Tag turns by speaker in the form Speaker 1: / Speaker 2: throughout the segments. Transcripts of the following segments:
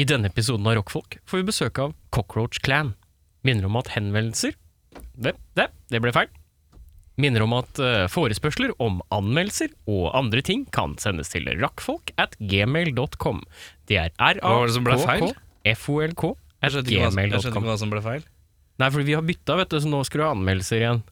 Speaker 1: I denne episoden av Rockfolk får vi besøk av Cockroach Clan. Minner om at henvendelser Det, det, det ble feil. Minner om at eh, forespørsler om anmeldelser og andre ting kan sendes til rakkfolk at gmail.com. Det er
Speaker 2: Hva var det som ble feil?
Speaker 1: r-a-k-k-f-o-l-k at
Speaker 2: skjønte ikke hva- jeg skjønte
Speaker 1: gmail.com.
Speaker 2: ikke hva som ble feil.
Speaker 1: Nei, fordi vi har bytta, vet du, så nå skulle du ha anmeldelser igjen.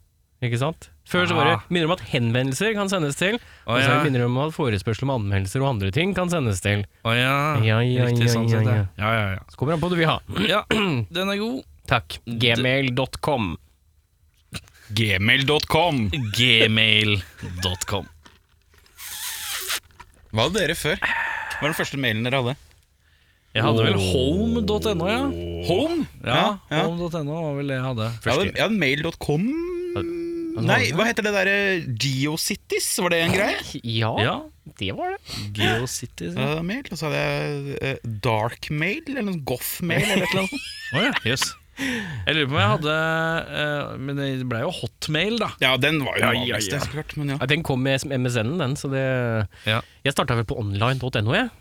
Speaker 1: Ikke sant? Før så var det
Speaker 2: Ah.
Speaker 1: minner om at henvendelser kan sendes til.
Speaker 2: Å,
Speaker 1: Og så
Speaker 2: ja.
Speaker 1: er det minner om at forespørsel om anmeldelser og andre ting kan sendes til.
Speaker 2: Å ja.
Speaker 1: Ja, ja,
Speaker 2: Riktig
Speaker 1: ja,
Speaker 2: sånn
Speaker 1: ja,
Speaker 2: sett, ja.
Speaker 1: ja.
Speaker 2: Ja, ja, ja.
Speaker 1: Så kommer det an på hva du vil ha.
Speaker 2: Ja, den er god.
Speaker 1: Takk. Gmail.com.
Speaker 3: Gmail.com.
Speaker 2: Gmail.com.
Speaker 3: Hva hadde dere før? Hva var den første mailen dere hadde?
Speaker 2: Jeg hadde vel home.no, ja.
Speaker 3: Home?
Speaker 2: Ja,
Speaker 3: ja.
Speaker 2: Home.no var vel det jeg hadde.
Speaker 3: Jeg hadde, jeg hadde mail.com Nei, hva heter det derre Geocities? Var det en greie?
Speaker 1: Ja,
Speaker 2: Ja,
Speaker 1: det var det.
Speaker 2: GeoCities.
Speaker 3: Jeg
Speaker 2: Ja.
Speaker 3: hadde mail, og så hadde jeg eh, darkmail, eller noe goffmail, eller et eller annet.
Speaker 2: Å ja, jøss. Jeg lurer på om jeg hadde eh, Men det ble jo hotmail, da.
Speaker 3: Ja, den var jo
Speaker 2: Ja,
Speaker 3: den
Speaker 2: ja,
Speaker 3: vanligste,
Speaker 2: ja.
Speaker 3: så klart. Men ja.
Speaker 1: Ja, den kom med MSN-en, den, så det
Speaker 2: Ja.
Speaker 1: Jeg starta vel på online.no, jeg.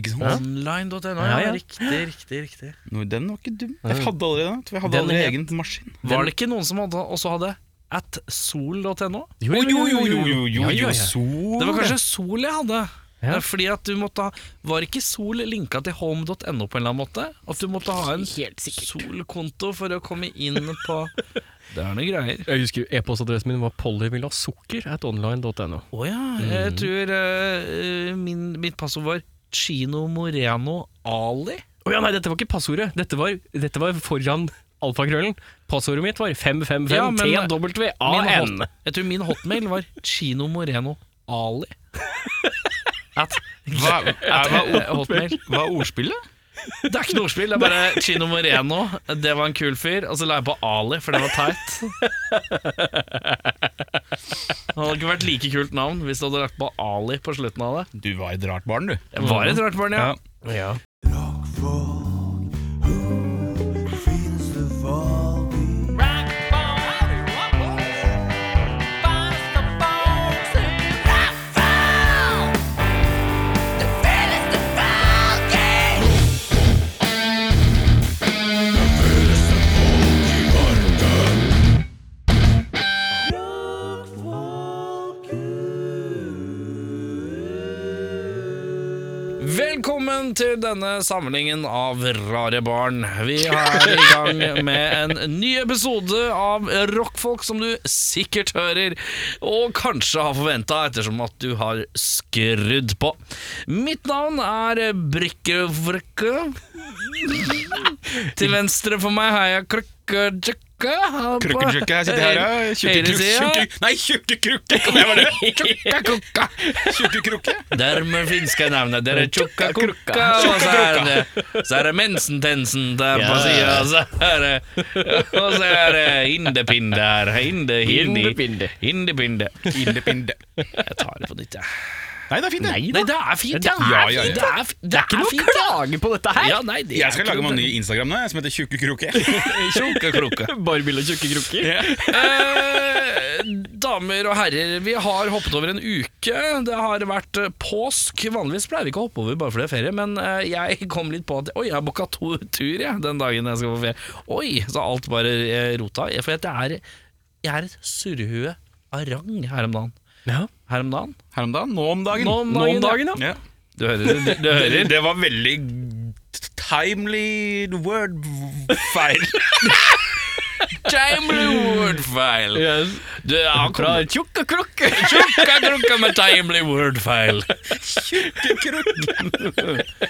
Speaker 3: Ikke sant?
Speaker 2: Online.no, ja,
Speaker 1: Ja, ja.
Speaker 2: Riktig, riktig, riktig.
Speaker 3: Nå, den var ikke dum. Jeg hadde aldri den. tror Jeg hadde
Speaker 1: Den
Speaker 3: aldri
Speaker 1: het-
Speaker 3: egen maskin.
Speaker 2: Var det ikke noen som hadde, også hadde at sol.no?
Speaker 1: Jo, Ja, ja, ja.
Speaker 3: sol
Speaker 2: Det var kanskje Sol jeg hadde.
Speaker 1: Ja.
Speaker 2: Det er Fordi at du måtte ha Var ikke Sol linka til home.no på en eller annen måte? At du måtte ha en
Speaker 1: Helt
Speaker 2: Sol-konto for å komme inn på Det er noe greier.
Speaker 1: Jeg husker e-postadressen min var pollyvillasukker at online.no.
Speaker 2: Å ja. Jeg tror eh, min, mitt passord var Chino Moreno Ali.
Speaker 1: Å ja, nei, dette var ikke passordet. Dette var, dette var foran alfakrøllen. Passordet mitt var
Speaker 2: Ja, men-
Speaker 1: 555TWAN.
Speaker 2: Min hot- Jeg tror min hotmail var Chino Moreno Ali. At,
Speaker 3: Hva, er, hva,
Speaker 2: eh, hotmail.
Speaker 3: hva er ordspillet?
Speaker 2: Det er ikke noe ordspill, det er bare Chino Moreno. Det var en kul fyr. Og så la jeg på Ali, for det var teit. Det hadde ikke vært like kult navn hvis du hadde lagt på Ali på slutten av det.
Speaker 3: Du var et rart barn, du.
Speaker 2: Jeg var et rart barn, Mm. ja.
Speaker 3: Ja.
Speaker 1: Ja.
Speaker 2: Velkommen til denne samlingen av Rare barn. Vi er i gang med en ny episode av Rockfolk, som du sikkert hører, og kanskje har forventa, ettersom at du har skrudd på. Mitt navn er Brikkefrøkke. Til venstre for meg har jeg Krøkkejøkke.
Speaker 3: Krøkkekrukke, jeg sitter her, ja. Tjukke
Speaker 2: Høyre
Speaker 3: kruk-
Speaker 2: sida.
Speaker 3: tjukke- Nei, tjukke krukke! Kan jeg være det? Tjukke krukke?
Speaker 2: Dermed finske navnet. Dere er tjukka krukka, og så er
Speaker 3: Tjukka
Speaker 2: det, så er det mensentensen der på
Speaker 1: Ja.
Speaker 2: sida, og så er det, og så er det hindepinde her. Hinde, hindi.
Speaker 1: Hindepinde.
Speaker 2: Hindepinde.
Speaker 3: Indepinde.
Speaker 2: Jeg tar det på nytt, jeg.
Speaker 3: Nei, det er fint, det.
Speaker 2: Nei, det er fint,
Speaker 1: Det er
Speaker 3: Ja, ja, ja.
Speaker 2: Det er, f- det er
Speaker 1: Ikke noe
Speaker 2: fint, ja.
Speaker 1: klage på dette her!
Speaker 2: Ja, nei, det
Speaker 3: Jeg skal
Speaker 2: er ikke
Speaker 3: lage meg
Speaker 2: noe
Speaker 3: en ny Instagram nå, jeg, som heter Tjukke krukke.
Speaker 2: Tjukka krukka.
Speaker 1: Bare bilde av tjukke krukker.
Speaker 2: Eh, damer og herrer, vi har hoppet over en uke. Det har vært eh, påsk. Vanligvis pleier vi ikke å hoppe over bare fordi det er ferie, men eh, jeg kom litt på at Oi, jeg har booka to tur jeg, den dagen jeg skal på ferie. Oi, så alt bare eh, rota. For at jeg er, jeg er et surrehue av rang her om dagen.
Speaker 1: Ja.
Speaker 2: Her om dagen?
Speaker 3: Her om dagen. Nå om dagen.
Speaker 2: Nå om dagen,
Speaker 3: Ja.
Speaker 2: Du hører, du, du
Speaker 3: Det,
Speaker 2: hører.
Speaker 3: det var veldig timely word feil.
Speaker 2: Time Lord-feil!
Speaker 1: Yes.
Speaker 2: Du har
Speaker 1: Fra
Speaker 2: kommet
Speaker 1: tjukke krukker!
Speaker 2: tjukka krukka med timely word-feil.
Speaker 3: Tjukke krukke.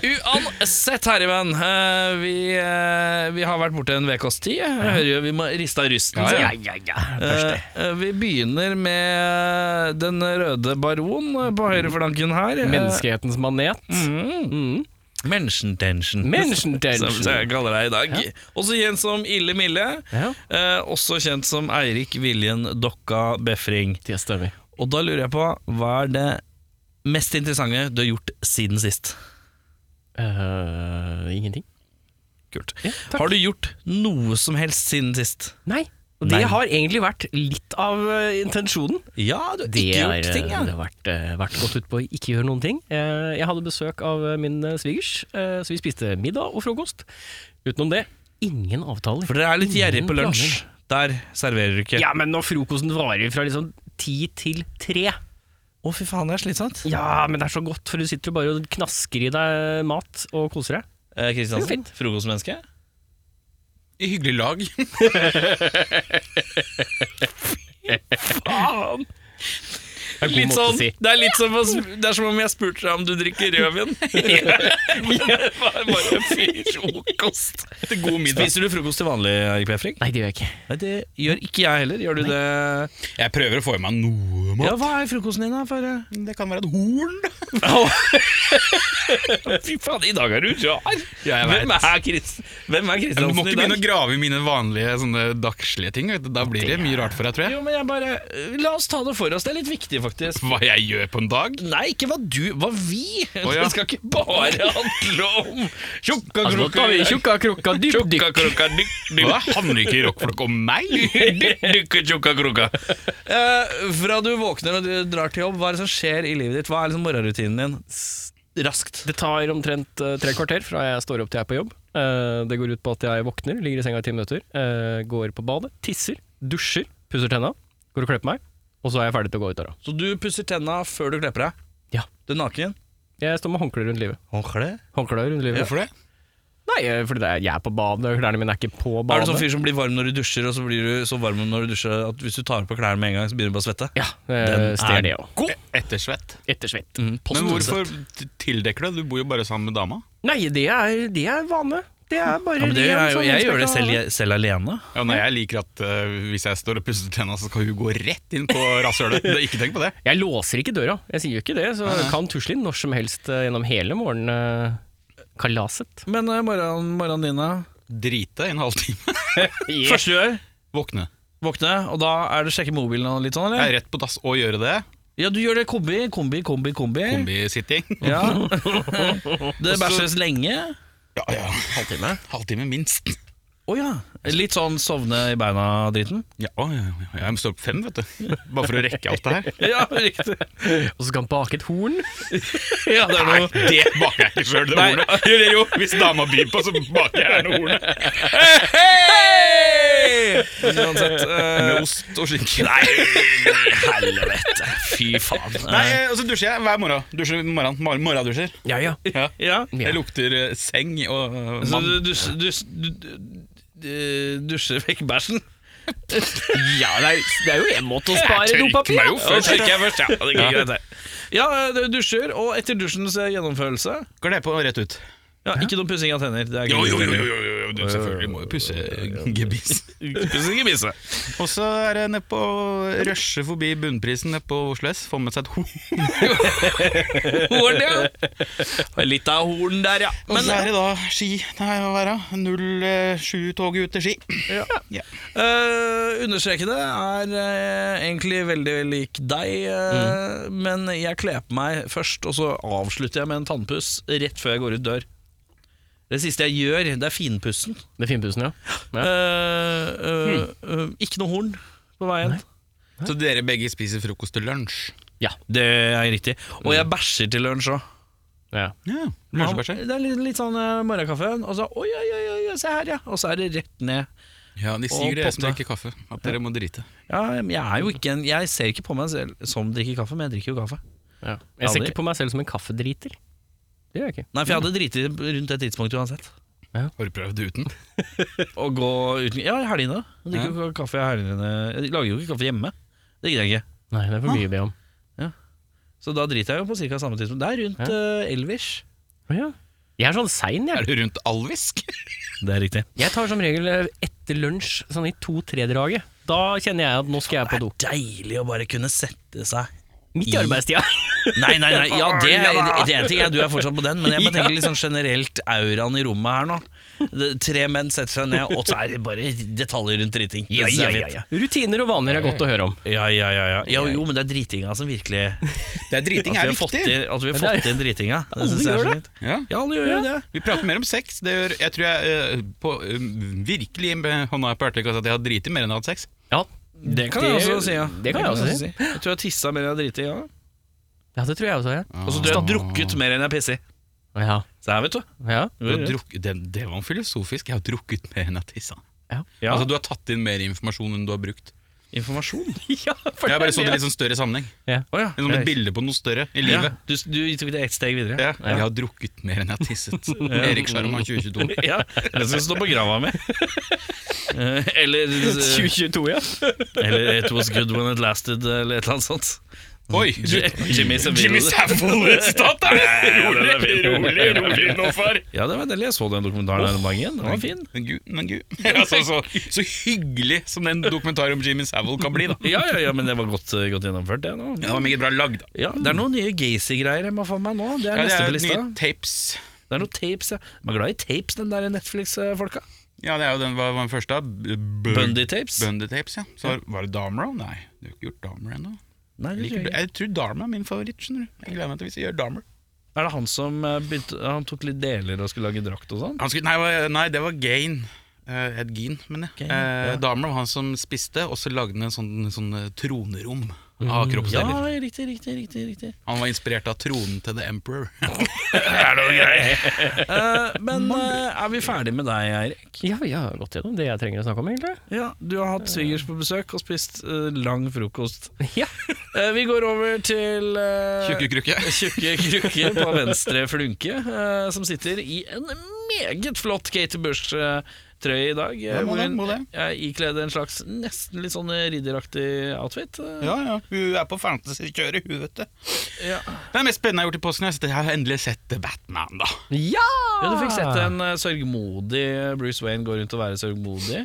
Speaker 2: Uansett, herrevenn, eh, vi, eh, vi har vært borte en VKs tid. Jeg hører jo vi må riste av rusten. sier jeg.
Speaker 1: ja, ja.
Speaker 2: Eh, eh, Vi begynner med Den røde baron eh, på høyreflanken her. Eh,
Speaker 1: Menneskehetens manet.
Speaker 2: Mm.
Speaker 1: Mm.
Speaker 2: Menschentension. Som som jeg
Speaker 1: Menschentension.
Speaker 2: kaller deg i dag. Også kjent som Ille Mille.
Speaker 1: Ja.
Speaker 2: Eh, også kjent som Eirik Viljen Dokka Befring.
Speaker 1: Det stemmer.
Speaker 2: Og da lurer jeg på, hva er det mest interessante du har gjort siden sist?
Speaker 1: Eh, ingenting.
Speaker 2: Kult.
Speaker 1: Ja, takk.
Speaker 2: Har du gjort noe som helst siden sist?
Speaker 1: Nei. Og det har egentlig vært litt av eh, intensjonen.
Speaker 2: Ja, du,
Speaker 1: Det
Speaker 2: ikke
Speaker 1: har
Speaker 2: gjort ting, ja.
Speaker 1: eh, vært, eh, vært gått ut på å ikke gjøre noen ting. Eh, Jeg hadde besøk av eh, min eh, svigers, eh, så vi spiste middag og frokost. Utenom det, ingen avtaler.
Speaker 2: For dere er litt gjerrig på
Speaker 1: Ingen
Speaker 2: lunsj. Der serverer du ikke.
Speaker 1: Ja, men når frokosten varer fra liksom ti til tre
Speaker 2: Å, fy faen, det er slitsomt.
Speaker 1: Ja, men det er så godt, for du sitter jo bare og knasker i deg mat og koser deg.
Speaker 2: Eh,
Speaker 1: Det er
Speaker 2: Kristiansen,
Speaker 1: fint.
Speaker 2: frokostmenneske.
Speaker 3: I hyggelig lag.
Speaker 2: Faen!
Speaker 1: Det er en god
Speaker 2: Litt
Speaker 1: måte å
Speaker 2: sånn,
Speaker 1: si.
Speaker 2: det, er litt som, å sp- det er som om jeg spurte deg om du drikker rødvin. Men det var bare frokost.
Speaker 3: Til god middag.
Speaker 2: Spiser du frokost til vanlig, Erik Befring?
Speaker 1: Nei, det gjør jeg ikke.
Speaker 2: Nei, det gjør ikke jeg heller. Gjør du det?
Speaker 3: Jeg prøver å få i meg noe mat.
Speaker 2: Ja, hva er frokosten din, da? For, eh?
Speaker 3: Det kan være et horn.
Speaker 2: Fy faen, i dag er du rar!
Speaker 3: Ja, jeg vet.
Speaker 2: Hvem er, Chris, hvem er
Speaker 3: Du må
Speaker 2: Kristiansen
Speaker 3: ikke
Speaker 2: i
Speaker 3: begynne å
Speaker 2: dag?
Speaker 3: grave i mine vanlige sånne dagslige ting. Vet du. Da blir det mye rart for deg, tror jeg.
Speaker 2: Jo, men jeg bare eh, La oss ta det for oss. Det er litt viktig, faktisk.
Speaker 3: Hva jeg gjør på en dag?
Speaker 2: Nei, ikke hva du, hva vi.
Speaker 3: Å, ja.
Speaker 2: Det skal ikke bare handle om tjukka
Speaker 1: Altså, nå tar vi tjukka krukka dypp dypp.
Speaker 2: Tjukka krukka, dykk,
Speaker 3: Hva
Speaker 2: dykk,
Speaker 3: handler ikke rockflokk om meg?
Speaker 2: dykk, dykk, tjukka krukka. Eh, fra du våkner og du drar til jobb, hva er det som skjer i livet ditt? Hva er liksom morgenrutinen din? S- Raskt.
Speaker 1: Det tar omtrent eh, tre kvarter fra jeg står opp til jeg er på jobb. Eh, det går ut på at jeg våkner, ligger i senga i ti minutter, eh, går på badet, tisser, dusjer, pusser tenna, går og klipper meg, og så er jeg ferdig til å gå ut døra.
Speaker 2: Så du pusser tenna før du klepper deg?
Speaker 1: Ja.
Speaker 2: Du er naken?
Speaker 1: Jeg står med håndkle rundt livet.
Speaker 2: Håndkle?
Speaker 1: Håndkle rundt livet.
Speaker 3: Hvorfor det?
Speaker 1: Nei, eh, fordi det er, jeg er på badet, klærne mine er ikke på badet.
Speaker 2: Er du sånn fyr som blir varm når du dusjer, og så blir du så varm når du dusjer at hvis du tar på klærne med en gang, så begynner du bare å svette?
Speaker 1: Ja, eh,
Speaker 2: er
Speaker 1: ser det òg.
Speaker 2: god.
Speaker 3: Ettersvett.
Speaker 1: Ettersvett.
Speaker 2: Mm.
Speaker 3: Men hvorfor t- tildekker du det? Du bor jo bare sammen med dama.
Speaker 1: Nei, det er, det er vane. Det er bare
Speaker 2: Ja, men det
Speaker 1: ren
Speaker 2: er jo,
Speaker 1: sånn
Speaker 2: jeg gjør det
Speaker 1: respektabel-
Speaker 2: selv, selv alene.
Speaker 3: Ja, nei, jeg liker at eh, hvis jeg står og pusser tenna, så skal hun gå rett inn på rasshølet. Det- Ikke tenk på det.
Speaker 1: Jeg låser ikke døra, jeg sier jo ikke det, så jeg kan tusle inn når som helst eh, gjennom hele eh, morgenkalaset.
Speaker 2: Men eh, morgenen, morgenen din, da?
Speaker 3: Drite i en halvtime.
Speaker 2: Første du gjør,
Speaker 3: Våkne.
Speaker 2: våkne, og da er det sjekke mobilen og litt sånn,
Speaker 3: Jeg
Speaker 2: eller?
Speaker 3: er rett på dass og gjøre det.
Speaker 2: Ja, du gjør det kombi, kombi, kombi, kombi.
Speaker 3: Kombisitting.
Speaker 2: Ja. det bæsjes lenge.
Speaker 3: Ja, ja. Halvtime. Halvtime minst.
Speaker 2: Å ja. Litt sånn sovne i beina-driten.
Speaker 3: Ja, å, ja, ja, jeg står opp fem, vet du. Bare for å rekke alt det her.
Speaker 2: Ja, riktig.
Speaker 1: Og så skal han bake et horn.
Speaker 2: Ja, det er
Speaker 3: Nei,
Speaker 2: noe
Speaker 3: det baker jeg ikke sjøl, det
Speaker 2: Nei.
Speaker 3: hornet. Jo, jo, hvis dama byr på, så baker jeg gjerne hornet.
Speaker 2: Hei! Men Uansett eh,
Speaker 3: Med ost og skinke.
Speaker 2: Nei, helvete. Fy faen.
Speaker 3: Nei, eh, og så dusjer jeg hver morgen. Dusjer om morgenen. Mor- Morgendusjer.
Speaker 1: Ja, ja.
Speaker 3: Ja.
Speaker 2: Ja.
Speaker 3: Det lukter eh, seng og eh,
Speaker 2: Så
Speaker 3: mann.
Speaker 2: du, du, du, du, du dusjer vekk bæsjen?
Speaker 1: ja det, er, det er jo en måte å
Speaker 3: Jeg
Speaker 1: spare
Speaker 3: tørker
Speaker 1: dopapir da.
Speaker 3: meg jo først.
Speaker 2: trykker jeg først, ja. Det er greit, det. Ja, eh, du dusjer, og etter dusjens eh, gjennomførelse
Speaker 3: Går det på rett ut?
Speaker 2: ja, Ikke noe pussing av tenner. Det er
Speaker 3: Jo,
Speaker 2: ikke
Speaker 3: jo, jo, jo, jo, jo. Du, selvfølgelig må jo pusse eh, gebiss.
Speaker 2: Pussing i bisse.
Speaker 3: Og så er det nedpå rushe forbi bunnprisen nede på Oslo S, få med seg et horn.
Speaker 2: Horn, ja. Litt av horn der, ja.
Speaker 3: Og
Speaker 2: Men
Speaker 3: så er det da Ski. Nei, hva er det? 07-toget ut til Ski.
Speaker 2: ja.
Speaker 3: Ja.
Speaker 2: Eh, understrekede er eh, egentlig veldig lik deg, eh, men jeg kler på meg først, og så avslutter jeg med en tannpuss rett før jeg går ut dør. Det siste jeg gjør, det er finpussen.
Speaker 1: Med finpussen, ja. ja.
Speaker 2: Eh, eh, eh, ikke noe horn på veien.
Speaker 3: Så dere begge spiser frokost til lunsj?
Speaker 2: Det er riktig. Og jeg bæsjer til lunsj òg.
Speaker 1: ja.
Speaker 3: Ja,
Speaker 2: Det er litt, litt sånn eh, morgenkaffen, og så oi, oi, oi, oi, se her, ja. Og så er det rett ned.
Speaker 3: Ja, de
Speaker 2: Og
Speaker 3: sier det, jeg som
Speaker 2: potte.
Speaker 3: drikker kaffe. At dere må drite.
Speaker 2: Ja, men jeg er jo ikke en Jeg ser ikke på meg selv som drikker kaffe, men jeg drikker jo kaffe.
Speaker 1: ja. Jeg ser ikke på meg selv som en kaffedriter. Det gjør jeg ikke.
Speaker 2: Nei, for jeg hadde driti rundt det tidspunktet uansett.
Speaker 3: Har du prøvd uten?
Speaker 2: Å gå uten Ja, i helgene. Jeg drikker jo kaffe i helgene. Jeg lager jo ikke kaffe hjemme. Det gidder jeg ikke.
Speaker 1: Nei, det er for mye å be om.
Speaker 2: Så da driter jeg jo på ca. samme tidspunkt. Det er rundt eh, Elvish.
Speaker 1: Å, ja. Jeg er sånn sein, jeg.
Speaker 3: Er du rundt alvisk?
Speaker 2: Det er riktig.
Speaker 1: Jeg tar som regel eh, etter lunsj, sånn i to-tre-draget. Da kjenner jeg at nå skal jeg
Speaker 2: Det
Speaker 1: på
Speaker 2: er
Speaker 1: do.
Speaker 2: deilig å bare kunne sette seg
Speaker 1: Midt i arbeidstida.
Speaker 2: Nei, nei, nei, ja, det, er- det er en ting, er du er fortsatt på den, men jeg bare tenker litt sånn generelt auraen i rommet her nå. Det, tre menn setter seg ned, og så er det bare detaljer rundt driting. Ja, ja, ja, ja.
Speaker 1: Rutiner og vaner er godt å høre om.
Speaker 2: Ja, ja, ja, Jo, jo, men det er dritinga som virkelig
Speaker 3: Det er driting
Speaker 2: At
Speaker 3: er
Speaker 2: vi har fått
Speaker 3: viktig.
Speaker 2: inn, at vi
Speaker 1: Men
Speaker 2: har
Speaker 1: det er-
Speaker 2: fått inn dritinga. Det
Speaker 1: Alle
Speaker 2: synes jeg er
Speaker 1: gjør
Speaker 2: så
Speaker 1: det.
Speaker 2: fint.
Speaker 3: Ja.
Speaker 2: Ja, alle gjør jo det.
Speaker 3: Vi prater mer om sex. Det gjør, jeg tror jeg eh, på, eh, virkelig med hånda på hjertet kan si at jeg har driti mer enn jeg har hatt sex.
Speaker 1: Ja,
Speaker 2: Det kan jeg også si, ja.
Speaker 1: Det kan jeg også si.
Speaker 2: Jeg tror jeg har tissa mer enn jeg har driti. Ja.
Speaker 1: Ja, det tror jeg også. Ja.
Speaker 2: Og så tror jeg jeg har drukket mer enn jeg har pissi.
Speaker 1: Ja.
Speaker 2: Så her, vet du.
Speaker 1: Ja.
Speaker 3: Du har drukket- det, det var filosofisk. Jeg har drukket mer enn jeg har tissa.
Speaker 1: Ja.
Speaker 2: Ja.
Speaker 3: Altså, du har tatt inn mer informasjon enn du har brukt.
Speaker 2: Informasjon.
Speaker 1: ja, for
Speaker 3: Jeg har bare
Speaker 1: det
Speaker 3: så
Speaker 1: er
Speaker 3: det i
Speaker 1: det.
Speaker 3: litt sånn større sammenheng.
Speaker 2: Å ja.
Speaker 3: Som et bilde på noe større i
Speaker 2: Ja,
Speaker 3: livet.
Speaker 2: du, du tok det ett steg videre.
Speaker 3: Ja. Jeg har drukket mer enn jeg har tisset. Erik Sjarma 2022.
Speaker 2: Ja, det skal stå på grava mi. Eh, Eller,
Speaker 1: 2022, ja.
Speaker 2: eller It was good when it lasted, eller et eller annet sånt.
Speaker 3: Oi!
Speaker 2: Jimmy Savile.
Speaker 3: Jimmy Savile
Speaker 2: Rolig,
Speaker 3: rolig, rolig nå, far.
Speaker 2: Ja, det var deilig. Jeg så den dokumentaren her om dagen. Den var fin.
Speaker 3: Men gud, men gud. Altså, så, så hyggelig som den dokumentaren om Jimmy Savile kan bli, da.
Speaker 2: Ja, ja, ja, men det var godt, eh, godt gjennomført, det. nå
Speaker 3: Det var meget bra lagd.
Speaker 2: ja, Det er noen nye Gacy-greier jeg må få med meg nå. Det er
Speaker 3: Ja, det
Speaker 2: neste på
Speaker 3: er
Speaker 2: lista.
Speaker 3: nye tapes.
Speaker 2: Det er noen tapes, ja. De er glad i tapes, den der Netflix-folka.
Speaker 3: Ja, det er jo den, hva var den første? da? B- B-
Speaker 2: Bundy-tapes.
Speaker 3: Bundy tapes, ja. Så var- var det Dahmer òg? Nei, du har ikke gjort Dahmer ennå.
Speaker 2: Nei, det tror
Speaker 3: Liker du-
Speaker 2: jeg ikke.
Speaker 3: Jeg tror Dahmer er min favoritt, skjønner du. Jeg gleder meg til hvis jeg gjør Dahmer.
Speaker 2: Er det han som eh, begynte Han tok litt deler og skulle lage drakt og sånn?
Speaker 3: Han skulle, nei, hva- nei, det var Gain. Eh, Ed Gein, mener jeg.
Speaker 2: Gein,
Speaker 3: Eh,
Speaker 2: ja.
Speaker 3: Dahmer var han som spiste, og så lagde han en sånn, sånn eh, tronerom av
Speaker 2: Mm. Ja,
Speaker 3: kroppsdeler.
Speaker 2: riktig, riktig, riktig. riktig.
Speaker 3: Han var inspirert av tronen til The Emperor.
Speaker 2: Eh, men eh, er vi ferdig med deg, Eirik?
Speaker 1: Ja, vi har gått gjennom det jeg trenger å snakke om, egentlig.
Speaker 2: Ja, Du har hatt svigers på besøk og spist eh, lang frokost.
Speaker 1: Ja.
Speaker 2: Eh, vi går over til eh,
Speaker 3: Tjukke krukke.
Speaker 2: tjukke krukke på venstre flunke, eh, som sitter i en meget flott Kate Bush-trøye i dag. eh,
Speaker 3: Ja, må
Speaker 2: hvor
Speaker 3: det,
Speaker 2: hun
Speaker 3: må det.
Speaker 2: er ikledd en slags nesten litt sånn eh, ridderaktig outfit. eh,
Speaker 3: Ja, ja. Hun er på fantasy-kjøret, hun, vet du.
Speaker 2: ja.
Speaker 3: Det er det mest spennende jeg har gjort i påsken. Jeg har sett- Jeg har endelig sett The Batman, da.
Speaker 1: Ja!
Speaker 2: Ja, du fikk sett en eh, sørgmodig eh, Bruce Wayne gå rundt og være sørgmodig.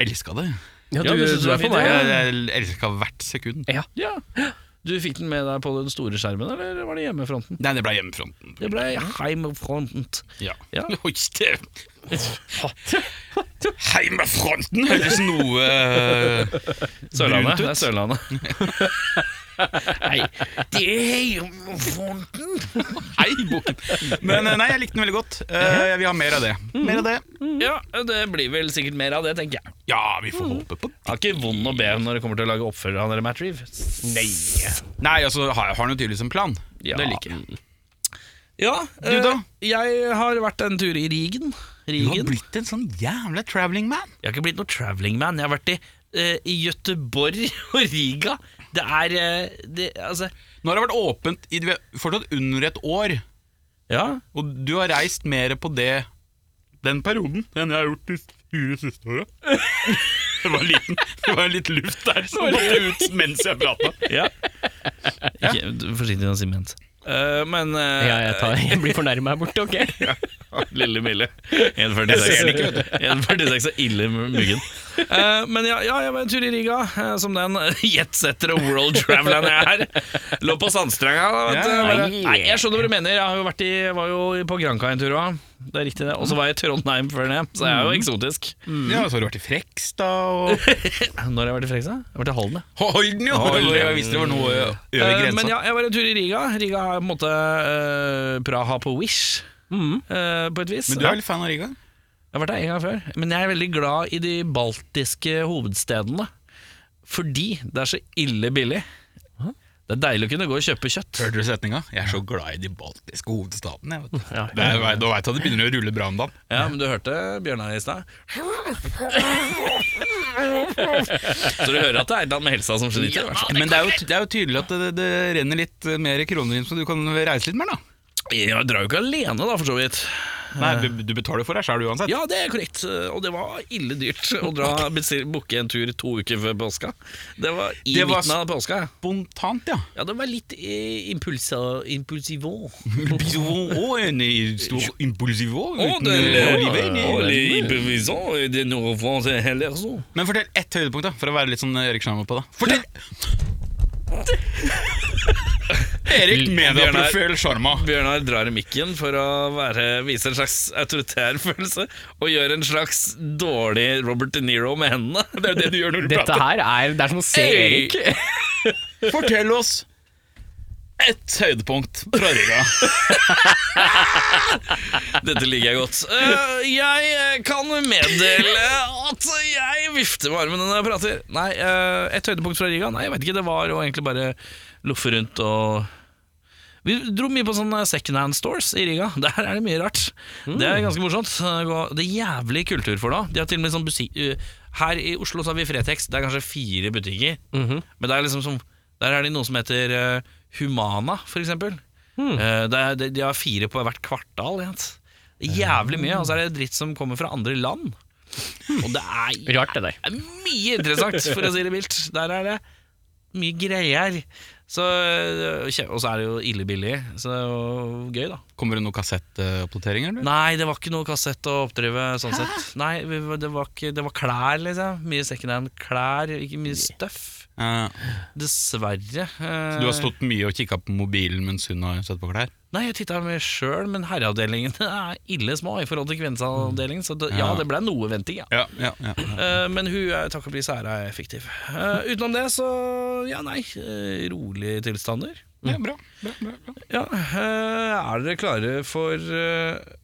Speaker 3: Elska det.
Speaker 1: Ja,
Speaker 2: Ja,
Speaker 1: du,
Speaker 2: du
Speaker 1: du
Speaker 2: synes det var
Speaker 1: er for
Speaker 2: fint,
Speaker 1: meg.
Speaker 2: ja.
Speaker 1: Ja.
Speaker 3: Jeg, jeg elska hvert sekund.
Speaker 1: Ja.
Speaker 2: Ja. Du fikk den med deg på den store skjermen, eller var det hjemmefronten?
Speaker 3: Nei, det ble hjemmefronten.
Speaker 2: Det ble heimefrontent.
Speaker 3: Ja.
Speaker 2: Ja.
Speaker 3: Oi, det- Heimefronten høres noe eh,
Speaker 2: Sørlandet.
Speaker 3: Brunt ut.
Speaker 2: Det er Sørlandet. Nei, det er heimefronten.
Speaker 3: Hei, boken. Men eh, nei, jeg likte den veldig godt. Eh, vi har mer av det. Mer av det.
Speaker 2: Ja, det blir vel sikkert mer av det, tenker jeg.
Speaker 3: Ja, vi får håpe på det.
Speaker 2: Har ikke vond å be når det kommer til å lage oppfølger av dere Matt Reeve. Nei.
Speaker 3: Nei, altså, har, har han jo tydeligvis en plan.
Speaker 2: Ja.
Speaker 3: Det liker jeg.
Speaker 2: Ja,
Speaker 3: Du da?
Speaker 2: eh, Jeg har vært en tur i Rigen. Rigen.
Speaker 3: blitt en sånn jævla traveling man.
Speaker 2: Jeg har ikke blitt noe traveling man. Jeg har vært i, eh, i Gøteborg og Riga. Det er eh, det, Altså
Speaker 3: Nå har det vært åpent i vi har fortsatt under et år,
Speaker 2: Ja.
Speaker 3: og du har reist mer på det den perioden enn jeg har gjort de fire siste åra. Det var, liten, det var litt luft der som måtte ut mens jeg prata.
Speaker 2: ja. Ikke, forsiktig med å si ment. Eh, men eh,
Speaker 1: Ja, jeg, tar, jeg blir fornærma her borte, ok?
Speaker 2: Lille Mille. 1,46.
Speaker 3: Jeg ser den ikke,
Speaker 2: 1,46 er ille muggen. Eh, men ja, ja, jeg var en tur i Riga, eh, som den jetsetter og world traveleren jeg er. Lå på sandstranda. da, Vet du.
Speaker 3: Ja.
Speaker 2: Bare- Nei, jeg skjønner hva du mener. Jeg har jo vært i, var jo på Granca en tur òg. Det er riktig, det. Og så var jeg i Trondheim før det, så jeg er jo eksotisk.
Speaker 3: Ja, så har du vært i Frekstad og
Speaker 2: Når har jeg vært i Frekstad? Jeg har vært i Halden, jeg.
Speaker 3: Holden, jo!
Speaker 2: Holden.
Speaker 3: Jeg visste det var noe over
Speaker 2: Eh,
Speaker 3: grensa.
Speaker 2: Men ja, jeg var en tur i Riga. Riga er på en måte eh, Praha på Wish. eh, på et vis.
Speaker 3: Mm. Men du er vel fan av Riga?
Speaker 2: Jeg har vært der en gang før, men jeg er veldig glad i de baltiske hovedstedene. Fordi det er så ille billig. Det er deilig å kunne gå og kjøpe kjøtt.
Speaker 3: Hørte du setninga? Jeg er så glad i de baltiske hovedstatene. jeg vet du.
Speaker 1: Ja.
Speaker 3: Det er- Da veit jeg at det begynner å rulle bra om dagen.
Speaker 2: Ja, men du hørte Bjørnar i stad? Så du hører at det er noe med helsa som sliter? i hvert fall.
Speaker 3: Men det er, jo, det er jo tydelig at det, det renner litt mer kroner inn, så du kan reise litt mer, da.
Speaker 2: Jeg drar jo ikke alene, da, for så vidt.
Speaker 3: Nei, du, du betaler for deg sjøl uansett.
Speaker 2: Ja, det er korrekt. Og det var ille dyrt å dra bestil- booke en tur to uker før påska. Det var i
Speaker 3: Det var
Speaker 2: midten av påska.
Speaker 3: Spontant, ja.
Speaker 2: Ja, det var litt eh, impulsa- impulsivå.
Speaker 3: Og en stor impulsivå
Speaker 2: Å,
Speaker 3: uten eh,
Speaker 2: det er
Speaker 3: oliven.
Speaker 2: eh, det er heller så.
Speaker 3: Men fortell ett eh, høydepunkt, da, for å være litt sånn Erik Sjarma på det. Fortell! Erik
Speaker 2: Bjørnar-
Speaker 3: Mediaprofil Sjarma.
Speaker 2: Bjørnar drar i mikken for å være, vise en slags autoritær følelse og gjør en slags dårlig Robert De Niro med hendene.
Speaker 3: Det er jo det du gjør når du
Speaker 1: Dette
Speaker 3: prater.
Speaker 1: her er Det er som å se
Speaker 3: Hey!
Speaker 1: Erik.
Speaker 3: Fortell oss ett høydepunkt fra Riga.
Speaker 2: Dette liker jeg godt. Eh, jeg eh, kan meddele at jeg vifter med armen når jeg prater. Nei, eh, et høydepunkt fra Riga? Nei, jeg vet ikke. Det var jo egentlig bare loffe rundt og vi dro mye på sånne secondhand stores i Riga. Der er det mye rart. Det er ganske morsomt. Det er jævlig kultur for det. De har til og med sånn busi- uh, Her i Oslo så har vi Fretex. Det er kanskje fire butikker. Men det er liksom som, der er det noe som heter uh, Humana, for eksempel. Uh, det er, de, de har fire på hvert kvartal. Jens. Det er jævlig mye. Og så er det dritt som kommer fra andre land. Og det er
Speaker 1: Rart, det der.
Speaker 2: det er mye interessant, for å si det mildt. Der er det mye greier. Så, øh, kje- og så er det jo ille billig, så det er jo gøy, da.
Speaker 3: Kommer det noen kassettoppdateringer? eller?
Speaker 2: Nei, det var ikke noe kassett å oppdrive sånn sett. Nei, vi, var- det, var ikke, det var klær, liksom. Mye secondhand klær, ikke mye støff.
Speaker 3: Eh,
Speaker 2: Dessverre. Eh,
Speaker 3: Du har stått mye og kikka på mobilen mens hun har sett på klær?
Speaker 2: Nei, jeg titta meg sjøl, men herreavdelingen er ille små i forhold til kvinneavdelingen, så det, ja,
Speaker 3: Ja.
Speaker 2: det ble noe venting, ja.
Speaker 3: Ja, ja, ja.
Speaker 2: Eh, men hun er takk og pris æra effektiv. Eh, utenom det, så ja, nei. eh, rolige tilstander.
Speaker 3: ja bra, bra, bra, bra.
Speaker 2: Ja, eh, er dere klare for eh,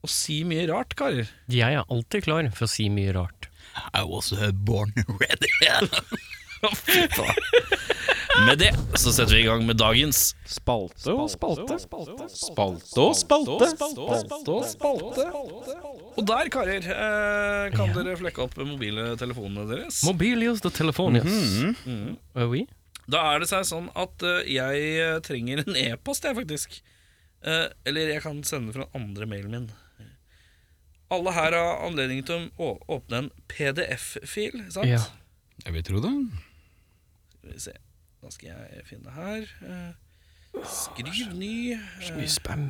Speaker 2: å si mye rart, karer?
Speaker 1: Jeg er alltid klar for å si mye rart.
Speaker 3: I was uh, born ready.
Speaker 2: Med det så setter vi i gang med dagens
Speaker 4: Spalte og spalte. Spalte og
Speaker 5: og
Speaker 4: spalte.
Speaker 5: spalte.
Speaker 4: Spalte og spalte.
Speaker 2: Og der, karer, eh, kan dere flekke opp mobiltelefonene deres?
Speaker 1: Mobil use the telephone, yes.
Speaker 3: Mm-hmm. Mm.
Speaker 1: Er vi?
Speaker 2: Da er det seg sånn at eh, jeg eh, trenger en e-post, jeg, faktisk. Eh, eller jeg kan sende den fra den andre mailen min. Alle her har anledning til å å- åpne en PDF-fil, sant?
Speaker 1: Ja.
Speaker 3: Jeg vil tro det.
Speaker 2: Skal vi se. Da skal jeg finne her. Eh, Skriv ny. eh,
Speaker 1: Mye spam.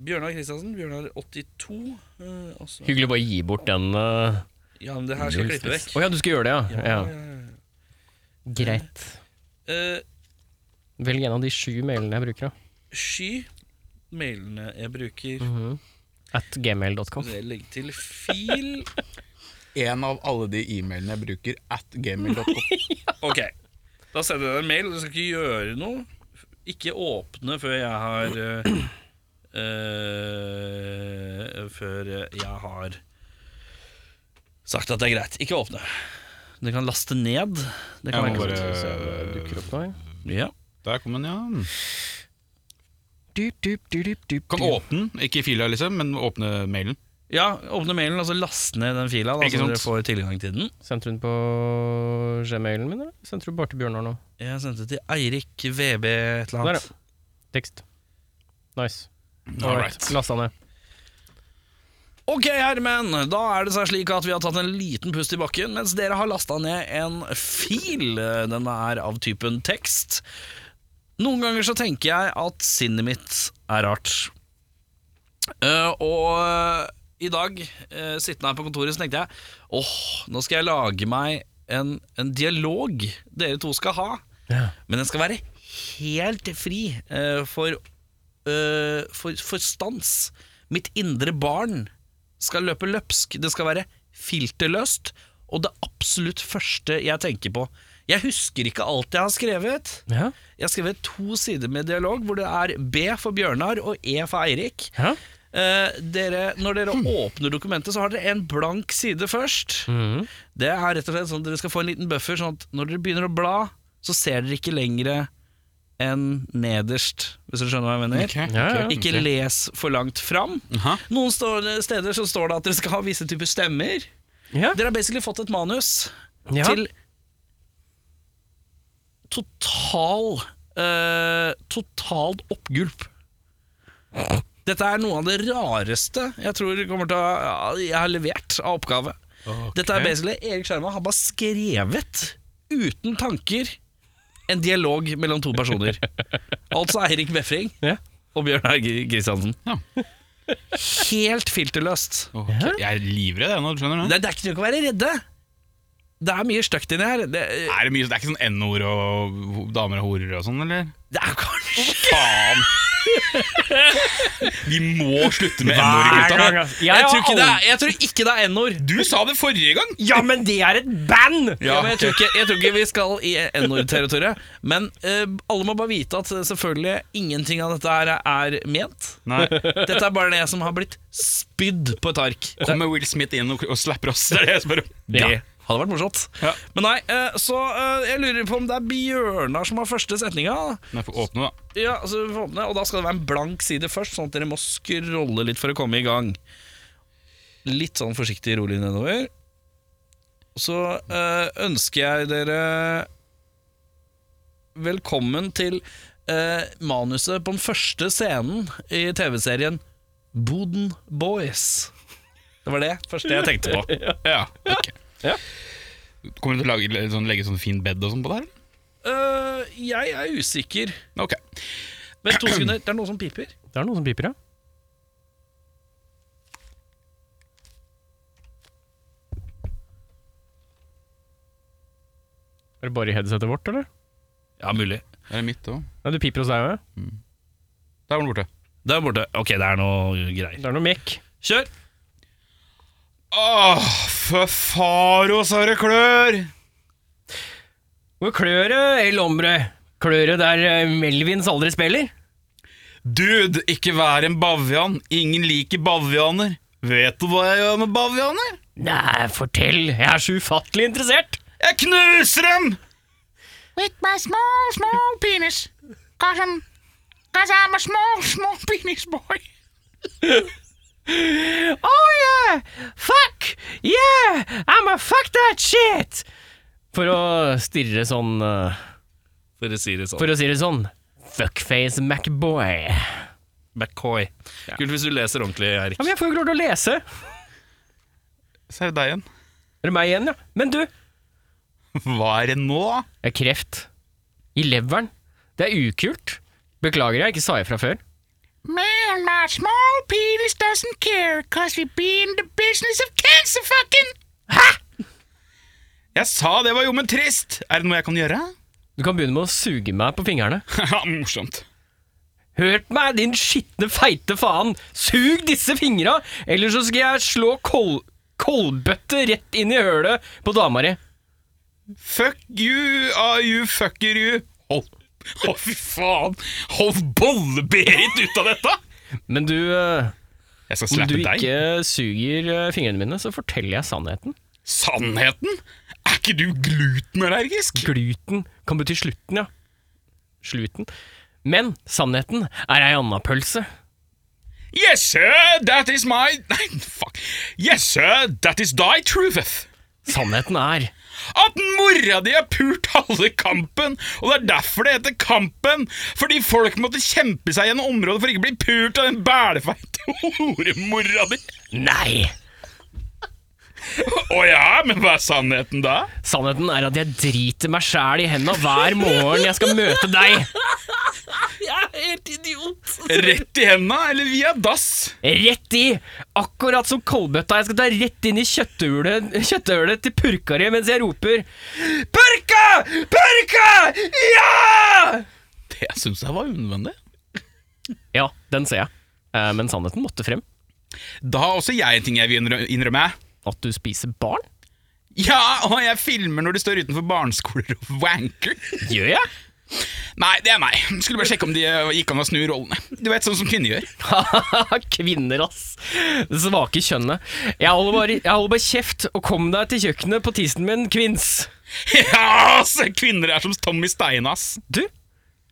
Speaker 2: Bjørnar Kristiansen, Bjørnar 82. eh, altså,
Speaker 1: Hyggelig å bare gi bort den. eh.
Speaker 2: ja, men det her skal jeg klippe vekk.
Speaker 1: Å ja, du skal gjøre det, ja. ja. Greit.
Speaker 2: Eh,
Speaker 1: Velg en av de sju mailene jeg bruker, da.
Speaker 2: sky mailene jeg bruker.
Speaker 1: Mm. Mhm. At gmail.com.
Speaker 2: Jeg legger til fil.
Speaker 3: En av alle de e-mailene jeg bruker at gaming.com.
Speaker 2: Ok, da sender jeg deg en mail. og Du skal ikke gjøre noe. Ikke åpne før jeg har eh, eh, Før jeg har sagt at det er greit. Ikke åpne. Du kan laste ned. Det kan
Speaker 3: Jeg må
Speaker 2: være
Speaker 3: bare-
Speaker 2: greit.
Speaker 1: Dukker opp nå, ja.
Speaker 2: Ja.
Speaker 3: Der kom den, ja.
Speaker 1: Du, du, du, du, du,
Speaker 3: Kan
Speaker 1: du.
Speaker 3: åpne den, ikke fila, liksom, men åpne mailen.
Speaker 2: ja, åpne mailen og så laste ned den fila, da,
Speaker 3: Ikke
Speaker 2: så
Speaker 3: sant?
Speaker 2: dere får tilgang til den.
Speaker 1: Sendte du den på gmailen min, eller? Sendte du bare til Bjørnar nå?
Speaker 2: Jeg sendte til Eirik VB et eller
Speaker 1: Der,
Speaker 2: annet.
Speaker 1: ja. Tekst. Nice.
Speaker 3: All
Speaker 1: Alright.
Speaker 3: right.
Speaker 1: Lasta ned.
Speaker 2: Ok, herremenn, da er det seg slik at vi har tatt en liten pust i bakken, mens dere har lasta ned en fil. Den er av typen tekst. Noen ganger så tenker jeg at sinnet mitt er rart. Eh, og eh, i dag, eh, sittende her på kontoret, så tenkte jeg åh, nå skal jeg lage meg en, en dialog dere to skal ha. Men den skal være helt fri eh, for, eh, for, for stans. Mitt indre barn skal løpe løpsk. Det skal være filterløst, og det absolutt første jeg tenker på. Jeg husker ikke alt jeg har skrevet.
Speaker 1: Ja.
Speaker 2: Jeg har skrevet to sider med dialog, hvor det er B for Bjørnar og E for Eirik.
Speaker 1: Ja.
Speaker 2: Eh, dere, når dere åpner dokumentet, så har dere en blank side først.
Speaker 1: Mhm.
Speaker 2: Det er rett og slett sånn at Dere skal få en liten buffer, sånn at når dere begynner å bla, så ser dere ikke lengre enn nederst, hvis dere skjønner hva jeg mener.
Speaker 1: Ja, ja.
Speaker 2: Ikke les for langt fram.
Speaker 3: Aha.
Speaker 2: Noen stå- steder så står det at dere skal ha visse typer stemmer.
Speaker 1: Ja.
Speaker 2: Dere har basically fått et manus
Speaker 1: Ja.
Speaker 2: til total eh, Totalt oppgulp. Dette er noe av det rareste jeg tror kommer til å, jeg har levert av oppgave. Dette er basically Erik Skjerma har bare skrevet, uten tanker, en dialog mellom to personer. altså Eirik Befring
Speaker 1: Ja.
Speaker 2: og Bjørnar Gri- Kristiansen.
Speaker 3: Ja.
Speaker 2: Helt filterløst.
Speaker 3: Ok, Jeg er livredd jeg nå, du skjønner det?
Speaker 2: Det, det er ikke noe å være redde. det er mye stygt inni her. Det,
Speaker 3: Er det, mye, det er ikke sånn N-ord og ho- damer og horer og sånn, eller?
Speaker 2: det er kanskje
Speaker 3: Faen! De må slutte med N-ord,
Speaker 1: Hver
Speaker 3: gutta.
Speaker 1: gang, ass. Jeg
Speaker 2: Jeg tror
Speaker 1: har
Speaker 2: ikke det
Speaker 1: aldri-
Speaker 2: er, jeg tror ikke det er n-ord.
Speaker 3: Du sa det forrige gang!
Speaker 1: Ja, men det er et band!
Speaker 2: Ja, men jeg, tror ikke, jeg tror ikke vi skal i N-ord-territoriet. Men eh, alle må bare vite at eh, selvfølgelig ingenting av dette her er ment.
Speaker 3: Nei.
Speaker 2: Dette er bare det som har blitt spydd på et ark. Det,
Speaker 3: Kommer Will Smith inn og, og slapper oss? Det er det jeg spør om.
Speaker 2: det
Speaker 1: Ja.
Speaker 2: hadde vært morsomt.
Speaker 3: Ja.
Speaker 2: Men nei, eh, så eh, jeg lurer på om det er Bjørnar som har første setninga.
Speaker 3: Nei, få åpne, da.
Speaker 2: Ja, så vi får åpne, og da skal det være en blank side først, sånn at dere må scrolle litt for å komme i gang. Litt sånn forsiktig rolig nedover. Så eh, ønsker jeg dere velkommen til eh, manuset på den første scenen i TV-serien Boden Boys. Det var det første jeg tenkte på.
Speaker 3: Ja, ok
Speaker 1: Ja.
Speaker 3: Kommer du til å lage, eller sånn, legge sånn fin bed og sånn på det her?
Speaker 2: Eh, jeg er usikker.
Speaker 3: eller? Ok.
Speaker 2: Vent to sekunder, det er noe som piper.
Speaker 1: Det er noen som piper, ja. Er det bare i headsetet vårt, eller?
Speaker 2: Ja, mulig.
Speaker 3: Det er mitt òg.
Speaker 1: Nei, du piper hos deg òg.
Speaker 3: Der var den borte.
Speaker 2: Der borte. Ok, det er noe greier.
Speaker 1: Det er noe mekk.
Speaker 2: Kjør!
Speaker 3: Åh, for faros har det klør!
Speaker 1: Hvor klør det, El Ombre? Klør det der eh, Melvins aldri spiller?
Speaker 3: Dude, ikke vær en bavian. Ingen liker bavianer. Vet du hva jeg gjør med bavianer?
Speaker 1: Nei, fortell. Jeg er så ufattelig interessert.
Speaker 3: Jeg knuser dem!
Speaker 5: with my small, small penis. Cause I'm, cause I'm a small, small penis boy.
Speaker 1: Oh yeah! Fuck! Yeah! I'm a fuck that shit! For å stirre sånn eh,
Speaker 2: For å si det sånn.
Speaker 1: For å si det sånn. Fuckface Macboy. Ja,
Speaker 2: McCoy. Kult hvis du leser ordentlig, Erik.
Speaker 1: men jeg får jo ikke lov til å lese.
Speaker 3: Så er det deg igjen.
Speaker 1: Er det meg igjen, ja? Men du, det
Speaker 3: Hva er det nå?
Speaker 1: er kreft. I leveren. Det er ukult. Beklager jeg ikke sa ifra før.
Speaker 5: Man, my small penis doesn't care, cause we be in the business of cancer fucking.
Speaker 3: Jeg sa det var jommen trist! Er det noe jeg kan gjøre?
Speaker 1: Du kan begynne med å suge meg på fingrene.
Speaker 3: Haha, Morsomt.
Speaker 1: Hør på meg, din skitne, feite faen! Sug disse fingra, eller så skal jeg slå kål... Kålbøtte rett inn i hølet på dama di.
Speaker 3: Fuck you, are you fucker you. Hold Å, fy faen! Hold Bolle-Berit ut av dette!
Speaker 1: Men du, eh,
Speaker 3: Jeg skal
Speaker 1: om du
Speaker 3: slappe deg.
Speaker 1: ikke suger eh, fingrene mine, så forteller jeg sannheten.
Speaker 3: Sannheten? Er ikke du glutenallergisk?
Speaker 1: Gluten kan bety slutten, ja. Sluten. Men sannheten er ei anna pølse.
Speaker 3: Yes, sir, that is my Nei, fuck. Yes, sir, that is thy truth.
Speaker 1: Sannheten er
Speaker 3: At mora di har pult halve Kampen, og det er derfor det heter Kampen. Fordi folk måtte kjempe seg gjennom området for ikke å bli pult av den bælefeite horemora di.
Speaker 1: Nei!
Speaker 3: Å ja, men hva er sannheten da?
Speaker 1: Sannheten er at jeg driter meg sjæl i henda hver morgen jeg skal møte deg.
Speaker 3: Rett i henda eller via dass?
Speaker 1: Rett i! Akkurat som kålbøtta. Jeg skal ta rett inn i kjøtthølet, kjøtthølet til purka di mens jeg roper Purka! Purka! Ja!
Speaker 3: Det syns jeg var unødvendig.
Speaker 1: Ja, den ser jeg. Eh, Men sannheten måtte frem.
Speaker 3: Da har også jeg en ting jeg vil innrø- innrømme.
Speaker 1: At du spiser barn?
Speaker 3: Ja, og jeg filmer når de står utenfor barneskoler og wanker.
Speaker 1: Gjør jeg?
Speaker 3: Nei, det er meg. Skulle bare sjekke om de eh, gikk an å snu rollene. Du vet, sånn som kvinner gjør.
Speaker 1: Kvinner, ass. Det svake kjønnet. Jeg holder bare, jeg holder bare kjeft, og kom deg til kjøkkenet på tissen min, kvinns.
Speaker 3: Ja, så kvinner er som Tommy Stein, ass.
Speaker 1: Du,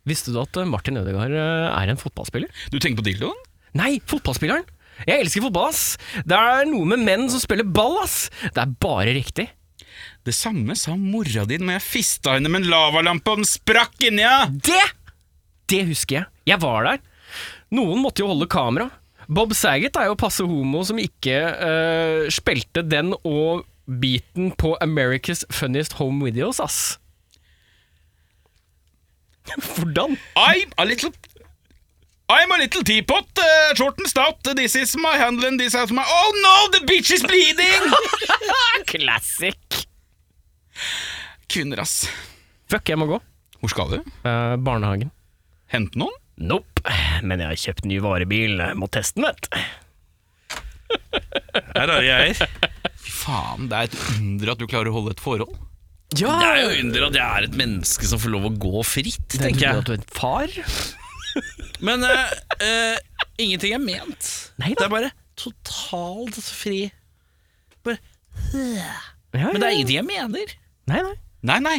Speaker 1: visste du at eh, Martin Ødegaard eh, er en fotballspiller?
Speaker 3: Du tenker på dildoen?
Speaker 1: Nei, fotballspilleren! Jeg elsker fotball, ass. Det er noe med menn som spiller ball, ass. Det er bare riktig.
Speaker 3: Det samme sa mora di når jeg fista henne med en lavalampe, og den sprakk inni henne.
Speaker 1: Det! Det husker jeg. Jeg var der. Noen måtte jo holde kamera. Bob Saget er jo passe homo som ikke eh, spilte den og biten på America's Funniest Home Videos, ass. Hvordan?
Speaker 3: I'm a little I'm a little teapot, eh, short and stout. This is my handle and this is my Oh no, the bitch is bleeding!
Speaker 1: Ah, Classic!
Speaker 3: Kvinner, ass.
Speaker 1: Fuck, jeg må gå.
Speaker 3: Hvor skal du?
Speaker 1: Eh, barnehagen.
Speaker 3: Hente noen?
Speaker 1: Nope, men jeg har kjøpt ny varebil. Jeg Må teste den, vet du.
Speaker 2: Det er rare greier.
Speaker 3: Fy faen, det er et under at du klarer å holde et forhold.
Speaker 2: Det er jo under at jeg er et menneske som får lov å gå fritt, tenker
Speaker 1: Tenker du
Speaker 2: jeg.
Speaker 1: at du er en far?
Speaker 2: Men eh, eh, ingenting er ment.
Speaker 1: Nei
Speaker 2: Det
Speaker 1: da.
Speaker 2: er bare totalt fri. Bare,
Speaker 1: Ja,
Speaker 2: men det
Speaker 1: ja,
Speaker 2: er
Speaker 1: ja.
Speaker 2: ingenting jeg mener.
Speaker 1: Nei, nei.
Speaker 3: Nei, nei.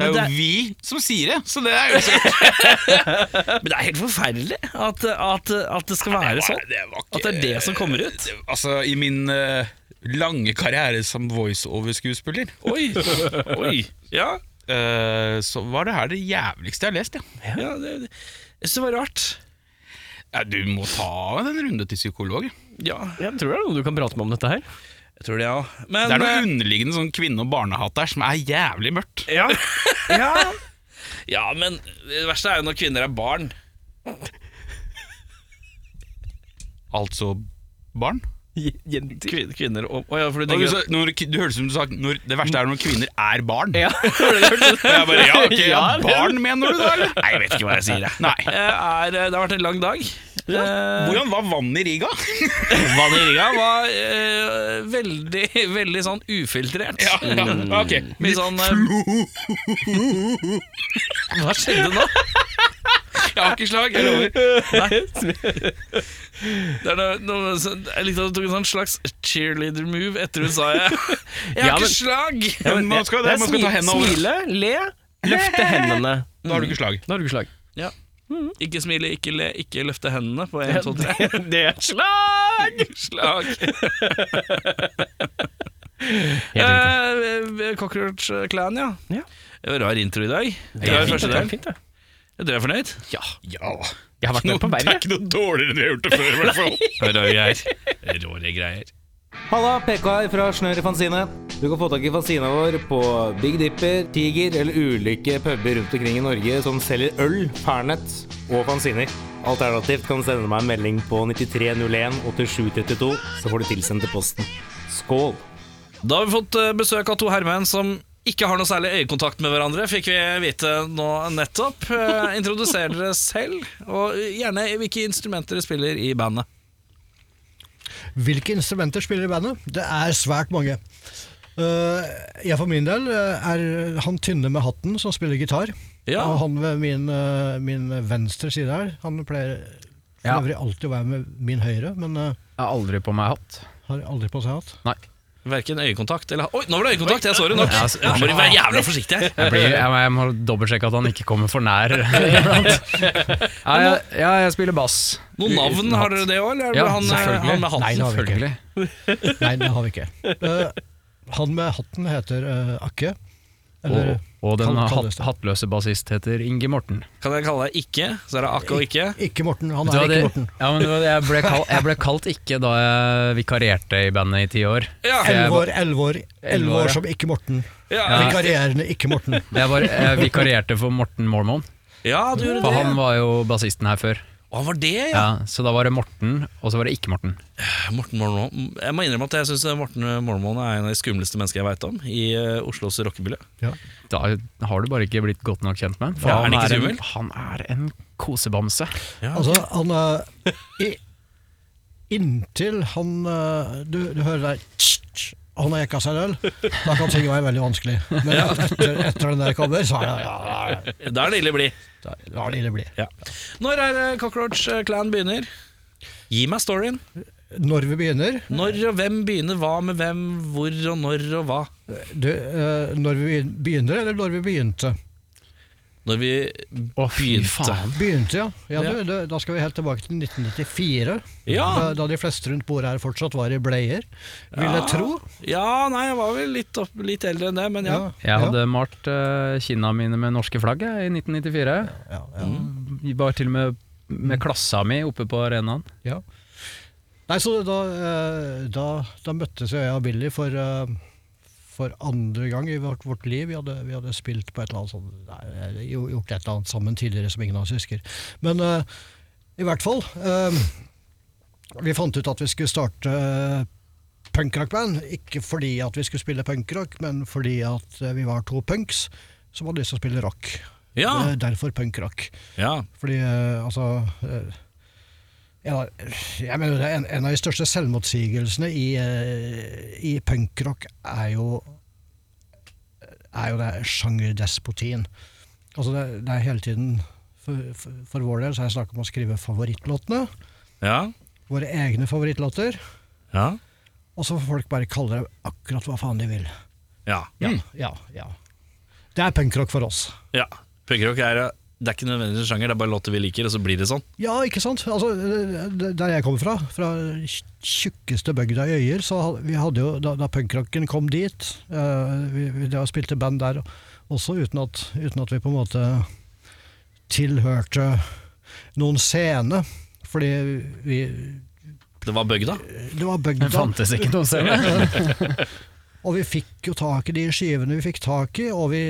Speaker 3: Det er
Speaker 2: Men
Speaker 3: jo
Speaker 2: det er-
Speaker 3: vi som sier det, så det er jo så
Speaker 2: Men det er helt forferdelig at, at, at det skal være sånn.
Speaker 3: det var ikke-
Speaker 2: At det er det som kommer ut.
Speaker 3: Altså, i min eh, lange karriere som voiceover-skuespiller
Speaker 2: Oi, oi, ja,
Speaker 3: eh, så var det her det jævligste jeg har lest, ja.
Speaker 2: ja det, det. Jeg synes det var rart.
Speaker 3: ja du må ta en runde til psykolog. ja.
Speaker 2: Ja,
Speaker 1: Jeg tror det er noe du kan prate med om dette her.
Speaker 2: jeg tror det, ja. Men,
Speaker 3: Det er noe
Speaker 2: eh,
Speaker 3: underliggende sånn kvinne- og barnehat der som er jævlig mørkt.
Speaker 1: Ja. ja.
Speaker 2: ja, men det verste er jo når kvinner er barn.
Speaker 3: Altså barn.
Speaker 1: Jenter.
Speaker 2: Kvinner, kvinner og Å ja, for du
Speaker 3: Og Du,
Speaker 2: tenker
Speaker 3: sa, når, du høres ut som du sa når, det verste er når kvinner er barn.
Speaker 1: Ja.
Speaker 3: Jeg bare, ja, ok, ja,
Speaker 1: Ja, det-
Speaker 3: barn mener du da, eller?
Speaker 2: Nei, jeg vet ikke hva jeg sier, jeg.
Speaker 3: Nei.
Speaker 2: Eh, Er, eh, det har vært en lang dag. Eh,
Speaker 3: Hvordan var vannet i Riga?
Speaker 2: Vanilja var eh, veldig, veldig sånn ufiltrert.
Speaker 3: Ja, ja, ok.
Speaker 2: Mye sånn eh, Hva skjedde nå? Jeg har ikke slag. Jeg lover. Det er noe, noe, sånn- jeg likte at du tok en sånn slags cheerleader-move etter hun sa jeg. Jeg har
Speaker 1: Ja, men-
Speaker 2: ikke slag!
Speaker 3: Men man skal, det, man skal ta hendene over.
Speaker 1: eh, Smile, le, løfte hendene.
Speaker 3: Da har du ikke slag.
Speaker 1: Da har du ikke slag.
Speaker 2: Ikke smile, ikke le, ikke løfte hendene på 1, 2, 3.
Speaker 1: Sånn. Det er slag!
Speaker 2: Slag!
Speaker 1: Helt
Speaker 2: Eh, Cockroach Clan, ja.
Speaker 1: Ja.
Speaker 2: Det var rar intro i dag. Det var
Speaker 1: riktig.
Speaker 2: første
Speaker 1: Det er
Speaker 2: del.
Speaker 1: fint, det.
Speaker 2: Dere er fornøyd?
Speaker 1: Ja.
Speaker 3: Ja.
Speaker 1: Jeg har vært med på
Speaker 3: det er
Speaker 1: verre.
Speaker 3: ikke noe dårligere enn vi har gjort det før, i hvert fall.
Speaker 2: Rare greier. Rare greier.
Speaker 6: Halla, PK her fra Snør i Fanzine. Du kan få tak i fanzina vår på Big Dipper, Tiger eller ulike puber rundt omkring i Norge som selger øl, pernett og fanziner. Alternativt kan du sende meg en melding på 9301 8732, så får du tilsendt til posten. Skål!
Speaker 2: Da har vi fått eh, besøk av to herremenn som ikke har noe særlig øyekontakt med hverandre, fikk vi vite nå nettopp. Eh, Introduser dere selv, og gjerne hvilke instrumenter dere spiller i bandet.
Speaker 7: Hvilke instrumenter spiller i bandet? Det er svært mange. Eh, jeg for min del eh, er han tynne med hatten som spiller gitar.
Speaker 2: Ja.
Speaker 7: Og han ved min, eh, min venstre side her, han pleier
Speaker 8: Ja.
Speaker 7: for øvrig alltid å være med min høyre, men eh,
Speaker 8: Jeg har aldri på meg hatt.
Speaker 7: har aldri på seg hatt.
Speaker 8: Nei.
Speaker 2: Verken øyekontakt eller Oi, nå var det øyekontakt! Jeg så det nok. Ja, må du være jævla forsiktig her.
Speaker 8: Jeg, blir, jeg, jeg må dobbeltsjekke at han ikke kommer for nær. iblant. Nei, jeg, ja, jeg spiller bass.
Speaker 2: Noen navn, har dere det òg, eller er det
Speaker 8: Ja,
Speaker 2: bare han, eh,
Speaker 8: selvfølgelig.
Speaker 2: han med
Speaker 7: Nei,
Speaker 2: hatten?
Speaker 7: det har vi ikke.
Speaker 8: Selvfølgelig.
Speaker 7: Nei, det har vi ikke. Eh, han med hatten heter eh, Akke. Eller
Speaker 8: Og, og den
Speaker 7: Kall- kall
Speaker 8: hatt,
Speaker 7: det så.
Speaker 8: hattløse bassist heter Inge Morten.
Speaker 2: Kan jeg kalle deg Ikke? Så er det Akke og Ikke?
Speaker 7: ikke Morten. Han
Speaker 8: Du
Speaker 7: er
Speaker 8: hadde-
Speaker 7: ikke Morten.
Speaker 8: Ja, men det var- jeg, ble kalt, jeg ble kalt ikke da jeg vikarierte i bandet i ti år.
Speaker 2: Ja,
Speaker 8: jeg
Speaker 7: Elleve
Speaker 8: var-
Speaker 7: år, elleve år,
Speaker 8: Elleve
Speaker 7: elleve
Speaker 8: år,
Speaker 7: år
Speaker 8: ja.
Speaker 7: som ikke Morten.
Speaker 2: ja,
Speaker 7: Vikarierende ikke Morten.
Speaker 8: Jeg, var, jeg vikarierte for Morten Mormon,
Speaker 2: ja du gjorde
Speaker 8: for
Speaker 2: det.
Speaker 8: han var jo bassisten her før.
Speaker 2: Å, han var det, ja.
Speaker 8: Ja, så da var det Morten, og så var det ikke Morten.
Speaker 2: Morten Mormon. Jeg må innrømme at jeg syns Morten Mormon er en av de skumleste menneskene jeg veit om i eh, Oslos rockemiljø.
Speaker 8: Da har du bare ikke blitt godt nok kjent med ham.
Speaker 2: Ja, er han
Speaker 8: han,
Speaker 2: ikke
Speaker 8: er en-
Speaker 2: skummel?
Speaker 8: han er en kosebamse.
Speaker 7: Altså, han er i, Inntil han eh, Du, du hører der tsk, tsk, Han har jekka seg en øl. Da kan ting være veldig vanskelig. Men etter, etter den der kommer, så er det ja,
Speaker 2: Da er det ille blid.
Speaker 7: da la det ille bli.
Speaker 2: Når er det Cockroach eh, Clan begynner? Gi meg storyen.
Speaker 7: Når vi begynner
Speaker 2: Når og hvem begynner hva med hvem, hvor og når og hva?
Speaker 7: du, eh, Når vi begynner, eller når vi begynte?
Speaker 2: Når vi
Speaker 8: Å, fy
Speaker 2: begynte.
Speaker 8: faen.
Speaker 7: Begynte, ja. ja du, du, da skal vi helt tilbake til 1994. Da,
Speaker 2: Ja.
Speaker 7: da de fleste rundt bordet her fortsatt var i bleier, vil jeg tro.
Speaker 2: ja, nei, jeg var vel litt, opp, litt eldre enn det, men ja.
Speaker 8: Jeg hadde malt uh, kinna mine med norske flagg jeg, i 1994.
Speaker 7: ja, ja.
Speaker 8: Vi Var til og med med klassa mi oppe på arenaen.
Speaker 7: Ja. Nei, så da, eh, da, da møttes jeg og Billy for, eh, for andre gang i vårt, vårt liv. Vi hadde, vi hadde spilt på et eller annet sånt, nei, eller jo- gjort et eller annet sammen tidligere som ingen av oss husker. Men eh, i hvert fall eh, Vi fant ut at vi skulle starte eh, punkrockband. Ikke fordi at vi skulle spille punkrock, men fordi at eh, vi var to punks som hadde lyst til å spille rock.
Speaker 2: Ja,
Speaker 7: Det er derfor punkrock.
Speaker 2: ja.
Speaker 7: Fordi, eh, altså eh, en av- jeg mener, det er en, en av de største selvmotsigelsene i, eh, i punkrock er jo er jo det sjangerdespotien. Altså det, det er hele tiden for, for, for vår del så er det snakk om å skrive favorittlåtene.
Speaker 2: ja.
Speaker 7: Våre egne favorittlåter.
Speaker 2: ja.
Speaker 7: Og så får folk bare kalle det akkurat hva faen de vil.
Speaker 2: ja.
Speaker 7: Ja, ja, ja. Det er punkrock for oss.
Speaker 2: Ja, punkrock er Det er ikke nødvendigvis en sjanger, det er bare låter vi liker, og så blir det sånn.
Speaker 7: Ja, ikke sant? Altså, det- der jeg kommer fra, fra tjukkeste bygda i Øyer, så had- vi hadde jo, da, da punkrocken kom dit, eh, vi, vi drev og spilte band der også, uten at, uten at vi på en måte tilhørte noen scene, fordi vi,
Speaker 2: Det var bøgda.
Speaker 7: det var bygda.
Speaker 8: Det fantes ikke noe sted.
Speaker 7: Og vi fikk jo tak i de skivene vi fikk tak i, og vi,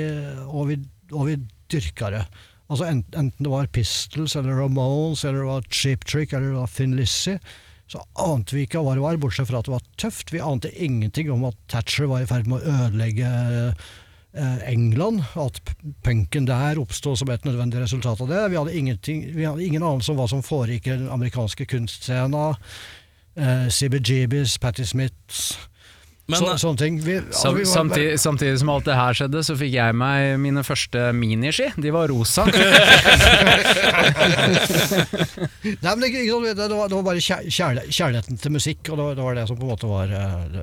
Speaker 7: og vi, og vi dyrka det. Altså en- Enten det var Pistols eller Ramones eller det var Cheap Trick eller det var Finn Lizzie, så ante vi ikke hva det var, bortsett fra at det var tøft. Vi ante ingenting om at Thatcher var i ferd med å ødelegge eh, England, at p- punken der oppstod som et nødvendig resultat av det. Vi hadde, ingenting- vi hadde ingen anelse om hva som foregikk i den amerikanske kunstscena. Eh, CBGBs, Patti Smiths
Speaker 2: Men eh,
Speaker 7: så, sånne ting. Vi, altså,
Speaker 8: Sam,
Speaker 7: vi var-
Speaker 8: samtidig, samtidig som alt det her skjedde, så fikk jeg meg mine første miniski. De var rosa.
Speaker 7: Nei, men det, ikke sant, det, det, var, det var bare kjær- kjærle- kjærligheten til musikk, og det var, det var det som på en måte var eh, Det,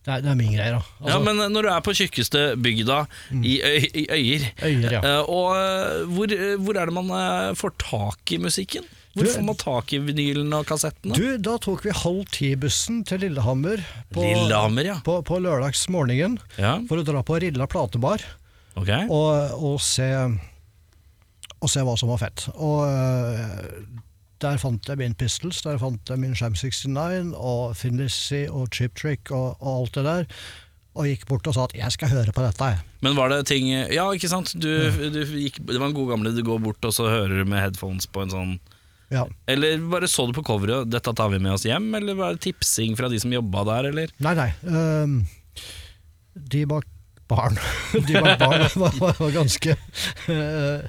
Speaker 7: det, er, det er min greie, da. Altså,
Speaker 2: ja, men eh, når du er på tjukkeste bygda i, øy, i Øyer,
Speaker 7: Mm. Øyer, ja.
Speaker 2: eh, og eh, hvor, eh, hvor er det man eh, får tak i musikken? Hvor
Speaker 7: Du-
Speaker 2: får man tak i vinylen og kassettene?
Speaker 7: Du, da tok vi halv ti-bussen til Lillehammer på,
Speaker 2: Lillehammer, ja.
Speaker 7: på, på lørdagsmorgenen
Speaker 2: Ja,
Speaker 7: for å dra på Rilla platebar
Speaker 2: ok.
Speaker 7: og, og, se, og se hva som var fett. Og eh, der fant jeg min Pistols, der fant jeg min Sham 69 og Finn Lizzie og Chip Trick og, og alt det der, og gikk bort og sa at 'jeg skal høre på dette', jeg.
Speaker 2: Men var det ting eh, Ja, ikke sant? Du, du gikk, det var en god gamle du går bort, og så hører du med headphones på en sånn
Speaker 7: Ja.
Speaker 2: Eller bare så du på coveret og 'dette tar vi med oss hjem', eller var det tipsing fra de som jobba der, eller?
Speaker 7: Nei, nei. ehm, de bak barn. de bak barn var, var, var ganske eh,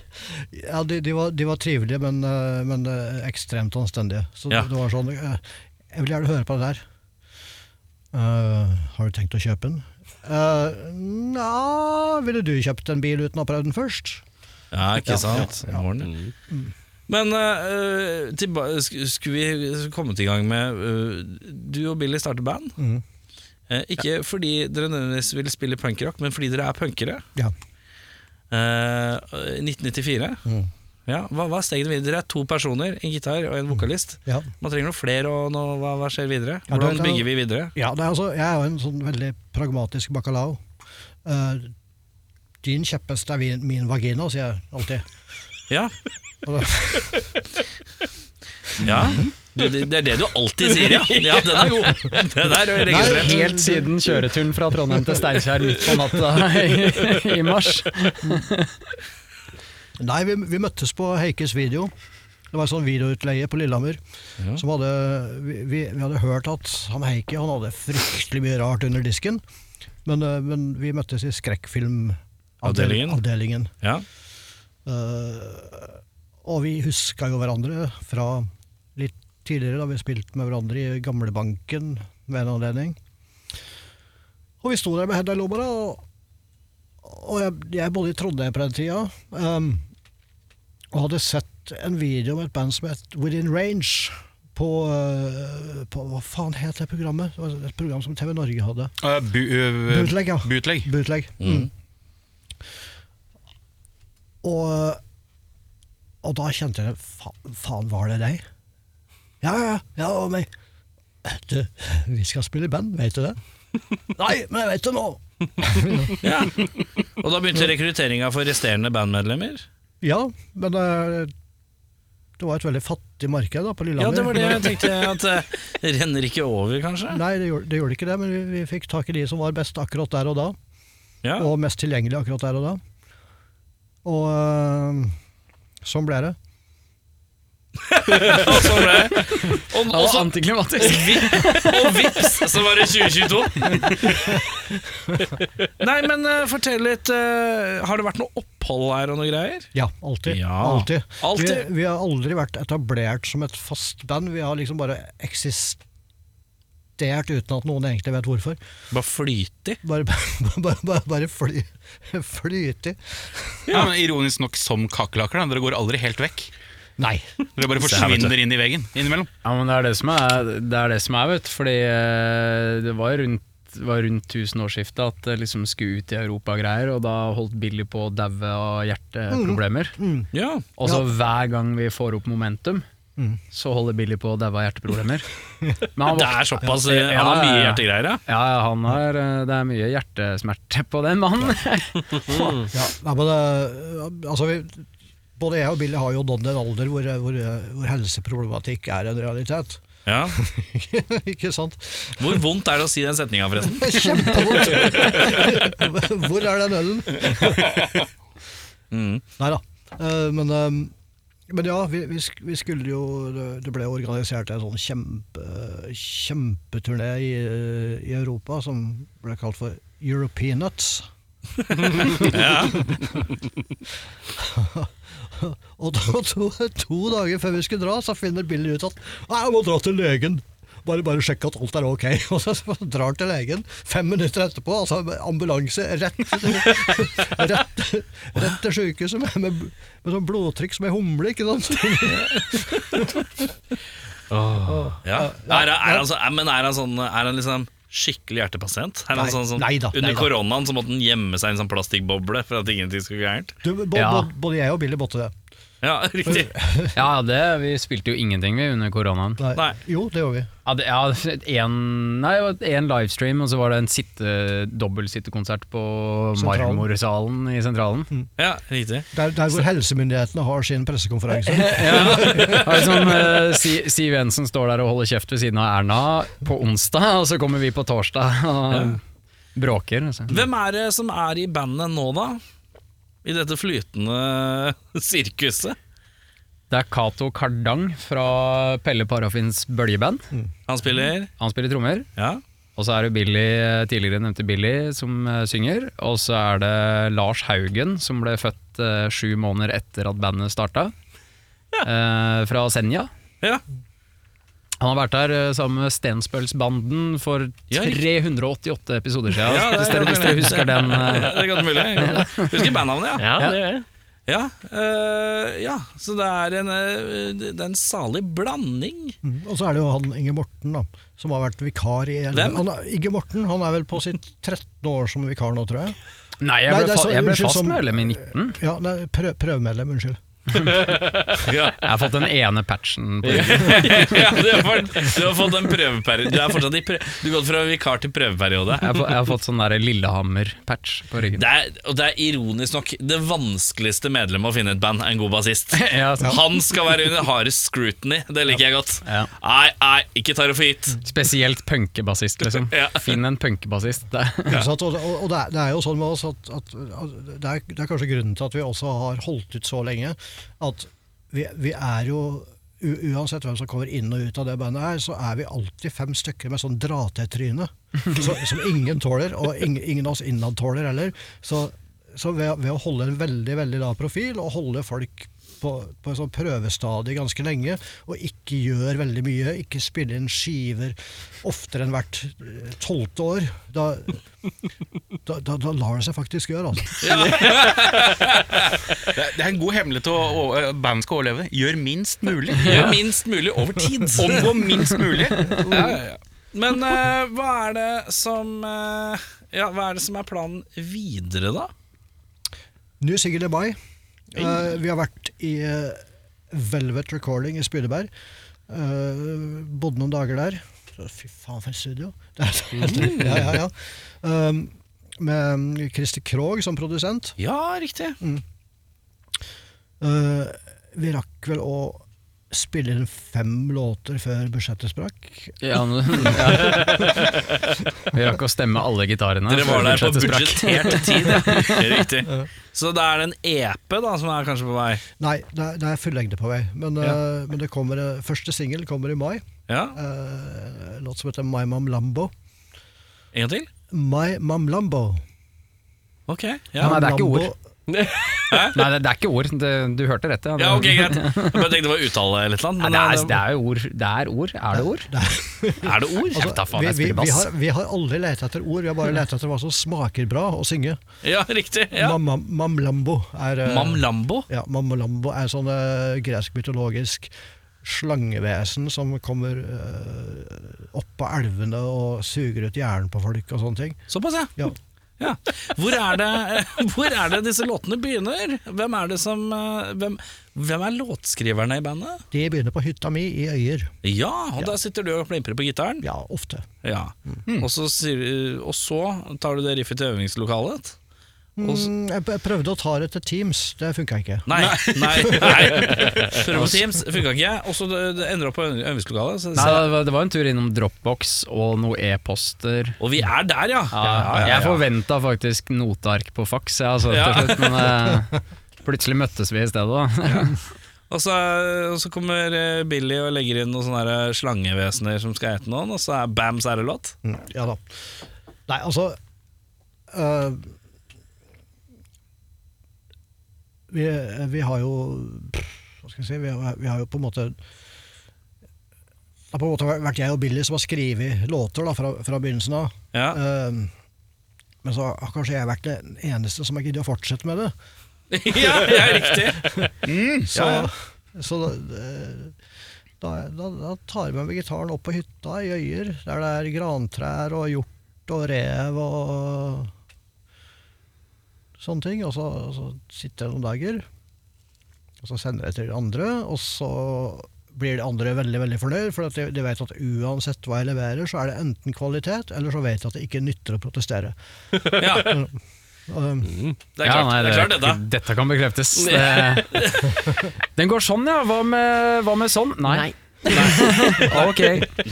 Speaker 7: Ja, de, de, var, de var trivelige, men, eh, men eh, ekstremt anstendige. Så
Speaker 2: Ja.
Speaker 7: det, det var sånn eh, Jeg vil gjerne høre på det der. Eh, har du tenkt å kjøpe den? Eh, Nja Ville du kjøpt en bil uten å ha prøvd den først?
Speaker 2: Ja, ikke sant? Ja, Mm. var det. Men eh, tilba sk- skulle vi kommet i gang med eh, Du og Billy starter band.
Speaker 7: Mhm.
Speaker 2: Eh, ikke fordi dere nødvendigvis vil spille punkrock, men fordi dere er punkere.
Speaker 7: Ja.
Speaker 2: Eh, 1994.
Speaker 7: Mhm.
Speaker 2: Ja, hva, hva er stegene videre? Dere er to personer, en gitar og en vokalist.
Speaker 7: ja.
Speaker 2: Man trenger noen flere, og noe, hva, hva skjer videre?
Speaker 7: Ja, det-
Speaker 2: Hvordan bygger vi videre?
Speaker 7: Ja, det er altså, jeg er jo en sånn veldig pragmatisk bacalao. Eh, din kjepphest er min, min vagina, sier jeg alltid.
Speaker 2: Ja.
Speaker 7: Og da-
Speaker 2: ja. Du, det, det er det du alltid sier, ja. ja den er god. Den er registrert.
Speaker 8: Helt siden kjøreturen fra Trondheim til Steinkjer midt på natta i, i mars.
Speaker 7: Nei, vi, vi møttes på Heikes video. Det var en sånn videoutleie på Lillehammer. Som hadde, vi, vi, vi hadde hørt at han Heikki han hadde fryktelig mye rart under disken. Men, eh, men vi møttes i
Speaker 2: Avdelingen.
Speaker 7: skrekkfilmavdelingen. Avdelingen.
Speaker 2: Ja.
Speaker 7: Eh, og vi huska jo hverandre fra litt tidligere, da vi spilte med hverandre i gamlebanken ved en anledning. Og vi sto der med henda i lomma, da, og, og jeg, jeg bodde i Trondheim på den tida. ehm, og hadde sett en video med et band som het Within Range. På, eh, på Hva faen het det programmet? Det var et program som TV Norge hadde.
Speaker 3: Uh, bu, øh,
Speaker 7: Bootleg, ja.
Speaker 3: bootleg.
Speaker 7: Bootleg. Mm. Og, og da kjente jeg fa, Faen, var det deg? Ja, ja, ja, ja, det var meg. "Eh, Du, vi skal spille i band, vet du det? Nei, men jeg vet det nå!
Speaker 2: Og da begynte rekrutteringa for resterende bandmedlemmer?
Speaker 7: Ja, men eh, det var et veldig fattig marked da, på
Speaker 2: Ja,
Speaker 7: Lillehammer.
Speaker 2: det var det jeg tenkte. At eh, det renner ikke over, kanskje?
Speaker 7: Nei, det gjorde, det gjorde ikke det, men vi, vi fikk tak i de som var best akkurat der og da.
Speaker 2: Ja.
Speaker 7: og mest tilgjengelig akkurat eh, der og da. Og øh, sånn ble det.
Speaker 2: Og så ble jeg og, og, så,
Speaker 8: antiklimatisk.
Speaker 2: og vips, så var det 2022. Nei, men eh, fortell litt. eh, har det vært noe opphold her og noe greier?
Speaker 7: Ja, alltid.
Speaker 2: Ja.
Speaker 7: alltid.
Speaker 2: Alltid.
Speaker 7: Vi, vi har aldri vært etablert som et fast band. Vi har liksom bare eksistert uten at noen egentlig vet hvorfor.
Speaker 2: Bare flytig?
Speaker 7: Bare, bare, bare, bare fly, flytig.
Speaker 3: Ja, men Ironisk nok som kakerlakker. da. Dere går aldri helt vekk.
Speaker 7: Nei.
Speaker 3: Dere bare forsvinner inn i veggen innimellom.
Speaker 8: Ja, men det er det som er, det er, det som er vet du. Fordi eh, det var rundt det var rundt tusenårsskiftet at det liksom skulle ut i Europa og greier, og da holdt Billy på å daue av hjerteproblemer.
Speaker 2: Ja.
Speaker 8: Og så hver gang vi får opp momentum, så holder Billy på å daue av hjerteproblemer. Men han
Speaker 2: Det er
Speaker 8: våk-
Speaker 2: såpass. eh, Han har mye hjertegreier, ja.
Speaker 8: Ja, ja, han har, eh, det er mye hjertesmerte på den mannen.
Speaker 7: Ja, nei, men eh, altså vi, Både jeg og Billy har jo nådd en alder hvor, eh, hvor, eh, hvor helseproblematikk er en realitet.
Speaker 2: ja.
Speaker 7: Ikke sant?
Speaker 2: Hvor vondt er det å si den setninga, forresten?
Speaker 7: Kjempevondt! Hvor er den ølen? Nei da. Men, eh, men ja, vi, vi sk- vi skulle jo Det det ble organisert en sånn kjempe, kjempeturné i, eh, i Europa som ble kalt for European Nuts. Og da, to, to dager før vi skulle dra, så finner Billy ut at «Nei, jeg må dra til legen. Bare, bare sjekke at alt er ok. Og så drar han til legen. Fem minutter etterpå, altså med ambulanse rett, rett, rett til sykehuset med, med, med sånn blodtrykk som ei humle, ikke sant?
Speaker 2: Ja. Er, han- er han, så- men er han, sånn, er han liksom skikkelig hjertepasient? Er han
Speaker 7: Nei,
Speaker 2: sånn, som-
Speaker 7: nei da, nei
Speaker 2: under
Speaker 7: da.
Speaker 2: koronaen så måtte han gjemme seg i en sånn plastikkboble for at ingenting skulle gå gærent?
Speaker 7: Du, bo,
Speaker 8: Ja.
Speaker 7: bo, både jeg og Billy måtte det.
Speaker 2: Ja, riktig.
Speaker 8: Ja, det, vi spilte jo ingenting vi under koronaen.
Speaker 7: Nei.
Speaker 2: Nei.
Speaker 7: Jo, det gjorde vi.
Speaker 8: Ja, det, ja en, nei, det var en livestream, og så var det en sitte, dobbeltsittekonsert på
Speaker 7: Sentralen.
Speaker 8: Marmorsalen i sentralen.
Speaker 2: Ja, riktig.
Speaker 7: Der, der hvor helsemyndighetene har sin pressekonferanse.
Speaker 8: Det var liksom, eh, Si- Siv Jensen står der og holder kjeft ved siden av Erna på onsdag, og så kommer vi på torsdag og bråker. Altså.
Speaker 2: Hvem er det som er i bandet nå, da? I dette flytende sirkuset?
Speaker 8: Det er Cato Kardang fra Pelle Parafins bøljeband.
Speaker 2: Han spiller
Speaker 8: Han spiller trommer.
Speaker 2: Ja.
Speaker 8: Og så er det Billy, eh, tidligere nevnte Billy, som eh, synger. Og så er det Lars Haugen, som ble født eh, sju måneder etter at bandet starta. Eh, fra Senja.
Speaker 2: ja.
Speaker 8: Han har vært der eh, sammen med Stenspølsbanden for
Speaker 2: Ja, riktig.
Speaker 8: 388 episoder siden.
Speaker 2: Ja, det er
Speaker 8: hvis, dere,
Speaker 2: godt
Speaker 8: hvis dere
Speaker 2: mulig.
Speaker 8: husker den. eh.
Speaker 2: Det er godt mulig. Husker bandnavnet, ja.
Speaker 1: Ja, det er
Speaker 2: Ja, eh, ja. Så det er en, eh, det er en salig blanding.
Speaker 7: Mm, Og så er det jo han Inge Morten, da, som har vært vikar i
Speaker 2: Hvem?
Speaker 7: han, er- Inge Morten han er vel på sitt 13. år som vikar nå, tror jeg.
Speaker 8: Nei, jeg
Speaker 7: Nei,
Speaker 8: ble,
Speaker 7: det er
Speaker 8: fa
Speaker 7: så-
Speaker 8: jeg ble
Speaker 7: unnskyld,
Speaker 8: fast
Speaker 7: som-
Speaker 8: medlem i 19.
Speaker 7: Ja, nei, prøv, Prøvemedlem, unnskyld.
Speaker 8: Jeg har fått den ene patchen. På
Speaker 2: Ja, du, har fått, du har fått en prøveperiode. Du er fortsatt i prø Du har gått fra vikar til prøveperiode.
Speaker 8: Jeg har, fått, jeg har fått sånn der Lillehammer-patch på ryggen.
Speaker 2: Det er, og det er ironisk nok det vanskeligste medlemmet å finne et band, er en god bassist.
Speaker 8: Ja, sant.
Speaker 2: Han skal være under hardest scrutiny, det liker jeg godt.
Speaker 8: Ja.
Speaker 2: Nei, nei, ikke ta det for gitt.
Speaker 8: Spesielt punkebassist, liksom.
Speaker 2: Ja.
Speaker 8: Finn en punkebassist. Det er-
Speaker 7: Ikke sant? og og, og det, er, det er jo sånn med oss at, at, at det, er, det er kanskje grunnen til at vi også har holdt ut så lenge, at vi, vi er jo u Uansett hvem som kommer inn og ut av det bandet her, så er vi alltid fem stykker med sånn dra-til-tryne. så- Som ingen tåler, og ingen, ingen av oss innad tåler heller. Så, så ved, ved å holde en veldig veldig lav profil, og holde folk på, på en sånn prøvestadie ganske lenge, og ikke gjør veldig mye, ikke spille inn skiver oftere enn hvert eh, tolvte år, da, da, da, da lar det seg faktisk gjøre. Altså.
Speaker 3: Det er, det er en god hemmelighet til å, å, bandet skal overleve. Gjør minst mulig.
Speaker 2: Gjør minst mulig over tid.
Speaker 3: Omgå minst mulig.
Speaker 2: Men eh, hva er det som eh, Ja, hva er det som er planen videre, da?
Speaker 7: Ny singel i mai. Eh, vi har vært i eh, Velvet Recording i Spydeberg. Eh, bodde noen dager der. Så, Fy faen, for et studio! Det er så helt- ja, ja, ja. Um, med mm, Christer Krogh som produsent.
Speaker 2: Ja, riktig.
Speaker 7: Eh, vi rakk vel å spille inn fem låter før budsjettet sprakk.
Speaker 8: Ja, men- ja. Vi rakk å stemme alle gitarene.
Speaker 2: Dere
Speaker 8: før
Speaker 2: var der på
Speaker 8: budsjettet sprakk.
Speaker 2: budsjettert tid. ja. Riktig. Så det er en EP da som er kanskje på vei.
Speaker 7: Nei, det er, det er fullengde på vei. Men, eh, men det kommer, eh, første singel kommer i mai.
Speaker 2: Ja,
Speaker 7: eh, en låt som heter My Mam Lambo.
Speaker 2: En gang til?
Speaker 7: My Mam Lambo.
Speaker 2: Ok.
Speaker 8: Ja,
Speaker 2: Ja,
Speaker 8: nei, det er ikke
Speaker 7: Lambo-
Speaker 8: ord. Nei, det, det er ikke ord. Det, du hørte rett, ja. Det,
Speaker 2: ja ok, greit. Jeg bare tenkte det var uttale eller eh, noe.
Speaker 8: Nei, det, er, det er jo ord. Det er ord. Er det ord?
Speaker 2: er det ord?
Speaker 8: Kjeft da, faen,
Speaker 7: vi,
Speaker 8: jeg
Speaker 7: vi,
Speaker 8: spiller
Speaker 7: vi,
Speaker 8: bass. Mm.
Speaker 7: har, vi har aldri lett etter ord, vi har bare lett etter hva som smaker bra å synge.
Speaker 2: Ja, riktig. Ja.
Speaker 7: Mam, mam, mam Lambo er eh,
Speaker 2: Mam Lambo?
Speaker 7: ja, Mam Lambo er sånn eh, gresk mytologisk slangevesen som kommer eh, opp av elvene og suger ut hjernen på folk og sånne ting.
Speaker 2: Såpass, ja.
Speaker 7: Ja.
Speaker 2: Ja. Hvor, er det, hvor er det disse låtene begynner? Hvem er det som eh, Hvem, hvem er låtskriverne i bandet?
Speaker 7: De begynner på hytta mi i Øyer.
Speaker 2: Ja, og da sitter du og plimper på gitaren.
Speaker 7: Ja, ofte.
Speaker 2: Ja. Og, så sier, og så tar du det riffet til øvingslokalet? Og så-
Speaker 7: Mm, jeg p- jeg prøvde å ta det til Teams, det funka ikke.
Speaker 2: Nei, nei, nei. Prøv på Teams, funka ikke. Og så det, det ender opp på øv- øvingslokalet. Så,
Speaker 8: Nei, det var, det var en tur innom Dropbox og noe e-poster.
Speaker 2: og vi er der, ja!
Speaker 8: Ja, Jeg forventa faktisk noteark på fax, ja, altså,
Speaker 2: Ja.
Speaker 8: til slutt, men eh, plutselig møttes vi i stedet. Da.
Speaker 2: Og så, og så kommer eh, Billy og legger inn noen sånne her eh, slangevesener som skal ete noen, og så er bam, så er det låt.
Speaker 7: Ja da. Nei, altså øh, vi, vi har jo Hva skal jeg si? Vi har, vi har jo på en måte det har på en måte vært jeg og Billy som har skrevet låter da, fra, fra begynnelsen av.
Speaker 2: Ja.
Speaker 7: Ehm, men så har kanskje jeg vært den eneste som har giddet å fortsette med det.
Speaker 2: ja, ja, riktig.
Speaker 7: Så, så da- da, da, da tar jeg med meg gitaren opp på hytta i Øyer, der det er grantrær og hjort og rev og sånne ting. Og så, og så sitter jeg noen dager, og så sender jeg til andre, og så blir de andre veldig veldig fornøyd, for at de, de vet at uansett hva jeg leverer, så er det enten kvalitet, eller så vet jeg at det ikke nytter å protestere.
Speaker 2: Ja,
Speaker 7: Um,
Speaker 2: det er klart,
Speaker 8: nei,
Speaker 2: det er klart
Speaker 8: det-
Speaker 2: dette.
Speaker 8: Dette kan bekreftes. Det, den går sånn, ja. Hva med, hva med sånn? Nei. ok,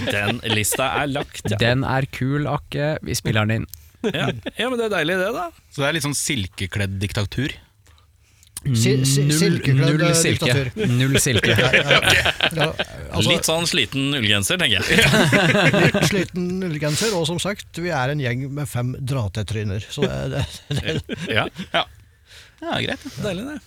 Speaker 2: Den lista er lagt, ja.
Speaker 8: den er kul, Akke. Vi spiller den inn.
Speaker 2: ja. Ja, men det er deilig det, da.
Speaker 3: Så det er litt sånn silkekledd diktatur.
Speaker 7: si, si, silkekledd
Speaker 8: null
Speaker 7: eh,
Speaker 8: silke.
Speaker 7: diktatur.
Speaker 8: Null silke.
Speaker 7: Ja, altså-
Speaker 2: Litt sånn sliten ullgenser, tenker jeg.
Speaker 7: Litt sliten ullgenser, og som sagt, vi er en gjeng med fem dratetryner. Så det, det,
Speaker 2: Ja,
Speaker 3: Ja, greit. ja.
Speaker 2: deilig det.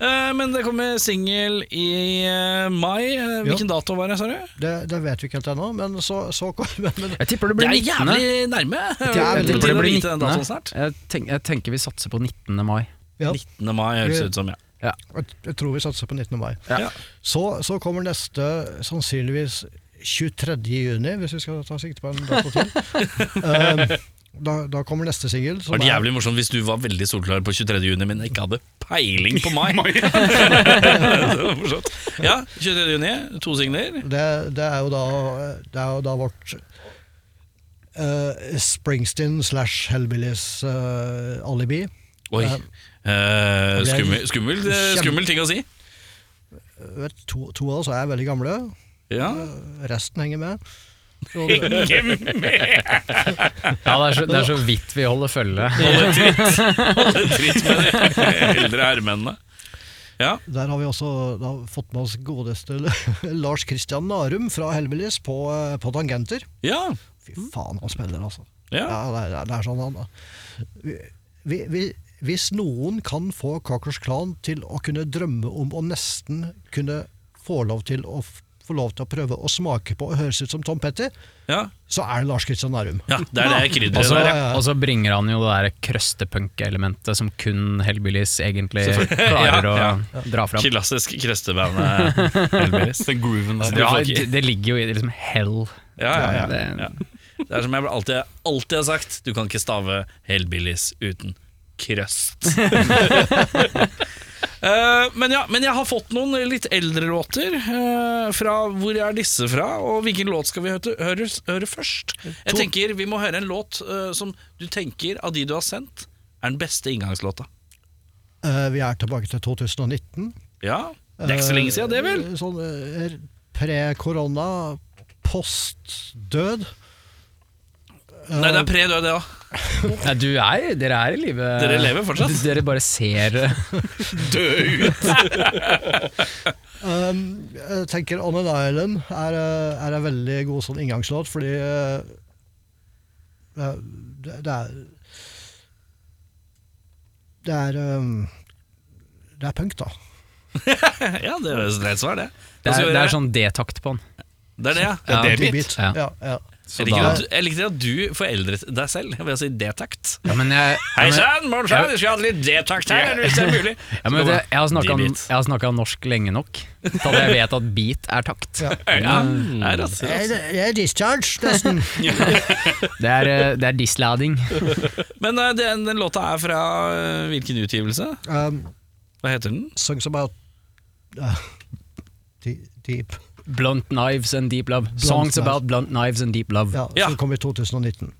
Speaker 2: Eh, men det kommer singel i eh, mai. Eh, Hvilken dato var det, sa du?
Speaker 7: det, det vet vi ikke helt ennå, men så, så kom men, men,
Speaker 8: Jeg tipper det
Speaker 2: Det
Speaker 8: blir
Speaker 2: er
Speaker 8: 19.
Speaker 2: jævlig nærme.
Speaker 7: jævlig
Speaker 8: Jeg
Speaker 2: På
Speaker 8: tipper
Speaker 2: tide
Speaker 8: det
Speaker 2: å
Speaker 8: blir
Speaker 2: vite den
Speaker 8: 19.
Speaker 2: datoen snart.
Speaker 8: Jeg, tenk, jeg tenker vi satser på 19. mai.
Speaker 7: ja,
Speaker 2: 19. mai høres det ut som, ja.
Speaker 7: jeg, jeg tror vi satser på 19. mai.
Speaker 2: Ja.
Speaker 7: Så, så kommer neste sannsynligvis 23. juni, hvis vi skal ta sikte på en dato til. Eh, da, da kommer neste singel.
Speaker 2: Det
Speaker 7: som
Speaker 2: hadde vært
Speaker 7: er-
Speaker 2: jævlig morsomt hvis du var veldig solklar på 23. juni, men ikke hadde peiling på mai. det var morsomt. Ja, 23. juni, to singler.
Speaker 7: Det, det, er jo da, det er jo da vårt eh, Springsteen slash Hellbillies eh, alibi.
Speaker 2: Oi.
Speaker 7: Ja.
Speaker 2: Eh, skummel, skummel, eh, skummel ting å si.
Speaker 7: Vet, to, to av oss er veldig gamle,
Speaker 2: Ja.
Speaker 7: resten henger med. Så det,
Speaker 8: Ja, det er, så, det er så vidt vi holder følge.
Speaker 2: Holde tritt. Holde tritt med de eldre herremennene. Ja.
Speaker 7: der har vi også da, fått med oss godeste Lars Christian Narum fra Hellbillies på, eh, på tangenter.
Speaker 2: Ja.
Speaker 7: Fy faen, han spiller, altså.
Speaker 2: Mm. ja.
Speaker 7: Ja, det, er- det er sånn han vi, vi, Hvis noen kan få Cockers Klan til å kunne drømme om å nesten kunne få lov til å f- få lov til å prøve å smake på og høres ut som Tom Petty,
Speaker 2: ja.
Speaker 7: så er det Lars Christian Narum.
Speaker 2: Ja, det er det krydderet
Speaker 8: Og så,
Speaker 2: der, ja.
Speaker 8: og så bringer han jo det der krøstepunk-elementet som kun Hellbillies egentlig klarer
Speaker 2: Ja,
Speaker 8: å dra fram.
Speaker 2: Klassisk krøsteband. eh, Elvis.
Speaker 3: Den grooven der.
Speaker 8: Ja,
Speaker 2: Ja,
Speaker 8: det, det ligger jo i liksom hell.
Speaker 2: Ja, ja, ja.
Speaker 8: Det-
Speaker 2: Det er som jeg alltid, alltid har sagt, du kan ikke stave Hellbillies uten krøst. Eh, men, ja, men jeg har fått noen litt eldre låter. eh, fra Hvor er disse fra, og hvilken låt skal vi høre, høre, høre først? Jeg tenker Vi må høre en låt eh, som du tenker av de du har sendt, er den beste inngangslåta.
Speaker 7: Eh, vi er tilbake til 2019.
Speaker 2: Ja,
Speaker 7: Eh, Det
Speaker 2: er ikke så lenge siden, det vel?
Speaker 7: Sånn eh, pre-korona, post-død.
Speaker 8: Eh,
Speaker 2: Nei, det er pre-død, det òg.
Speaker 8: Nei, du er, dere er i live.
Speaker 2: Dere lever fortsatt.
Speaker 8: Dere bare ser
Speaker 7: Um, jeg tenker On an Island er, eh, er en veldig god sånn inngangslåt, fordi eh, eh, det, det er Det er um, Det er punk, da.
Speaker 2: Ja, det er et svar, det. Hva skal
Speaker 8: Det er,
Speaker 2: vi
Speaker 8: det
Speaker 2: gjøre?
Speaker 8: er sånn D-takt på den.
Speaker 2: det Altså, er det, ja.
Speaker 8: Ja.
Speaker 9: det er
Speaker 7: Beat.
Speaker 9: mitt.
Speaker 8: Ja.
Speaker 7: Ja, ja.
Speaker 8: Så
Speaker 2: Jeg liker,
Speaker 8: da-
Speaker 2: at, du- jeg liker at du foreldret deg selv ved å si D-takt.
Speaker 8: Ja, men jeg, ja, men,
Speaker 2: sann, morsan, du skal ha litt D-takt her, hvis det er mulig.
Speaker 8: ja, men, det- jeg har snakka om,
Speaker 2: D-beat.
Speaker 8: jeg har snakket om norsk lenge nok til at jeg vet at beat er takt.
Speaker 7: Ja.
Speaker 2: Ja, er altså-
Speaker 7: Jeg, jeg Eh, er discharge, nesten.
Speaker 8: Det er, eh, det er dislading.
Speaker 2: Men eh, den, den låta er fra eh, hvilken utgivelse?
Speaker 7: Um,
Speaker 2: Hva heter den?
Speaker 7: Songs about uh, de- Deep.
Speaker 8: Blunt knives and deep love. Songs
Speaker 7: knives.
Speaker 8: about blunt knives and deep love.
Speaker 7: Ja,
Speaker 2: Ja.
Speaker 7: Som kom i 2019.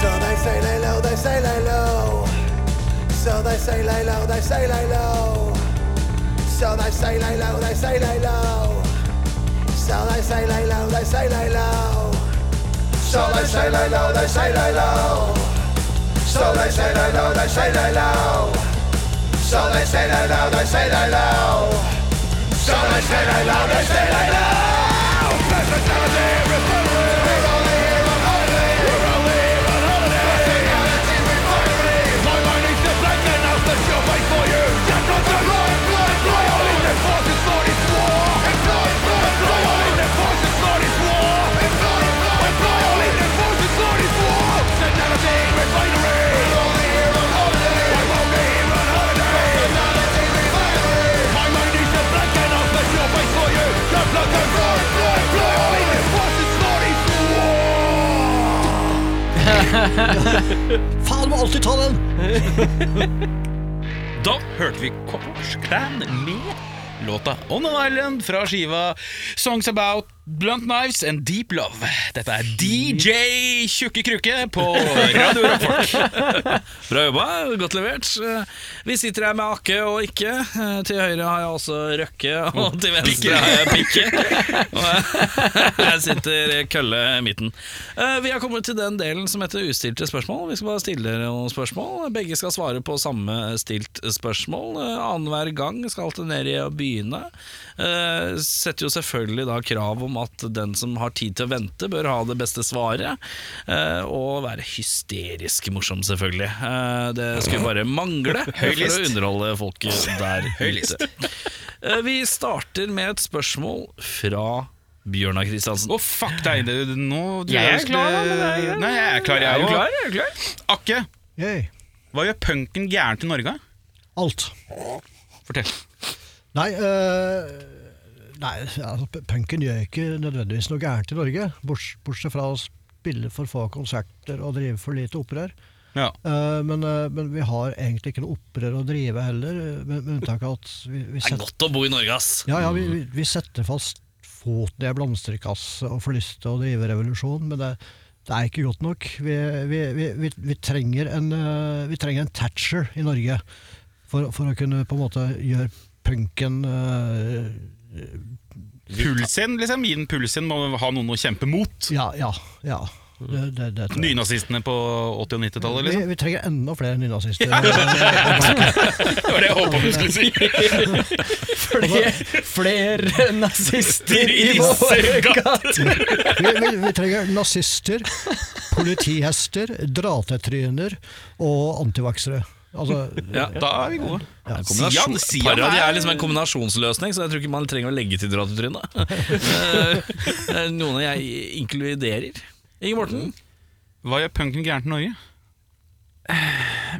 Speaker 3: So they say lay low, they say lay low. So they say lay low, they say lay low. So they say lay low, they say lay low. So they say lay low, they say lay low. So they say lay low, they say lay low. So they say lay low, they say lay low. So they say lay low, they say lay low. So they say lay low, they say lay low. Pleasant melody, refinery. We're only here on holiday. We're only here on holiday. Personality refinery. My mind needs to blank and I'll set your way for you. Just not the right, right, right. All in the forces for this war. Employ, employ, employ. All in the forces for this war. Employ, employ, employ. All in the forces for this war. Personality refinery. We're only here on holiday. We're only here on holiday. Personality refinery. My mind needs to blank and I'll set your way for you. Just not the right, right, right. All in the forces for this war.
Speaker 7: Faen, må alltid ta den!
Speaker 9: Da hørte vi Cockroach Clan med låta On an Island fra skiva Songs About
Speaker 3: Blunt Knives and Deep Love. Dette er DJ Tjukke Krukke på Radio Rockfolk.
Speaker 2: Bra jobba, godt levert. Eh, Vi sitter her med Akke og Ikke. Eh, Til høyre har jeg også Røkke, og til venstre har jeg Pikke. Og jeg- jeg sitter kølle i midten. Eh, Vi har kommet til den delen som heter ustilte spørsmål. Vi skal bare stille dere noen spørsmål. Begge skal svare på samme stilt spørsmål. Eh, Annenhver gang skal alternere i å begynne. Eh, Setter jo selvfølgelig da krav om at den som har tid til å vente, bør ha det beste svaret. eh, Og være hysterisk morsom, selvfølgelig. Eh, Det skulle bare mangle for å underholde folk der ute. Eh, Vi starter med et spørsmål fra Bjørnar Kristiansen.
Speaker 3: Å, fuck deg, det, nå tror
Speaker 1: Jeg er
Speaker 3: skulle-
Speaker 1: klar, men det er-
Speaker 3: eh, Nei, jeg er klar, jeg
Speaker 2: Er du
Speaker 3: også.
Speaker 2: klar? Er du klar?
Speaker 3: Akke,
Speaker 7: Yay.
Speaker 3: hva gjør punken gærent i Norge?
Speaker 7: Alt.
Speaker 3: Fortell.
Speaker 7: Nei, øh, nei altså, p- punken gjør ikke nødvendigvis noe gærent i Norge. Borts, bortsett fra å spille for få konserter og drive for lite opprør.
Speaker 3: Ja.
Speaker 7: Eh, men, eh, men vi har egentlig ikke noe opprør å drive heller, eh, med, med unntak av at vi, vi
Speaker 2: Det er
Speaker 7: setter,
Speaker 2: godt å bo i Norge, ass.
Speaker 7: ja, ja, vi, vi, vi setter fast foten i ei blomsterkasse og får lyst til å drive revolusjon, men det, det er ikke godt nok. Vi, vi, vi, vi, vi, trenger, en, eh, vi trenger en Thatcher i Norge for, for å kunne på en måte gjøre punken eh,
Speaker 3: Pulsen, liksom. Gi den pulsen, må ha noen å kjempe mot.
Speaker 7: Ja, ja. ja. Det, det, det tror jeg.
Speaker 3: Nynazistene på 80- og 90-tallet,
Speaker 7: vi,
Speaker 3: liksom.
Speaker 7: vi trenger enda flere nynazister.
Speaker 3: Det var det jeg håpa du skulle si.
Speaker 8: Flere, flere nazister i våre gater!
Speaker 7: Vi, vi, vi trenger nazister, politihester, dratetryner og antivaksere. Altså,
Speaker 2: Ja, da er vi gode. Sian,
Speaker 3: Sian- Sian
Speaker 2: Parodi
Speaker 3: er-
Speaker 2: er liksom en kombinasjonsløsning, så jeg tror ikke man trenger å legge til dratetrynet. Eh, Noen jeg inkluderer. Inge Morten,
Speaker 3: Hva gjør punken gærent i Norge?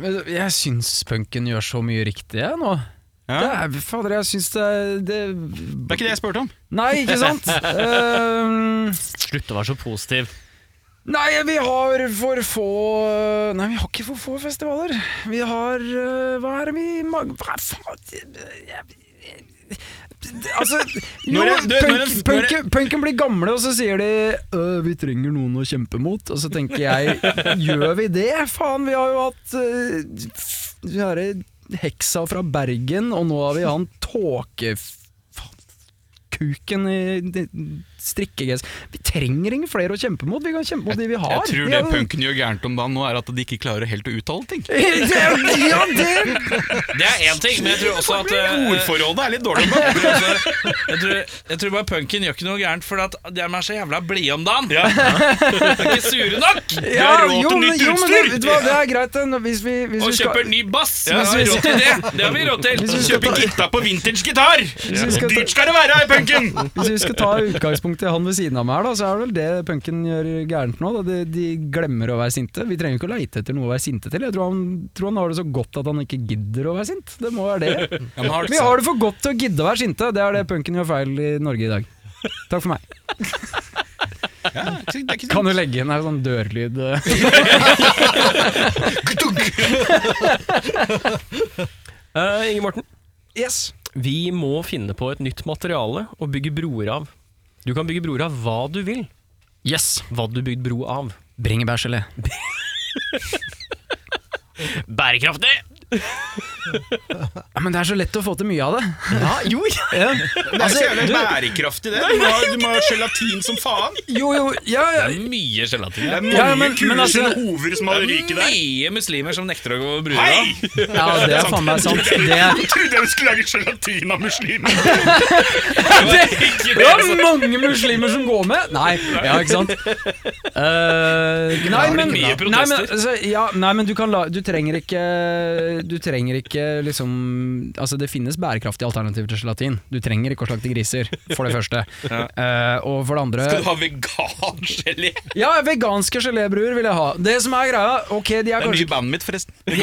Speaker 8: Men Jeg syns punken gjør så mye riktig jeg, nå.
Speaker 3: Ja.
Speaker 8: Det er, fader, jeg syns det, det
Speaker 3: Det er ikke det jeg spurte om.
Speaker 8: Nei, ikke sant? Ehm,
Speaker 1: Slutt å være så positiv.
Speaker 8: nei, vi har for få Nei, vi har ikke for få festivaler. Vi har eh, Hva er det vi mag- Hva faen Altså, jo,
Speaker 3: Når jeg- du vet, når jeg-
Speaker 8: punk,
Speaker 3: når jeg-
Speaker 8: punken, punken blir gamle, og så sier de «Øh, 'vi trenger noen å kjempe mot'. Og så tenker jeg 'gjør vi det?' Faen, vi har jo hatt øh, f- vi har ei heksa fra Bergen, og nå har vi han tåke... faen, Kuken i de- strikkegress Vi trenger ingen flere å kjempe mot, vi kan kjempe mot de vi har.
Speaker 3: Jeg tror
Speaker 8: Vi
Speaker 3: det
Speaker 8: har jo-
Speaker 3: punken gjør gærent om dagen nå, er at de ikke klarer helt å uttale ting.
Speaker 8: ja, det
Speaker 2: det er én ting, men jeg tror også at eh,
Speaker 3: Ordforrådet er litt dårlig.
Speaker 2: jeg tror, også- jeg, tror, jeg tror bare punken gjør ikke noe gærent, for at de er så jævla blide om dagen. De er ikke sure nok!
Speaker 8: ja,
Speaker 3: har råd
Speaker 8: jo,
Speaker 3: til
Speaker 8: men-
Speaker 3: nytt
Speaker 8: jo, men
Speaker 3: utstyr.
Speaker 8: det, vet du hva, det er greit, det. Når- Hvis vi, hvis
Speaker 2: Og
Speaker 8: vi skal,
Speaker 2: kjøper ny bass!
Speaker 8: Ja,
Speaker 2: vi har råd til det! Det har vi råd til.
Speaker 8: Hvis vi skal
Speaker 2: Kjøper
Speaker 8: ta-
Speaker 2: gitar.
Speaker 3: Gitta på vintage gitar!
Speaker 8: vi skal ta-
Speaker 3: Dyrt skal det være i punken!
Speaker 8: Hvis vi skal ta utgangspunkt i han ved siden av meg, her, da, så er det vel det punken gjør gærent nå. Da. De, de glemmer å være sinte. Vi trenger ikke å leite etter noe å være sinte til. Jeg tror han, tror han har det så godt at han ikke gidder å være sint. Det må være det. Vi har det for godt til å gidde å være sinte. Det er det punken gjør feil i Norge i dag. Takk for meg. Kan du legge inn en sånn dørlyd?
Speaker 1: Eh, Inge Morten,
Speaker 8: Yes.
Speaker 1: vi må finne på et nytt materiale å bygge broer av. Du kan bygge broer av hva du vil.
Speaker 8: Yes.
Speaker 1: Hva du bygd bro av.
Speaker 8: Bringebærgelé.
Speaker 1: Bærekraftig!
Speaker 8: Ja, men det er så lett å få til mye av det.
Speaker 2: Ah,
Speaker 1: jo,
Speaker 8: Ja.
Speaker 3: Det er så jævlig bærekraftig, det. Du må ha- Du må ha gelatin som faen.
Speaker 8: Jo, jo, ja, ja.
Speaker 2: Mye gelatin.
Speaker 3: Det er mange
Speaker 8: Ja, men- men
Speaker 3: kuler
Speaker 8: altså-
Speaker 3: sine hover som har ryket der.
Speaker 2: Mye muslimer som nekter å gå over brua.
Speaker 3: Hei!
Speaker 8: ja, det er faen meg sant. Det
Speaker 3: Jeg trodde jeg skulle lage gelatin av muslimer.
Speaker 8: det, det er mange muslimer som går med! Nei, ja, ikke sant? Eh, nei, men,
Speaker 2: Mye protester.
Speaker 8: nei, men, altså, ja, nei, men du, kan la, du trenger ikke Du trenger ikke liksom Altså, det finnes bærekraftige alternativer til gelatin. Du trenger ikke å slakte griser, for det første. Eh, og for det andre
Speaker 3: Skal du ha vegangelé?
Speaker 8: Ja, veganske gelébruer vil jeg ha. Det som er greia Ok, de er
Speaker 3: Det er
Speaker 8: kanskje
Speaker 3: nye bandet mitt, forresten.
Speaker 8: de er,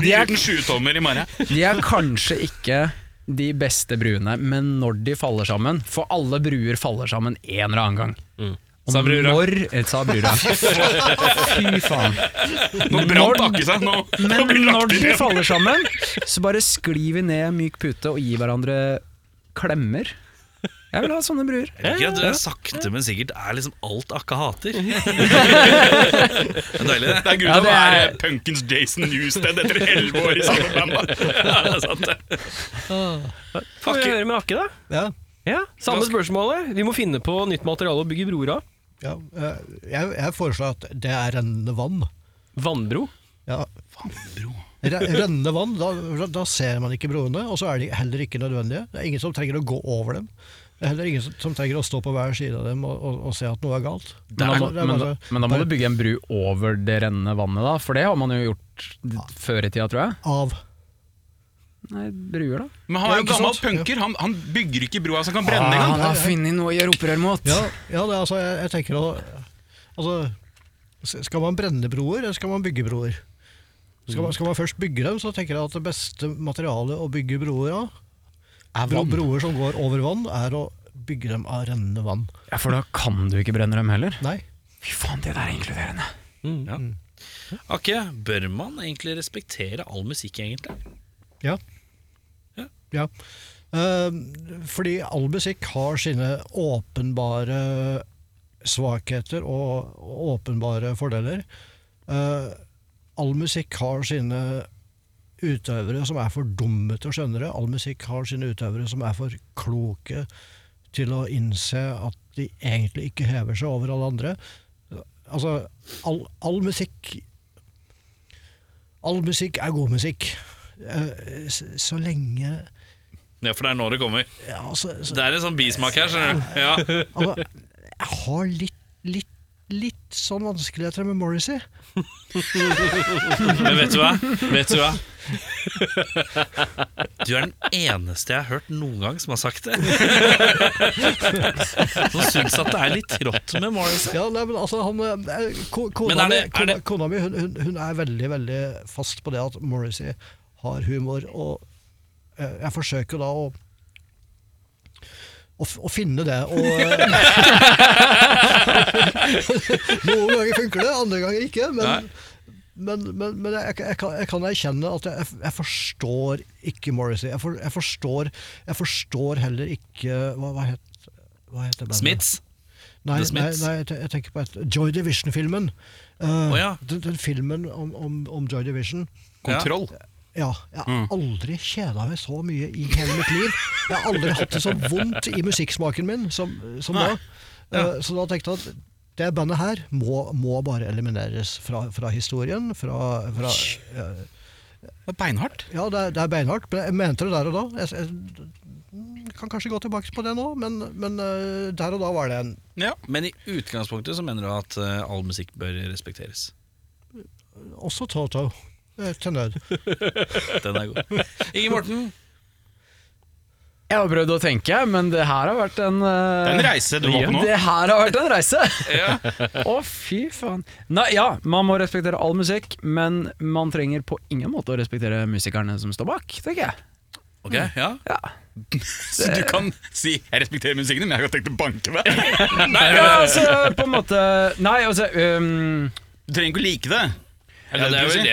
Speaker 3: De gir den sjutommer i morgen.
Speaker 8: de er kanskje ikke de beste bruene, men når de faller sammen For alle bruer faller sammen en eller annen gang.
Speaker 3: Mm.
Speaker 8: Og
Speaker 2: Sa brura.
Speaker 8: Når, eh, sa brura. Fy faen.
Speaker 3: Nå brant Akke seg. Nå, nå
Speaker 8: Men
Speaker 3: blir det
Speaker 8: når
Speaker 3: lagt
Speaker 8: de
Speaker 3: inn.
Speaker 8: faller sammen, så bare sklir vi ned myk pute og gir hverandre klemmer. Jeg vil ha sånne bruer.
Speaker 2: Jeg liker at det sakte, men sikkert er liksom alt Akka hater. Det er deilig, det.
Speaker 3: Det er grunn til
Speaker 8: Ja,
Speaker 3: å
Speaker 8: det
Speaker 3: være
Speaker 8: er-
Speaker 3: punkens Jason Newsted etter elleve år i samme band. da. Ja, det
Speaker 8: altså.
Speaker 3: er sant, det.
Speaker 1: Får vi høre med Akke, da?
Speaker 7: Ja.
Speaker 1: Ja, Samme spørsmålet. Vi må finne på nytt materiale å bygge broer av.
Speaker 7: Ja, eh, jeg, jeg foreslår at det er rennende vann.
Speaker 1: Vannbro.
Speaker 7: Ja. Re- Rennende vann, da, da ser man ikke broene, og så er de heller ikke nødvendige. Det er ingen som trenger å gå over dem. Det er heller ingen som- som trenger å stå på hver side av dem og, og, og se at noe er galt.
Speaker 8: Men da,
Speaker 7: Altså, det er
Speaker 8: men, da,
Speaker 7: bare-
Speaker 8: men da må
Speaker 7: bare
Speaker 8: du bygge en bru over det rennende vannet, da. For det har man jo gjort d- før i tida, tror jeg.
Speaker 7: Av.
Speaker 8: Nei, bruer, da.
Speaker 3: Men han er
Speaker 7: Ja,
Speaker 3: jo
Speaker 7: ikke
Speaker 3: gammel
Speaker 7: sant?
Speaker 3: punker. Han, han bygger ikke broa
Speaker 8: Ah.
Speaker 3: som kan brenne engang.
Speaker 8: har funnet noe å gjøre opprør mot!
Speaker 7: Ja, ja det, er altså, jeg, jeg tenker å altså, s- Skal man brenne broer, eller skal man bygge broer? Skal man, skal man først bygge dem, så tenker jeg at det beste materialet å bygge broer av, bro, broer som går over vann, er å bygge dem av rennende vann.
Speaker 8: Ja, For da kan du ikke brenne dem heller.
Speaker 7: Nei.
Speaker 8: Fy faen, det der er inkluderende.
Speaker 2: Akke, bør man egentlig respektere all musikk, egentlig?
Speaker 7: Ja.
Speaker 2: Ja.
Speaker 7: ja. Eh, fordi all musikk har sine åpenbare svakheter og åpenbare fordeler. Eh, all musikk har sine utøvere som er for dumme til å skjønne det. All musikk har sine utøvere som er for kloke til å innse at de egentlig ikke hever seg over alle andre. Altså, all, all musikk All musikk er god musikk. Eh, så, så lenge
Speaker 2: Ja, for det er nå det kommer.
Speaker 7: ja, altså, så,
Speaker 2: Det er en sånn bismak her, skjønner du. Ja.
Speaker 7: altså, Jeg har litt, litt, litt sånn vanskeligheter med Morrissey.
Speaker 2: Men vet du hva? Vet du hva? Du er den eneste jeg har hørt noen gang som har sagt det. Som syns at det er litt trått med Morrissey.
Speaker 7: Ja, nei, men altså, han, eh, ko-
Speaker 2: Men
Speaker 7: kona,
Speaker 2: er
Speaker 7: mi,
Speaker 2: det- er
Speaker 7: kona,
Speaker 2: det-
Speaker 7: kona mi hun, hun, hun er veldig veldig fast på det at Morrissey har humor. Og eh, jeg forsøker da å å, f- å finne det. Og, eh, noen ganger funker det, andre ganger ikke. Men, men, men, men jeg, jeg, kan, jeg kan erkjenne at jeg, jeg forstår ikke Morrissey. Jeg, for, jeg, forstår, jeg forstår heller ikke Hva, hva het hva heter bandet?
Speaker 2: Smiths.
Speaker 7: Nei,
Speaker 2: The
Speaker 7: nei,
Speaker 2: Smiths?
Speaker 7: nei jeg te- jeg tenker på et Joy Division-filmen. Eh,
Speaker 2: Å ja.
Speaker 7: den, den filmen om, om, om Joy Division.
Speaker 3: Kontroll.
Speaker 7: Ja, jeg
Speaker 2: Mm.
Speaker 7: har aldri kjeda meg så mye i hele mitt liv. Jeg har aldri hatt det så vondt i musikksmaken min som, som da. Eh, Så da tenkte jeg at det bandet her må, må bare elimineres fra, fra historien. Fra, fra, eh,
Speaker 3: Det er beinhardt.
Speaker 7: ja, det er, det er beinhardt. men Jeg mente det der og da. Jeg, jeg mm, kan kanskje gå tilbake på det nå, men, men eh, der og da var det en
Speaker 2: Men i utgangspunktet så mener du at eh, all musikk bør respekteres.
Speaker 7: Også Toto. eh, Til nød.
Speaker 2: Den er god. Inge Morten,
Speaker 8: Jeg har prøvd å tenke, men det her har vært en eh,
Speaker 3: Det er en reise du var på nå.
Speaker 8: Det her har vært en reise! Å, fy faen. Nei, ja, man må respektere all musikk, men man trenger på ingen måte å respektere musikerne som står bak, tenker jeg.
Speaker 2: Ok, ja
Speaker 8: Ja.
Speaker 3: Så du kan si 'jeg respekterer musikken din', men jeg har tenkt å banke deg.
Speaker 8: ja, altså, på en måte Nei, altså um,
Speaker 3: Du trenger ikke å like det.
Speaker 2: Ja, det er vel det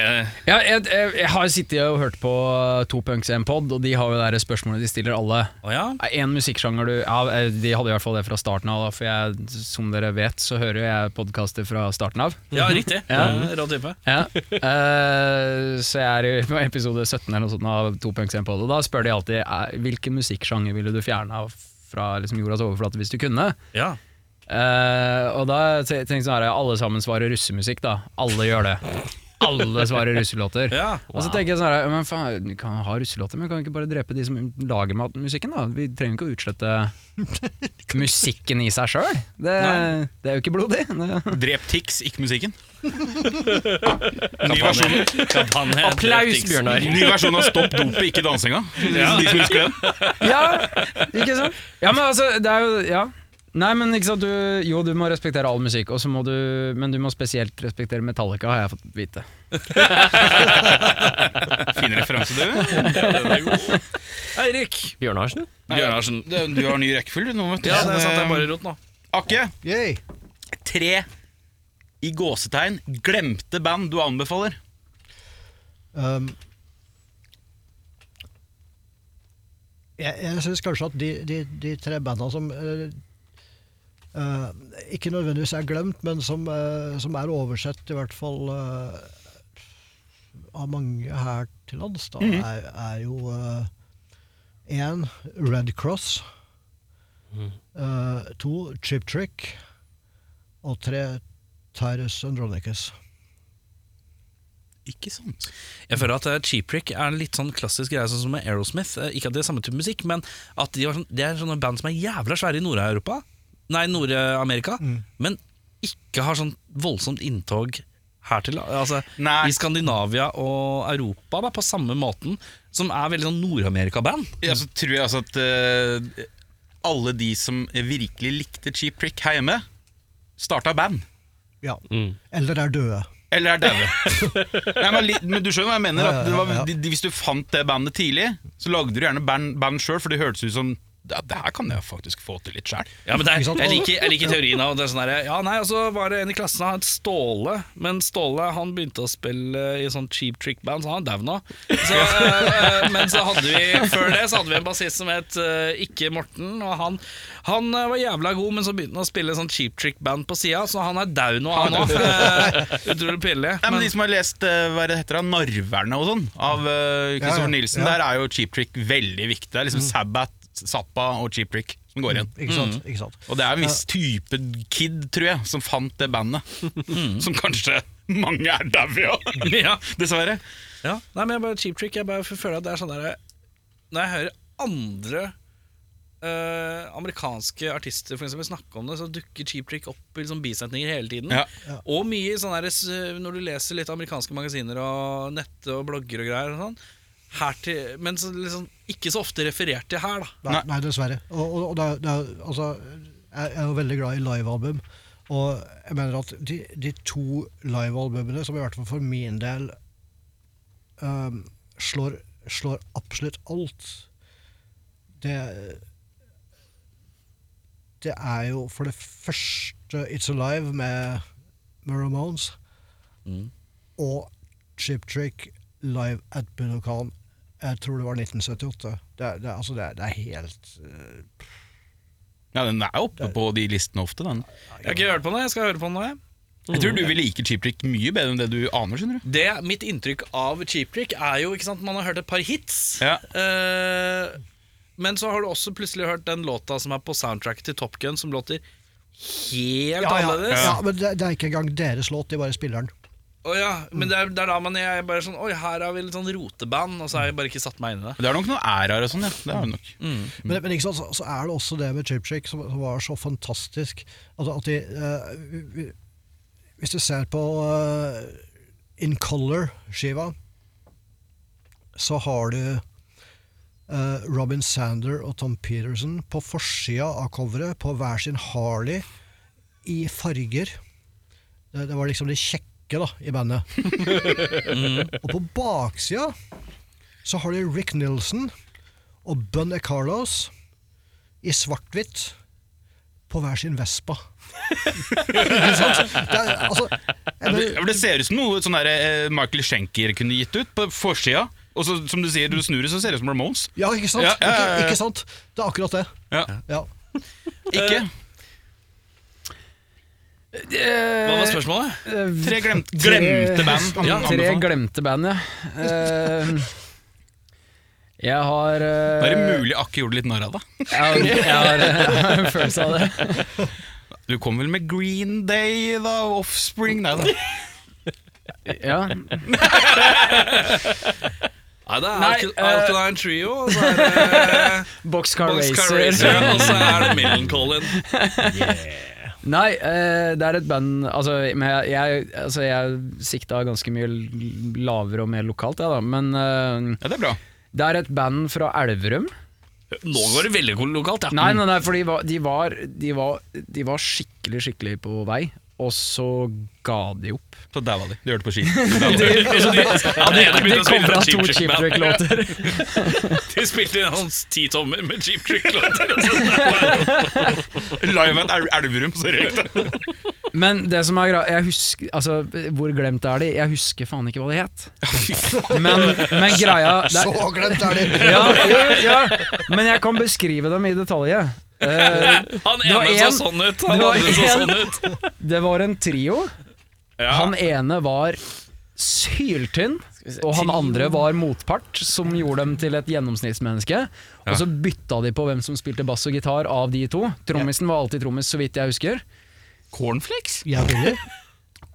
Speaker 8: ja, jeg, jeg, jeg har sittet og hørt på eh, To Punks i en pod, og de har jo det der spørsmålet de stiller alle.
Speaker 2: Å ja?
Speaker 8: En musikksjanger du ja, eh, De hadde i hvert fall det fra starten av, da, for jeg, som dere vet, så hører jeg podkaster fra starten av.
Speaker 2: Ja,
Speaker 1: Mhm.
Speaker 2: riktig. Mm.
Speaker 8: Ja.
Speaker 2: Rå type.
Speaker 8: Ja. Eh, så jeg er i på episode 17 eller noe sånt av To Punks en podd, og da spør de alltid eh, hvilken musikksjanger ville du fjerna fra liksom, jordas overflate hvis du kunne.
Speaker 2: Ja.
Speaker 8: Eh, og da te- tenkte jeg sånn her, alle sammen svarer russemusikk, da. Alle gjør det. Alle svarer russelåter.
Speaker 2: Ja,
Speaker 8: Og så tenker jeg sånn her, men faen, vi kan ha russelåter, men kan vi ikke bare drepe de som lager mat- musikken, da? Vi trenger ikke å utslette musikken i seg sjøl. Det, det er jo ikke blodig. Det-
Speaker 3: Drep Tix, ikke musikken. Ny versjon,
Speaker 2: Kampanje. Kampanje.
Speaker 1: Applaus,
Speaker 2: Dreptiks.
Speaker 1: Bjørnar.
Speaker 3: ny versjon av Stopp dopet, ikke dansinga. De som husker den.
Speaker 8: Ja, ikke sant? Ja, men altså, det er jo Ja. Nei, men ikke sant, du, jo, du må respektere all musikk, og så må du, men du må spesielt respektere Metallica, har jeg fått vite.
Speaker 3: Fin referanse, du.
Speaker 2: Eirik
Speaker 1: Bjørnarsen?
Speaker 2: Bjørnarsen.
Speaker 3: Det- Du har ny rekkefølge nå, vet du.
Speaker 2: Ja, det er sant, det
Speaker 3: Så,
Speaker 2: er bare rot nå.
Speaker 3: Akke,
Speaker 7: Yay.
Speaker 3: tre i gåsetegn glemte band du anbefaler.
Speaker 7: Um, Jeg, jeg syns kanskje at de, de, de tre banda som eh, eh, ikke nødvendigvis er glemt, men som, eh, som er oversett, i hvert fall eh, av mange her til lands, da, er, er jo én Red Cross, eh, to Chip Trick og tre Tyrus Andronicus.
Speaker 3: Ikke sant?
Speaker 2: Jeg føler at eh, Cheap Trick er en litt sånn klassisk greie sånn som med Aerosmith. Eh, Ikke at de er samme type musikk, men at de var sånn, det er sånne band som er jævla svære i Nord-Europa. Nei, Nord-Amerika.
Speaker 3: Mm.
Speaker 2: Men ikke har sånn voldsomt inntog her til Altså
Speaker 3: Nei.
Speaker 2: i Skandinavia og Europa da, på samme måten. Som er veldig sånn Nord-Amerika-band.
Speaker 3: Ja, så tror jeg altså at eh, alle de som virkelig likte Cheap Trick her hjemme, starta band.
Speaker 7: Ja. Eller er døde.
Speaker 3: Eller er daue. Nei, men, li- men du skjønner hva jeg mener? At det var,
Speaker 7: Ja, ja, ja.
Speaker 3: de, de, hvis du fant det bandet tidlig, så lagde du gjerne band, band sjøl, for det hørtes ut som ja, det her kan jeg faktisk få til litt sjæl.
Speaker 2: Ja, men det er,
Speaker 7: Ikke sant?
Speaker 2: jeg, liker, jeg liker teorien av det er sånn der, Ja, nei, og så var det en i klassen Han het Ståle Men Ståle han begynte å spille I sånn cheap trick band Så han er dau nå så, eh, eh, Men så hadde vi Før det så hadde vi en bassist som het eh, Ikke Morten Og han, han eh, var jævla god Men så begynte han å spille sånn cheap trick band på siden Så han er dau nå han også Eh, Utrolig pillig
Speaker 3: Nei, men De som har lest eh, hva det heter da, 'Narverne' og sånn, av eh, Christopher
Speaker 7: Ja, ja.
Speaker 3: Nielsen,
Speaker 7: Ja. Mm.
Speaker 3: der er jo Cheap Trick veldig viktig. Det er liksom Sabbath, Zappa og Cheap Trick som går igjen.
Speaker 7: Ikke sant? Ikke sant?
Speaker 3: Og det er en viss type kid, tror jeg, som fant det bandet. Som kanskje mange er daue av,
Speaker 2: Mm. ja.
Speaker 3: dessverre.
Speaker 2: Ja, nei, men jeg bare cheap trick Jeg bare føler at det er sånn der Når jeg hører andre eh, amerikanske artister for eksempel, snakke om det, så dukker cheap trick opp i liksom, bisetninger hele tiden.
Speaker 3: Ja.
Speaker 2: Og mye sånn der, s- når du leser litt amerikanske magasiner og nett og blogger og greier. Og sånn, her til, men så, liksom, ikke så ofte referert til her, da.
Speaker 7: Nei, nei dessverre. Og, og, og det, er- det, er- altså, jeg er jo veldig glad i livealbum. Og jeg mener at de, de to livealbumene som i hvert fall for min del øhm, slår, slår absolutt alt, det Det er jo for det første It's Alive med, med Ramones. Og Chip Trick live at Budokan. Jeg tror det var 1978. Det er, det er, altså det er, det er helt eh,
Speaker 3: Ja, Den er oppe på de listene ofte, den.
Speaker 2: Jeg har ikke hørt på den, jeg skal høre på den nå. Jeg.
Speaker 3: Jeg
Speaker 2: Mm.
Speaker 3: tror du vil like Cheap Trick mye bedre enn det du aner, skjønner du.
Speaker 2: Det, mitt inntrykk av Cheap Trick er jo ikke sant, Man har hørt et par hits.
Speaker 3: Ja.
Speaker 2: Eh, men så har du også plutselig hørt den låta som er på soundtracket til Top Gun, som låter helt annerledes.
Speaker 7: ja, men det, det er ikke engang deres låt, de bare spiller den.
Speaker 2: Å ja, men det er, det er da man jeg er bare sånn Oi, her har vi litt sånn roteband, og så har jeg bare ikke satt meg inn i det.
Speaker 3: Men Det er nok noen æraer og sånn, ja. Det er det
Speaker 2: Mm.
Speaker 3: nok.
Speaker 7: Men, men ikke sant, så, så er det også det med Chip Trick som, som var så fantastisk. Altså at de eh, vi- vi- Hvis du ser på eh, In Color-skiva, så har du eh, Robin Sander og Tom Peterson på forsida av coveret på hver sin Harley i farger. Det, det var liksom de kjekke da, i bandet. Og på baksida så har de Rick Nilsen og Bun E. Carlos i svart-hvitt på hver sin Vespa. Ikke sant? Det er, altså, jeg
Speaker 3: Det,
Speaker 7: mener-
Speaker 3: det ser ut som noe sånn der, eh, Michael Schenker kunne gitt ut på forsida. Og så, som du sier, du snur det, så ser det ut som Ramones.
Speaker 7: ja, ikke sant?
Speaker 3: Ja, ja, ja, ja.
Speaker 7: Ikke, ikke sant? Det er akkurat det.
Speaker 3: Ja.
Speaker 7: Ja.
Speaker 3: Ikke?
Speaker 2: Eh, Hva var spørsmålet?
Speaker 3: Tre glemt, glemte band.
Speaker 2: Ja,
Speaker 3: Anbefalt.
Speaker 8: Tre glemte band, ja. Eh, jeg har eh,
Speaker 3: Er det mulig Akke gjorde litt narr av deg?
Speaker 8: Jeg har, jeg har, eh, jeg har en følelse av det.
Speaker 3: Du kom vel med Green Day, da? Offspring? Nei da.
Speaker 8: Ja.
Speaker 2: Nei, det er
Speaker 8: Nei,
Speaker 2: Alkal-
Speaker 8: eh,
Speaker 2: Alkaline Trio, og så er det
Speaker 8: Boxcar,
Speaker 2: Boxcar
Speaker 8: Racer.
Speaker 2: Racer, og
Speaker 3: altså.
Speaker 2: så er det Millencolin.
Speaker 8: Nei, eh, det er et band altså, men jeg, jeg, altså, jeg sikta ganske mye l- lavere og mer lokalt, jeg, da. Men eh,
Speaker 3: Ja, det er bra.
Speaker 8: det er et band fra Elverum.
Speaker 2: Nå går det veldig lokalt, ja.
Speaker 8: Nei, nei, nei for de var, de, var, de, var, de var skikkelig, skikkelig på vei, og så ga de opp.
Speaker 3: Så der var de. Du hørte på ski.
Speaker 2: Ja, det ene
Speaker 8: De
Speaker 2: begynte å
Speaker 8: kom
Speaker 2: spille fra
Speaker 8: fra to
Speaker 2: Cheap Trick
Speaker 8: Cheap
Speaker 2: Band.
Speaker 8: Trick-låter.
Speaker 2: De spilte inn hans ti tommer med Cheap Trick-låter.
Speaker 3: Live at Elverum, så røyk det.
Speaker 8: Men det som er greia Jeg husker Altså, hvor glemt er de? Jeg husker faen ikke hva de het. Men, men greia det er,
Speaker 7: Så glemt er det!
Speaker 8: ja, ja, ja. Men jeg kan beskrive dem i detalj. Eh,
Speaker 2: Han
Speaker 8: Det var
Speaker 2: ene så
Speaker 8: en-
Speaker 2: sånn ut. Han
Speaker 8: det var
Speaker 2: andre så
Speaker 8: en-
Speaker 2: sånn ut.
Speaker 8: det var en trio.
Speaker 3: Ja.
Speaker 8: Han ene var syltynn, og han andre var motpart, som gjorde dem til et gjennomsnittsmenneske. Og så bytta de på hvem som spilte bass og gitar av de to. Trommisen var alltid trommis, så vidt jeg husker.
Speaker 3: Cornflakes?
Speaker 7: Jeg ville.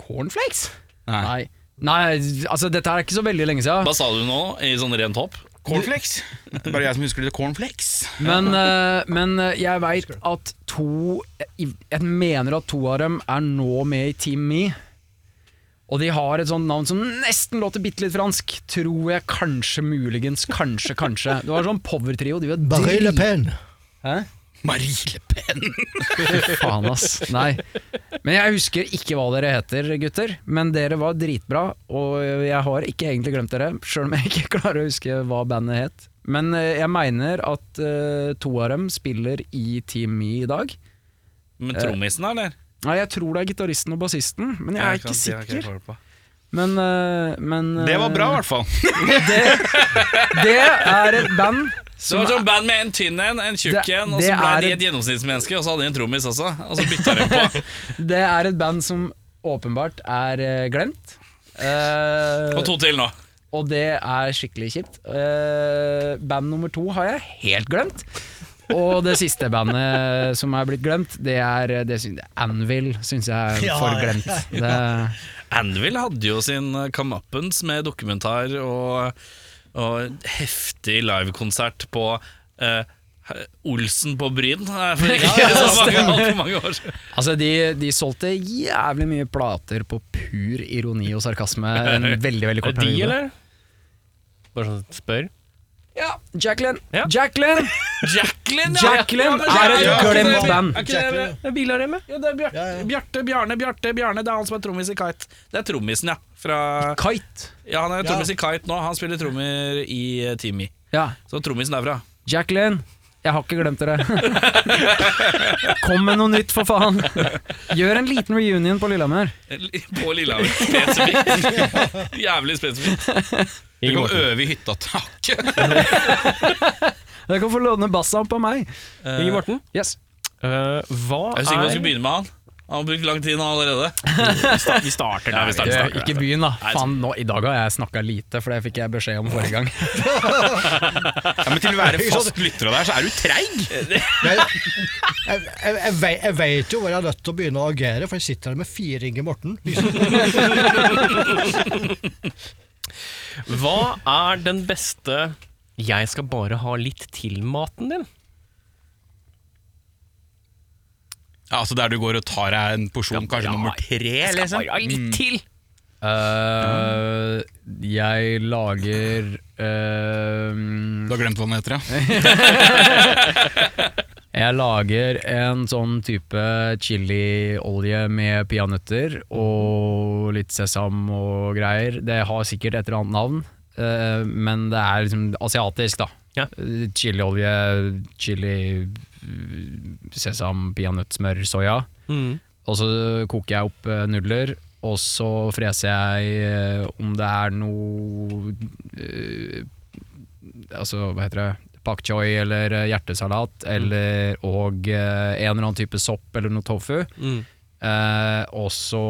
Speaker 8: Cornflakes? Nei. Nei, altså dette er ikke så veldig lenge siden.
Speaker 2: Hva sa du nå, i sånn rent hopp?
Speaker 3: Cornflakes? Det er bare jeg som husker det. Cornflakes.
Speaker 8: Men, eh, men eh, jeg veit at to Jeg mener at to av dem er nå med i Team Me. Og de har et sånt navn som nesten låter bitte litt fransk. Tror jeg kanskje, muligens, kanskje, kanskje. Det var sånn power-trio. De var
Speaker 7: Barry Le Pen.
Speaker 8: Hæ?
Speaker 3: Marie Le Pen.
Speaker 8: Fy faen, ass. Nei. Men jeg husker ikke hva dere heter, gutter. Men dere var dritbra, og jeg har ikke egentlig glemt dere, sjøl om jeg ikke klarer å huske hva bandet het. Men eh, jeg mener at eh, to av dem spiller i Team Me i dag.
Speaker 2: Med trommisen, eller?
Speaker 8: Nei, jeg tror det er gitaristen og bassisten, men jeg er ikke
Speaker 2: det har jeg
Speaker 8: sikker.
Speaker 2: ikke hørt på.
Speaker 8: Men, eh, men eh,
Speaker 3: Det var bra, i hvert fall.
Speaker 8: Det er et band
Speaker 2: Så det var sånn band med en tynn en, en tjukk
Speaker 8: Det-
Speaker 2: en, og
Speaker 8: det
Speaker 2: så ble
Speaker 8: er
Speaker 2: de
Speaker 8: et-
Speaker 2: et gjennomsnittsmenneske, og så hadde de en trommis også, og så bytta de på.
Speaker 8: Det er et band som åpenbart er eh, glemt. Eh,
Speaker 2: Og to til nå.
Speaker 8: og det er skikkelig kjipt. Eh, band nummer to har jeg helt glemt. Og det siste bandet som er blitt glemt, det er det syns, Anvil, syns jeg er
Speaker 7: Ja,
Speaker 8: for glemt. Det,
Speaker 2: Anvil hadde jo sin eh, come-uppens med dokumentar og, og heftig livekonsert på eh, Olsen på Bryn eh, for ikke så mange, altfor mange år siden.
Speaker 8: altså, de, de solgte jævlig mye plater på pur ironi og sarkasme en veldig, veldig
Speaker 1: Er
Speaker 8: kort
Speaker 1: det de,
Speaker 8: periode.
Speaker 1: eller? Bare sånn spør.
Speaker 8: Ja, Jacqueline.
Speaker 1: Ja.
Speaker 8: Jacqueline,
Speaker 2: Jacqueline, ja!
Speaker 8: Jacqueline er et
Speaker 3: ja, ja.
Speaker 8: glemt band.
Speaker 7: Jacqueline.
Speaker 1: Det er biler hjemme.
Speaker 2: Ja, det er Bjarte,
Speaker 7: Ja, ja.
Speaker 2: Bjarte, Bjarne, Bjarte, Bjarne. Det er han som er trommis i Kite. Det er trommisen, ja. Fra,
Speaker 8: Kite.
Speaker 2: ja han er
Speaker 7: Ja.
Speaker 2: trommis i Kite nå. Han spiller trommer i eh, Team Me.
Speaker 8: Ja,
Speaker 2: Så trommisen derfra.
Speaker 8: Jacqueline. Jeg har ikke glemt dere. Kom med noe nytt, for faen. Gjør en liten reunion på Lillehammer.
Speaker 2: På Lillehammer. Spesifikt. Jævlig spesifikt.
Speaker 3: Du
Speaker 1: Ingen
Speaker 3: kan
Speaker 1: Morten.
Speaker 3: øve i hyttataket.
Speaker 8: Dere kan få låne bassaen på meg.
Speaker 1: Inge Morten,
Speaker 8: Yes.
Speaker 1: eh, hva
Speaker 2: Jeg er sikker på at vi skal
Speaker 1: er
Speaker 2: begynne med han. Han har brukt lang tid nå allerede.
Speaker 1: Vi starter
Speaker 2: Ja, vi starter, vi starter.
Speaker 8: Ikke byen, da. Faen, nå, I dag har jeg snakka lite, for det fikk jeg beskjed om forrige gang.
Speaker 3: Ja, men til å være fast lytter av deg, så er du treig!
Speaker 7: Men jeg, jeg, jeg, vei- jeg vet jo hvor jeg er nødt til å begynne å agere, for jeg sitter her med fire Inge Morten. Liksom.
Speaker 1: Hva er den beste 'jeg skal bare ha litt til'-maten din?
Speaker 3: Ja, altså der du går og tar deg en porsjon, kanskje nummer tre, liksom.
Speaker 1: ha litt til!
Speaker 8: jeg lager uh,
Speaker 3: Du har glemt hva den heter, ja.
Speaker 8: Jeg lager en sånn type chiliolje med peanøtter og litt sesam og greier. Det har sikkert et eller annet navn, eh, men det er liksom asiatisk, da.
Speaker 1: Ja.
Speaker 8: Eh, Chiliolje, chili, sesam, peanøttsmør, soya.
Speaker 1: Mm.
Speaker 8: Og så koker jeg opp eh, nudler, og så freser jeg eh, om det er noe eh, Altså, hva heter det? Pak choi eller eh, hjertesalat eller, og eh, en eller annen type sopp eller noe tofu.
Speaker 1: Mm.
Speaker 8: Eh, og så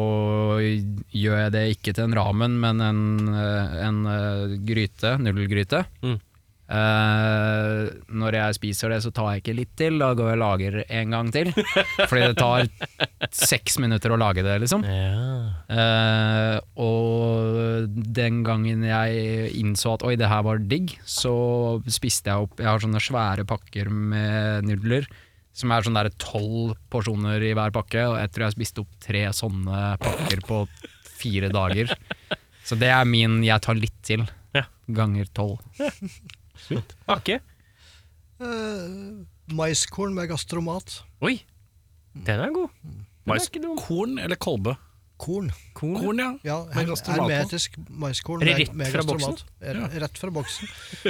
Speaker 8: gjør jeg det ikke til en ramen, men en, eh, en eh, gryte, nudelgryte.
Speaker 1: Mm.
Speaker 8: Eh, når jeg spiser det, så tar jeg ikke litt til, da går jeg og lager en gang til. Fordi det tar seks minutter å lage det, liksom. Eh, og den gangen jeg innså at oi, det her var digg, så spiste jeg opp Jeg har sånne svære pakker med nudler, som er sånn tolv porsjoner i hver pakke. Og jeg tror jeg spiste opp tre sånne pakker på fire dager. Så det er min 'jeg tar litt til'
Speaker 1: Ja.
Speaker 8: ganger tolv.
Speaker 1: Akke.
Speaker 7: Eh, maiskorn med gastromat.
Speaker 1: Oi, den er god. Den er ikke dum.
Speaker 2: Mm. Korn eller kolbe?
Speaker 7: Korn.
Speaker 1: Korn?
Speaker 2: Korn, ja.
Speaker 7: Ja,
Speaker 2: Med
Speaker 7: her-
Speaker 2: gastromat på.
Speaker 7: hermetisk maiskorn.
Speaker 1: Er det
Speaker 7: med-
Speaker 1: rett
Speaker 7: med
Speaker 1: fra
Speaker 7: gastromat. Er- Rett fra boksen.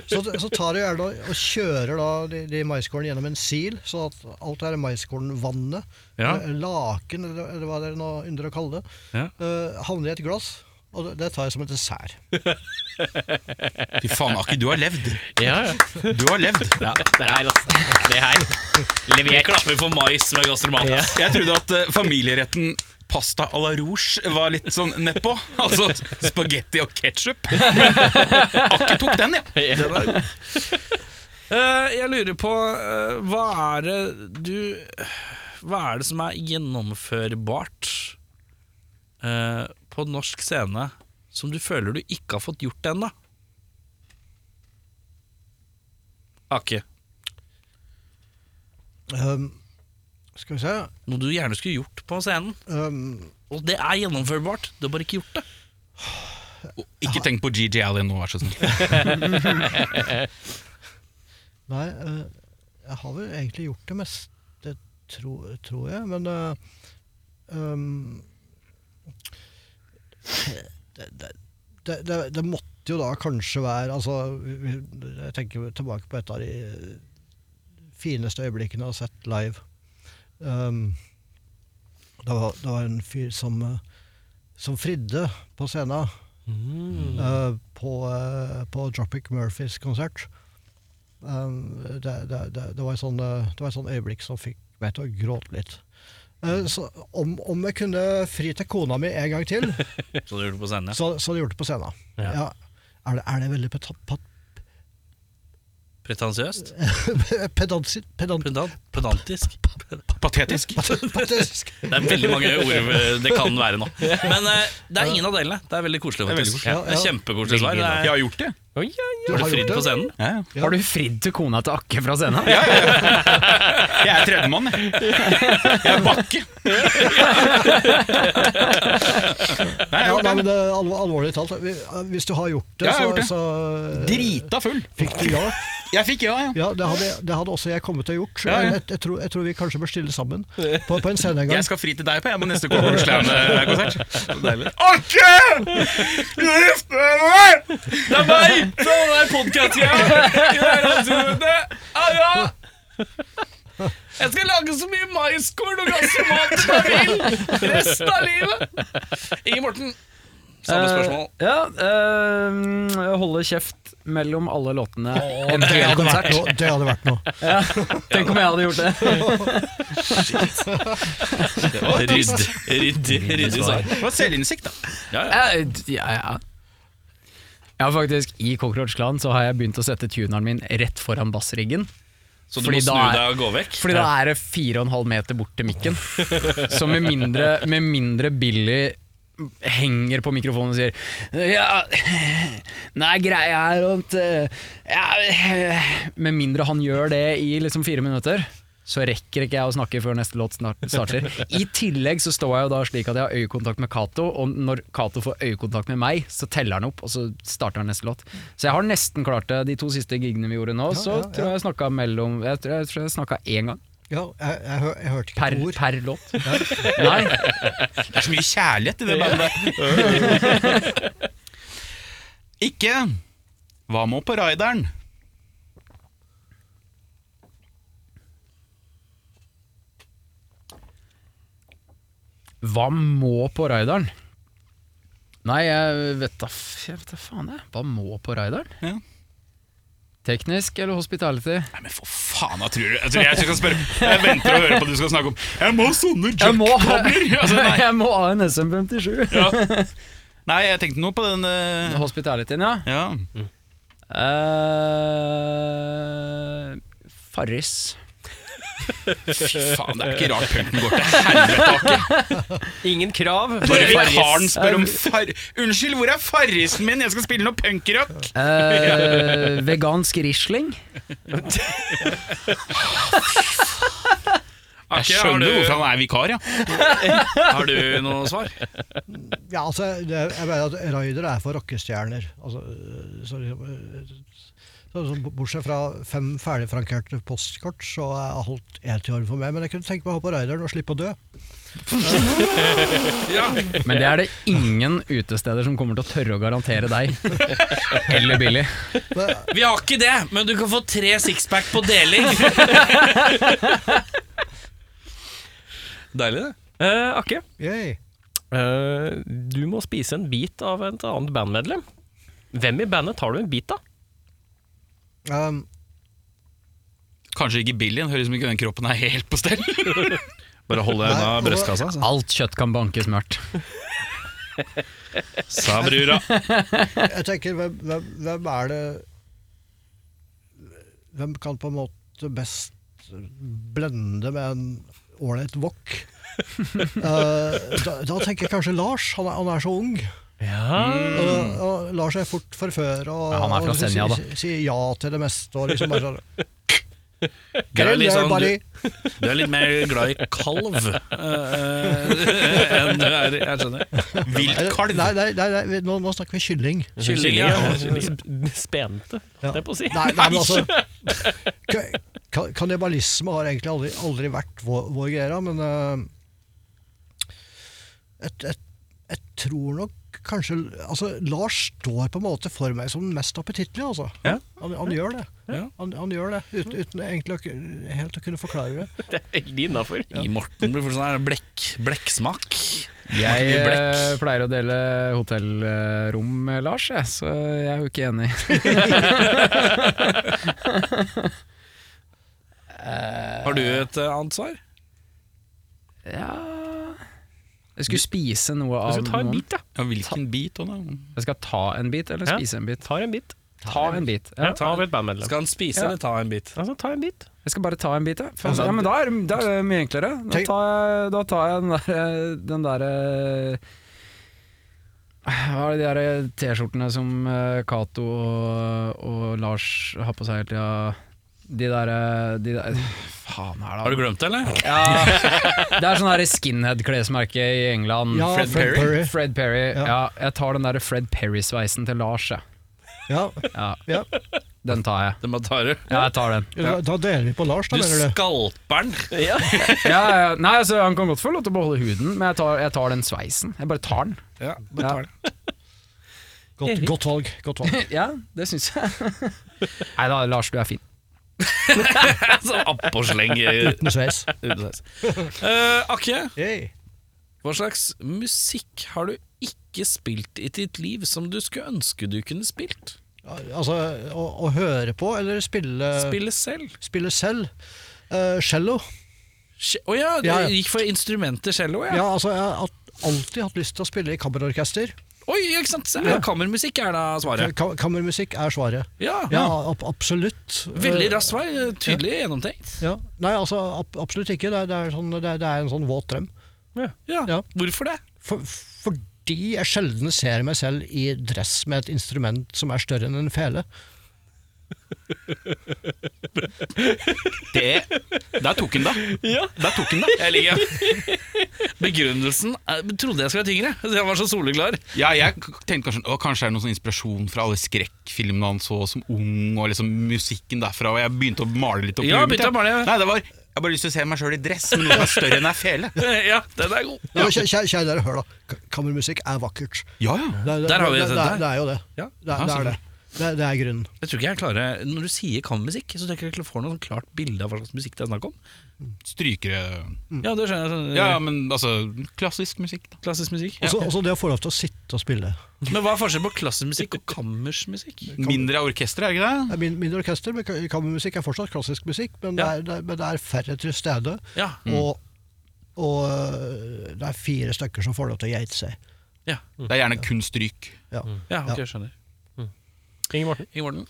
Speaker 7: Så, så tar de gjerne og og kjører da de, de maiskornene gjennom en sil, så at alt det her maiskornvannet,
Speaker 2: Ja.
Speaker 7: eller laken eller, eller hva dere nå ynder å kalle det,
Speaker 2: Ja.
Speaker 7: eh, havner i et glass. Og det, det tar jeg som et dessert.
Speaker 3: Fy faen, Aki, du har levd.
Speaker 1: Ja, ja.
Speaker 3: Du har levd.
Speaker 1: Det her, altså. Det her.
Speaker 2: Vi klapper for mais med gastromat.
Speaker 1: Ja.
Speaker 3: Jeg trodde at eh, familieretten pasta à la rouge var litt sånn nedpå. Altså spagetti og ketsjup. Akke tok den, ja.
Speaker 2: Eh, jeg lurer på eh, hva er det du Hva er det som er gjennomførbart eh, på norsk scene som du føler du ikke har fått gjort ennå? Akke,
Speaker 7: Um, skal vi se
Speaker 2: noe du gjerne skulle gjort på scenen.
Speaker 7: um,
Speaker 2: Og det er gjennomførbart, du har bare ikke gjort det.
Speaker 3: Ikke tenk på GG Allen nå, vær så snill.
Speaker 7: Nei, eh, jeg har vel egentlig gjort det meste, tro, tror jeg, men eh, um, det, det, det, det, det måtte jo da kanskje være altså, vi- vi- Jeg tenker tilbake på et av de fineste øyeblikkene jeg har sett live. Um, det, var, det var en fyr som, eh, som fridde på scenen eh, på, uh, på Droppic Murphys konsert. Um, det, det, det, det, var et sånn, eh, det var et sånn øyeblikk som fikk meg til å gråte litt. Eh,
Speaker 3: Mm.
Speaker 7: Så om, om jeg kunne fri til kona mi en gang til,
Speaker 2: Så du gjorde det på scenen, ja.
Speaker 7: så, så hadde jeg gjort det på scenen.
Speaker 2: Ja.
Speaker 7: Ja. Er, det, er det veldig peta- pat-
Speaker 2: Pretensiøst?
Speaker 7: pedansi- pedant-
Speaker 2: Pedant, pedantisk?
Speaker 3: Patetisk.
Speaker 7: patetisk?
Speaker 2: Det er veldig mange ord det kan være nå. Men eh, det er ingen av delene. Det er veldig koselig.
Speaker 3: Det er veldig
Speaker 2: faktisk.
Speaker 3: koselig.
Speaker 2: Ja, det er Kjempekoselig svar. Det
Speaker 3: Jeg
Speaker 2: er,
Speaker 3: har gjort det.
Speaker 1: Oi, ja, ja.
Speaker 7: Du
Speaker 2: har
Speaker 7: har
Speaker 2: du fridd
Speaker 7: gjort
Speaker 2: på
Speaker 7: det.
Speaker 2: scenen?
Speaker 3: Ja, ja.
Speaker 7: Ja.
Speaker 8: Har du fridd til kona til Akke fra scenen?
Speaker 3: Jeg er tredjemann, jeg. Jeg er bakke. Nei, jeg
Speaker 7: Ja,
Speaker 3: har
Speaker 7: nei,
Speaker 3: gjort
Speaker 7: men
Speaker 3: det.
Speaker 7: det er alvor, Alvorlig talt, vi- eh, hvis du har gjort det,
Speaker 3: Ja, jeg har gjort det.
Speaker 7: så, så
Speaker 3: Drita full.
Speaker 7: fikk du ja.
Speaker 3: Jeg fikk ja, ja.
Speaker 7: ja det, hadde, det hadde også jeg kommet til å gjort.
Speaker 3: Ja, ja.
Speaker 7: Jeg, jeg, tror, jeg tror vi kanskje bør stille sammen på, på en scene en gang.
Speaker 3: Jeg skal fri til deg på, jeg, på neste Coco Slam-konsert. eh, Akke! Du gifter deg!
Speaker 2: Det er meg! Fra den podkasten! Aja! Jeg skal lage så mye maiskorn og gassemat som jeg vil resten av livet! Inge Morten, samme spørsmål.
Speaker 8: ja, eh, holde kjeft mellom alle låtene.
Speaker 7: det,
Speaker 8: Eventuell
Speaker 7: hadde vært
Speaker 8: konsert.
Speaker 7: noe, det hadde vært noe.
Speaker 8: Tenk om jeg hadde gjort det.
Speaker 2: Rydd, ryddig, ryddig svar.
Speaker 3: Det var selvinnsikt, da.
Speaker 8: Jeg, ja, ja. Jeg har faktisk I Cockroach Clan så har jeg begynt å sette tuneren min rett foran bassriggen.
Speaker 2: Så du
Speaker 8: Fordi
Speaker 2: må
Speaker 8: da
Speaker 2: snu
Speaker 8: er-
Speaker 2: deg og gå vekk?
Speaker 8: Fordi da er det fire og en halv meter bort til mikken. Så med mindre, med mindre Billy henger på mikrofonen og sier Ja, nei, greia er at eh, ja, Med mindre han gjør det i liksom fire minutter, så rekker ikke jeg å snakke før neste låt snart starter. I tillegg så står jeg jo da slik at jeg har øyekontakt med Cato, og når Cato får øyekontakt med meg, så teller han opp, og så starter han neste låt. Så jeg har nesten klart det de to siste gigene vi gjorde nå, så
Speaker 7: ja, ja.
Speaker 8: tror jeg jeg snakka mellom Jeg tror jeg, tror jeg snakka én gang
Speaker 7: Ja, jeg, jeg, hør, jeg hørte ikke
Speaker 8: per,
Speaker 7: et ord.
Speaker 8: per låt. Nei,
Speaker 3: Det er så mye kjærlighet i det bandet. Ikke Hva med på raideren?
Speaker 8: Hva må på raideren? Nei, jeg vet da f- jeg vet da faen, jeg. Hva må på raideren?
Speaker 3: Ja.
Speaker 8: Teknisk eller hospitality?
Speaker 3: Nei, men for faen, hva tror du? Jeg, tror jeg skal spørre Jeg venter å høre på at du skal snakke om Jeg må sånne jukebobler! Altså, nei.
Speaker 8: jeg må ha en SM57!
Speaker 3: nei, jeg tenkte noe på den eh,
Speaker 8: Hospitalityen, ja.
Speaker 3: Ja.
Speaker 8: Eh, Farris.
Speaker 3: Fy faen, det er ikke rart punken går til helvete. Akke.
Speaker 1: Ingen krav.
Speaker 3: Bare vikaren spør om far... Unnskyld, hvor er farrisen min? Jeg skal spille noe punkrock!
Speaker 8: Eh, vegansk Riesling.
Speaker 3: Jeg skjønner hvorfor han er vikar, ja.
Speaker 2: Har du noe svar?
Speaker 7: Ja, altså, det, jeg mener at Raider er for rockestjerner. Altså, øh, så, liksom, øh, Så, så b- bortsett fra fem ferdigfrankerte postkort, så er alt ett i orden for meg. Men jeg kunne tenke meg å ha på raideren og slippe å dø.
Speaker 8: Men det er det ingen utesteder som kommer til å tørre å garantere deg. Eller Billy.
Speaker 2: Vi har ikke det, men du kan få tre sixpack på deling. Deilig, det.
Speaker 1: Eh, Akke,
Speaker 7: Yay.
Speaker 1: eh, du må spise en bit av et annet bandmedlem. Hvem i bandet tar du en bit av?
Speaker 7: Um,
Speaker 3: Kanskje ikke Billyen, høres ut som ikke den kroppen er helt på stell.
Speaker 2: Bare hold deg unna
Speaker 7: Nei,
Speaker 2: brystkassa. altså.
Speaker 8: Alt kjøtt kan bankes mørkt.
Speaker 2: Sa brura.
Speaker 7: jeg tenker, hvem, hvem, hvem er det Hvem kan på en måte best blende med en ålreit wok? Eh, da, da tenker jeg kanskje Lars. Han er, han er så ung.
Speaker 1: Ja.
Speaker 7: Og, og Lars er fort forfører og,
Speaker 8: Ja, han er fra
Speaker 7: og
Speaker 8: Senja, da.
Speaker 7: sier sier ja til det meste. Og liksom bare sånn
Speaker 2: Du er, litt sånn,
Speaker 7: everybody.
Speaker 2: du, du er litt mer glad i kalv eh, enn du er Jeg skjønner.
Speaker 3: Vilt kalv.
Speaker 7: Nei, nei, nei, nei nå, nå snakker vi kylling.
Speaker 2: Kylling, ja.
Speaker 1: Sp- Spente,
Speaker 7: Ja.
Speaker 1: det er på å si.
Speaker 7: Nei, nei, men altså ka- ka- Kannibalisme har egentlig aldri, aldri vært vår, vår greie, da, men eh, et, et, Jeg tror nok kanskje altså, Lars står på en måte for meg som den mest appetittlige, altså.
Speaker 2: Ja.
Speaker 7: Han, han gjør det.
Speaker 2: Ja.
Speaker 7: Han, han gjør det ut, uten egentlig å, ku- helt å kunne forklare det.
Speaker 1: Det er veldig innafor.
Speaker 2: I Morten blir for sånn her blekk, blekksmak.
Speaker 8: Jeg
Speaker 2: Smaker mye blekk.
Speaker 8: eh, pleier å dele hotellrom med Lars, jeg, så jeg er jo ikke enig.
Speaker 2: Har du et eh, annet svar?
Speaker 8: Ja Jeg skulle spise noe
Speaker 1: Du
Speaker 8: av
Speaker 1: skal ta en
Speaker 8: noen.
Speaker 1: bit, ja.
Speaker 2: Ja, hvilken bit? Anna?
Speaker 8: Jeg skal ta en bit, eller
Speaker 1: Ja.
Speaker 8: spise en bit?
Speaker 1: Ta en bit.
Speaker 8: Ta en bit. Ja.
Speaker 1: Ja, ta av et bandmedlem.
Speaker 2: Skal han spise
Speaker 8: Ja.
Speaker 2: eller ta en bit?
Speaker 1: Altså, ta en bit.
Speaker 8: Jeg skal bare ta en bit, jeg. For, ja, men da er det da er det mye enklere. Da
Speaker 7: Altså, Tenk-
Speaker 8: tar jeg, da tar jeg den derre den der, eh, Hva er det de der T-skjortene som eh, Cato og, og Lars har på seg hele tida? De derre de der, Faen er det
Speaker 2: Har du glemt det, eller?
Speaker 8: ja, Det er sånn her skinhead-klesmerke i England.
Speaker 7: Ja, Fred Fred Perry. Perry.
Speaker 8: Fred Perry. Ja.
Speaker 7: Ja.
Speaker 8: jeg tar den derre Fred Perry-sveisen til Lars, jeg.
Speaker 7: Ja,
Speaker 8: Ja,
Speaker 7: ja.
Speaker 8: den tar jeg.
Speaker 2: Den bare tar du.
Speaker 8: Ja, jeg tar den.
Speaker 7: Da, da deler vi på Lars, da,
Speaker 2: Du
Speaker 7: mener du?
Speaker 2: skalper den.
Speaker 8: Ja, ja. Nei, altså, Han kan godt få lov til å beholde huden, men jeg tar, jeg tar den sveisen. Jeg bare tar den.
Speaker 2: Ja, du
Speaker 8: Ja.
Speaker 2: tar den.
Speaker 7: Godt, godt valg. Godt valg.
Speaker 8: Ja, det syns jeg. Nei da, Lars, du er fin.
Speaker 2: Sånn appåsleng.
Speaker 7: Uten sveis.
Speaker 2: Uh, Akke,
Speaker 7: Yay.
Speaker 2: hva slags musikk har du ikke spilt i ditt liv som du skulle ønske du kunne spilt?
Speaker 7: Altså, å, å høre på eller spille,
Speaker 2: Spille selv.
Speaker 7: spille selv? Eh, cello.
Speaker 2: Å ja, du
Speaker 7: Ja, ja.
Speaker 2: gikk for instrumentet cello, ja.
Speaker 7: Ja, altså, jeg har hatt- alltid hatt lyst til å spille i kammerorkester.
Speaker 2: Oi, ikke sant? Så, ja. Kammermusikk er da svaret.
Speaker 7: Ka kammermusikk er svaret.
Speaker 2: Ja,
Speaker 7: Ja, ab absolutt.
Speaker 2: Veldig
Speaker 7: Eh,
Speaker 2: raskt svar. Tydelig gjennomtenkt.
Speaker 7: Ja. Nei, altså, ab absolutt ikke. Det er, det er, sånn, det er, det er en sånn våt drøm.
Speaker 2: Ja.
Speaker 7: Ja.
Speaker 2: Hvorfor det?
Speaker 7: For, fordi jeg sjelden ser meg selv i dress med et instrument som er større enn en fele.
Speaker 2: Det Der tok han da. Der tok han da. Jeg liker Begrunnelsen jeg trodde jeg skulle være tyngre. Jeg var så soleklar.
Speaker 3: Ja, jeg k- tenkte kanskje å, Kanskje det er noen sånn inspirasjon fra alle skrekkfilmene han så som ung, og liksom musikken derfra, og jeg begynte å male litt opp i
Speaker 2: Ja,
Speaker 3: huet mitt,
Speaker 2: begynte å male, ja.
Speaker 3: Nei, det var Jeg har bare lyst til å se meg sjøl i dress, men noe som er større enn ei fele.
Speaker 2: Ja, den er god.
Speaker 7: Ja. Kjære, kjære, kjære dere, hør da. Ka- Kammermusikk er vakkert.
Speaker 3: Ja, ja.
Speaker 7: Det, er- det,
Speaker 2: Der har vi
Speaker 7: det,
Speaker 2: det,
Speaker 7: det,
Speaker 2: der.
Speaker 7: det, det er jo det.
Speaker 2: Ja,
Speaker 7: Det, er- det er det. Det, det er grunnen.
Speaker 2: Jeg tror ikke jeg klarer Når du sier kammermusikk, så tenker jeg ikke jeg får noe sånn klart bilde av hva slags musikk det er snakk om.
Speaker 3: Strykere
Speaker 2: Ja, det skjønner jeg. Sånn,
Speaker 3: Ja, ja, men altså Klassisk musikk, da.
Speaker 2: Klassisk musikk.
Speaker 7: Også, også det å få lov til å sitte og spille.
Speaker 2: Men hva er forskjellen på klassisk musikk og kammersmusikk?
Speaker 3: Mindre av orkester, er det ikke det?
Speaker 7: Det er min- Mindre orkester, men ka- kammermusikk er fortsatt klassisk musikk,
Speaker 2: Ja.
Speaker 7: men, det, er, det, er- men det er færre til stede.
Speaker 2: Ja.
Speaker 7: Og, og øh, det er fire stykker som får lov til å geite seg.
Speaker 2: Ja,
Speaker 3: Det er gjerne kun stryk.
Speaker 7: Ja.
Speaker 2: ja ok, jeg skjønner.
Speaker 1: Inge Morten.
Speaker 2: I orden.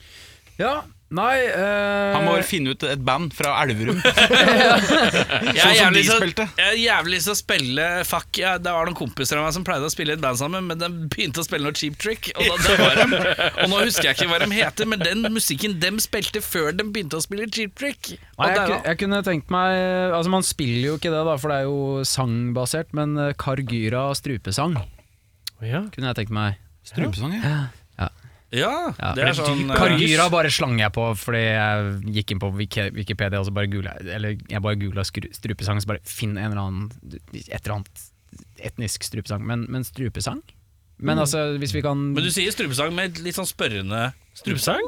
Speaker 8: Ja, nei eh,
Speaker 3: Han må bare finne ut et band fra Elverum.
Speaker 2: Jeg har
Speaker 3: sånn som
Speaker 2: jævlig
Speaker 3: de
Speaker 2: lyst til
Speaker 3: spilte.
Speaker 2: å- jeg har jævlig lyst til å spille Fuck, ja, det var noen kompiser av meg som pleide å spille i et band sammen, men de begynte å spille noe Cheap Trick, og, da, det var dem. og nå husker jeg ikke hva de heter, men den musikken de spilte før de begynte å spille Cheap Trick og
Speaker 8: Nei, jeg,
Speaker 2: der,
Speaker 8: ku- jeg kunne tenkt meg Altså Man spiller jo ikke det, da for det er jo sangbasert, men eh, Kargyra strupesang
Speaker 1: Ja.
Speaker 8: kunne jeg tenkt meg.
Speaker 3: Strupesang, ja.
Speaker 2: da- Ja,
Speaker 8: Ja,
Speaker 2: det er
Speaker 8: for
Speaker 2: sånn eh,
Speaker 8: Kargyra bare slang jeg på fordi jeg gikk inn på Wiki- Wikipedia og så bare googla Eller jeg bare googla strupesang, så bare finn en eller annen et eller annet etnisk strupesang. Men, men strupesang? Men altså, hvis vi kan
Speaker 2: Men du sier strupesang med litt sånn spørrende
Speaker 1: Strupesang?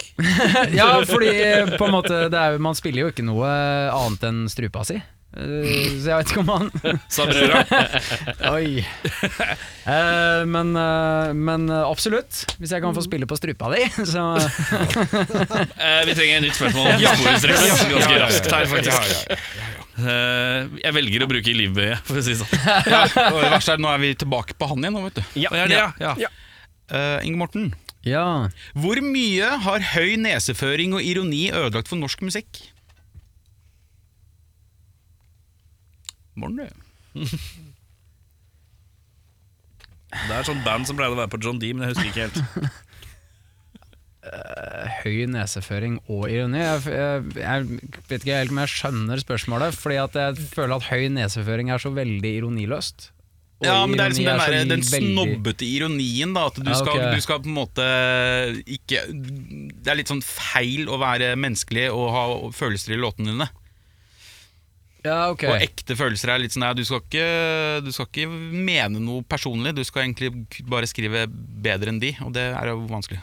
Speaker 8: Ja, fordi på en måte det er, jo- Man spiller jo ikke noe annet enn strupa si. Eh, Så jeg vet ikke om han
Speaker 2: sa brødra.
Speaker 8: Oi. Eh, men, eh, men absolutt. Hvis jeg kan få spille på strupa di, så
Speaker 2: Eh, vi trenger et nytt spørsmål om jazzbordet straks. Ganske raskt her, faktisk. Eh, jeg velger å bruke livbøye, for å si det sånn.
Speaker 3: Ja, og det verste er, nå er vi tilbake på han igjen nå, vet du.
Speaker 2: Ja, det er det, ja. ja.
Speaker 3: Eh, Inge Morten,
Speaker 8: Ja.
Speaker 3: hvor mye har høy neseføring og ironi ødelagt for norsk musikk? Morten, du.
Speaker 2: Det er sånn band som pleide å være på John D, men jeg husker ikke helt.
Speaker 8: høy neseføring og ironi. Jeg, jeg, jeg vet ikke helt om jeg skjønner spørsmålet, fordi at jeg føler at høy neseføring er så veldig ironiløst. Og
Speaker 3: Ja, men det er liksom
Speaker 8: ironi
Speaker 3: den,
Speaker 8: så
Speaker 3: der, den
Speaker 8: veldig-
Speaker 3: snobbete ironien, da. At du
Speaker 8: Ja,
Speaker 3: skal,
Speaker 8: ok.
Speaker 3: du skal på en måte ikke Det er litt sånn feil å være menneskelig og ha følelser i låtene dine.
Speaker 8: Ja, ok.
Speaker 3: Og ekte følelser er litt sånn nei, du skal, ikke, du skal ikke mene noe personlig, du skal egentlig bare skrive bedre enn de, og det er jo vanskelig.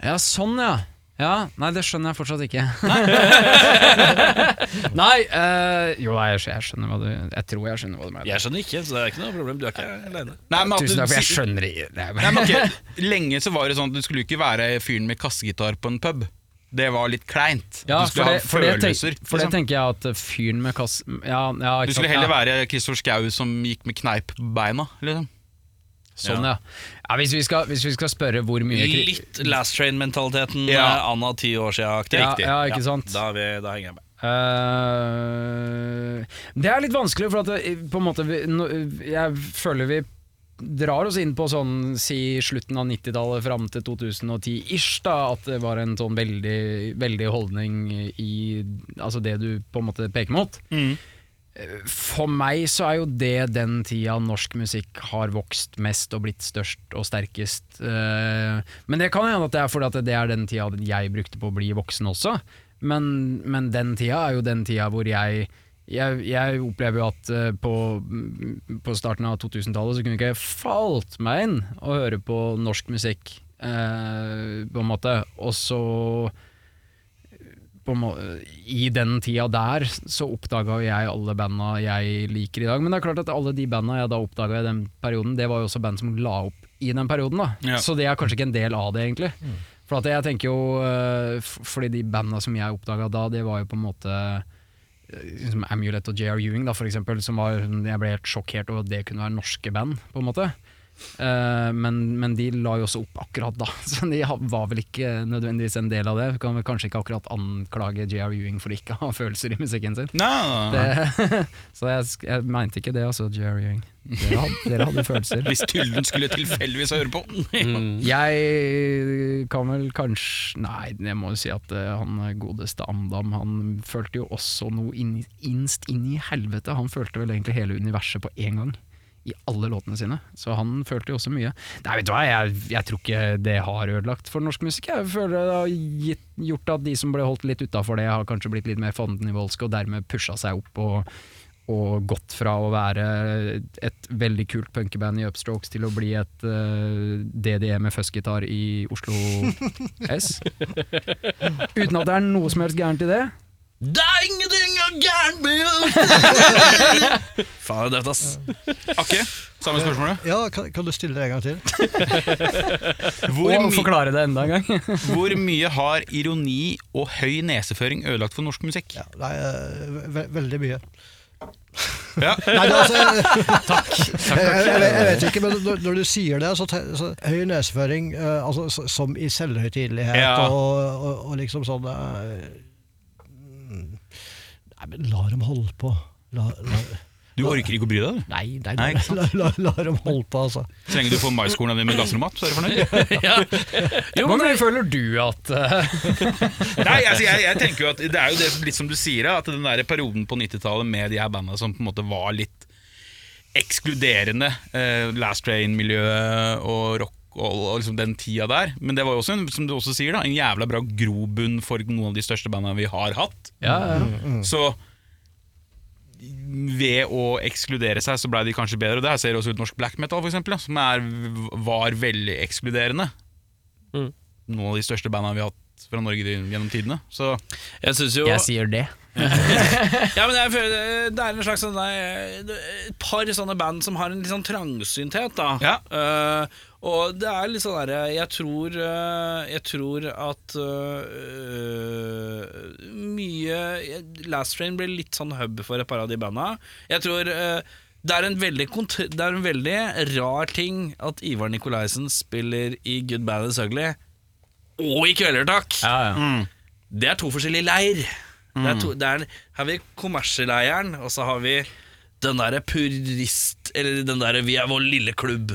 Speaker 8: Ja, sånn ja. Ja, Nei, det skjønner jeg fortsatt ikke. nei, eh, jo, nei, jeg skj- jeg skjønner hva du Jeg tror jeg skjønner hva du mener.
Speaker 2: Jeg skjønner ikke, så det er ikke noe problem. Du er ikke aleine.
Speaker 3: Nei, men at
Speaker 8: Tusen
Speaker 3: du-
Speaker 8: takk, for jeg skjønner ikke det. er-
Speaker 3: Nei, men ok, Lenge så var det sånn at du skulle ikke være fyren med kassegitar på en pub. Det var litt kleint.
Speaker 8: Ja,
Speaker 3: du
Speaker 8: for
Speaker 3: skulle
Speaker 8: det,
Speaker 3: ha
Speaker 8: for, det
Speaker 3: følelser.
Speaker 8: tenk, for det
Speaker 3: liksom.
Speaker 8: tenker jeg at eh, fyren med kass... Ja, ja, ikke
Speaker 3: Du
Speaker 8: sant,
Speaker 3: skulle
Speaker 8: ja.
Speaker 3: heller være Kristoffer Schau som gikk med kneip på beina. Liksom.
Speaker 8: Sånn, ja. ja hvis, vi skal, hvis vi skal spørre hvor mye kri-
Speaker 2: Litt Last Train-mentaliteten
Speaker 3: Ja.
Speaker 2: eh, Anna ti år sia-aktig.
Speaker 8: Ja, ja, ikke sant.
Speaker 2: Da, er vi- da henger jeg med.
Speaker 8: Eh, det er litt vanskelig, for at det, på en måte vi, nå, Jeg føler vi drar oss inn på sånn si slutten av 90-tallet fram til 2010-ish, da, at det var en sånn veldig, veldig holdning i altså det du på en måte peker mot. Eh, For meg så er jo det den tida norsk musikk har vokst mest og blitt størst og sterkest. Eh, Men det kan hende at det er fordi at det er den tida jeg brukte på å bli voksen også. Men, men den tida er jo den tida hvor jeg jeg, jeg opplever jo at eh, på, på starten av 2000-tallet så kunne ikke jeg falt meg inn å høre på norsk musikk, eh, på en måte. Og så på en må I den tida der så oppdaga jo jeg alle banda jeg liker i dag. Men det er klart at alle de banda jeg da oppdaga i den perioden, det var jo også band som la opp i den perioden. da
Speaker 3: Ja.
Speaker 8: Så det er kanskje ikke en del av det, egentlig. For at jeg tenker jo eh, f- Fordi de banda som jeg oppdaga da, det var jo på en måte eh, som Amulet og J.R. Ewing, da, for eksempel, som var, jeg ble helt sjokkert over at det kunne være norske band. på en måte Eh, men, men de la jo også opp akkurat da, så de ha- var vel ikke nødvendigvis en del av det. Vi Kan vel kanskje ikke akkurat anklage J.R. Ewing for ikke å ha følelser i musikken sin.
Speaker 3: Nei, nei, nei.
Speaker 8: Det, så jeg, sk- jeg mente ikke det, altså, J.R. Ewing. Dere hadde, dere hadde følelser.
Speaker 3: Hvis Tyllen skulle tilfeldigvis høre på.
Speaker 8: Mm. Jeg kan vel kanskje Nei, jeg må jo si at eh, han godeste Amdam, han følte jo også noe inn, innst inn i helvete. Han følte vel egentlig hele universet på én gang. I alle låtene sine, så han følte jo også mye. Nei, vet du hva, jeg, jeg tror ikke det har ødelagt for norsk musikk. Jeg føler det har gitt, gjort at de som ble holdt litt utafor det, har kanskje blitt litt mer fandenivoldske, og dermed pusha seg opp og, og gått fra å være et veldig kult punkeband i Upstrokes til å bli et eh, DDE med fuzzgitar i Oslo S. Uten at det er noe som helst gærent i det.
Speaker 2: Det er ingenting er gærent med det! Faen, det er døvt, ass.
Speaker 3: Akke, samme spørsmålet.
Speaker 7: Ja, kan, kan du stille det en gang til?
Speaker 3: Hvor,
Speaker 8: og
Speaker 3: my
Speaker 8: forklare det enda en gang.
Speaker 3: hvor mye har ironi og høy neseføring ødelagt for norsk musikk?
Speaker 7: Ja, nei, eh, ve veldig mye.
Speaker 3: Ja.
Speaker 7: Nei, det, er altså, takk. Jeg, jeg, jeg vet ikke, men når, når du sier det, så, te, så høy neseføring eh, altså, så, som i selvhøytidelighet
Speaker 3: Ja.
Speaker 7: og, og, og liksom sånn eh, mm. Nei, men la dem holde på. La, la,
Speaker 3: Du orker ikke å bry deg, du.
Speaker 7: nei, nei,
Speaker 3: Nei, ikke
Speaker 7: la, la, la dem holde på, altså.
Speaker 3: Så lenge du får maiskorna dine med gassromat, så er du fornøyd.
Speaker 8: Hvor mye føler du at eh,
Speaker 3: Nei, altså, jeg, jeg tenker jo at Det er jo det, som- litt som du sier, at den der perioden på 90-tallet med de her banda som på en måte var litt ekskluderende, eh, Last Train-miljøet og rock og, og liksom den tida der. Men det var jo også, en, som du også sier, da, en jævla bra grobunn for noen av de største bandene vi har hatt.
Speaker 8: Ja, ja, ja.
Speaker 3: Så ved å ekskludere seg, så blei de kanskje bedre. Og det her ser også ut norsk black metal, for eksempel, da, som er, var veldig ekskluderende.
Speaker 1: Mm.
Speaker 3: Noen av de største bandene vi har hatt fra Norge gjennom tidene. Så
Speaker 2: Jeg synes jo
Speaker 8: Jeg sier det.
Speaker 2: Ja, men jeg føler Det er en slags sånn nei, Et par sånne band som har en litt sånn trangsynthet, da.
Speaker 3: Ja.
Speaker 2: Eh, og det er litt sånn derre Jeg tror eh, Jeg tror at eh, Mye Last Train ble litt sånn hub for et par av de banda. Jeg tror eh, det er, en veldig kontr det er en veldig rar ting at Ivar Nikolaisen spiller i Good Bad Is Ugly og i Kvelder, takk. Det er to forskjellige leir. Det er to, det er, her har vi kommerseleiren, og så har vi den derre purist Eller den derre vi er vår lille klubb.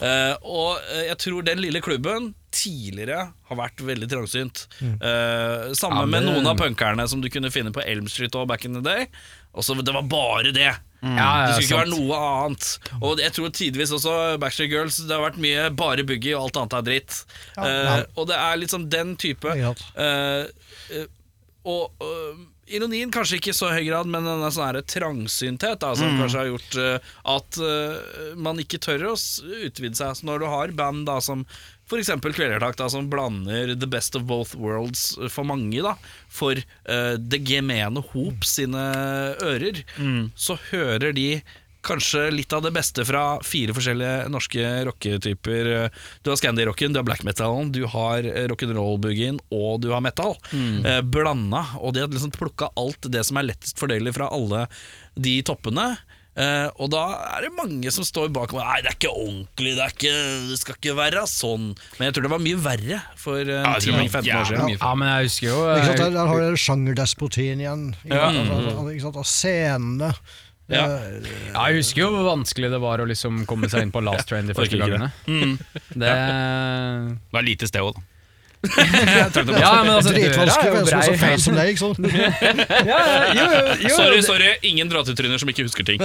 Speaker 2: Eh, og eh, jeg tror den lille klubben tidligere har vært veldig trangsynt.
Speaker 7: Mm.
Speaker 2: Eh, sammen med noen av punkerne som du kunne finne på Elm Street og back in the day. Og så Det var bare det.
Speaker 8: Mm. Ja, ja,
Speaker 2: det skulle ikke
Speaker 8: sant.
Speaker 2: være noe annet. Og jeg tror tidvis også Backstreet Girls Det har vært mye bare boogie, og alt annet er dritt.
Speaker 7: Ja, ja.
Speaker 2: Eh, og det er liksom den type
Speaker 7: Ikke sant?
Speaker 2: Eh, eh, og eh, ironien kanskje ikke i så høy grad, men denne sånn her trangsynthet da,
Speaker 7: Mm.
Speaker 2: som kanskje har gjort eh, at eh, man ikke tør å s- utvide seg. Så når du har band da, som f.eks. Kvelertak, da, som blander the best of both worlds eh, for mange, da, for eh, det gemene hop sine ører,
Speaker 3: Mm.
Speaker 2: så hører de Kanskje litt av det beste fra fire forskjellige norske rocketyper. Du har Scandi-rocken, du har black metalen, du har eh, rock'n'roll-boogien og du har metal.
Speaker 3: Mm.
Speaker 2: Eh, blanda. Og de har liksom plukka alt det som er lettest fordøyelig fra alle de toppene. Eh, og da er det mange som står bak og Nei, det er ikke ordentlig, det, er ikke, det skal ikke være sånn. Men jeg tror det var mye verre for eh,
Speaker 3: Ja, det var
Speaker 2: 10-15 år
Speaker 3: jævlig
Speaker 2: siden.
Speaker 3: mye.
Speaker 8: Ja, men jeg husker jo eh,
Speaker 7: Ikke sant? Der, der har dere sjangerdespotien igjen. Ikke
Speaker 3: Ja.
Speaker 7: sant? Altså, altså, ikke sant? Og scenene.
Speaker 2: Ja.
Speaker 7: Eh,
Speaker 8: Ja, jeg husker jo hvor vanskelig det var å liksom komme seg inn på Last Train de første
Speaker 2: orker ikke
Speaker 8: gangene. Det
Speaker 3: det er lite sted òg, da.
Speaker 8: Ja, men altså, døra
Speaker 7: Dritvanskelig
Speaker 8: er
Speaker 7: for en som er så
Speaker 8: jo brei.
Speaker 7: fan som deg, ikke sant?
Speaker 8: Ja, ja, jo, jo, jo.
Speaker 2: Sorry, sorry, ingen dratetryner som ikke husker ting.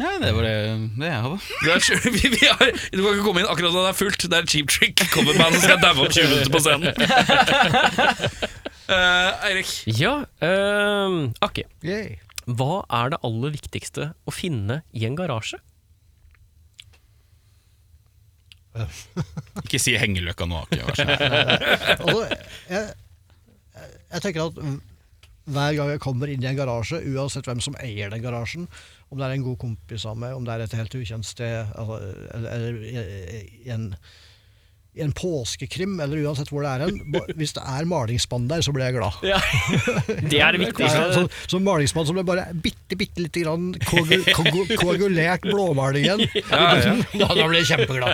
Speaker 3: Nei, det var det, det jeg hadde.
Speaker 2: Det er sju- vi, vi har, du kan ikke komme inn akkurat når det er fullt. Det er et cheap trick. Coverband som skal daue opp 20 minutter på scenen. Eh, Eirik.
Speaker 1: Ja, ehm, Akke.
Speaker 7: Yay.
Speaker 1: Hva er det aller viktigste å finne i en garasje?
Speaker 3: Ikke si hengeløkka nå, Ake. Vær så snill.
Speaker 7: Altså, jeg, jeg tenker at hver gang jeg kommer inn i en garasje, uansett hvem som eier den garasjen, om det er en god kompis av meg, om det er et helt ukjent sted, altså, eller, eller i- i en, i en påskekrim, eller uansett hvor det er hen, ba- hvis det er malingspann der, så blir jeg glad.
Speaker 1: Det er det viktigste.
Speaker 7: Som, som malingsmann som ble bare bitte, bitte lite grann kogu- kogu- koagulert blåmaling igjen, da, da blir jeg kjempeglad.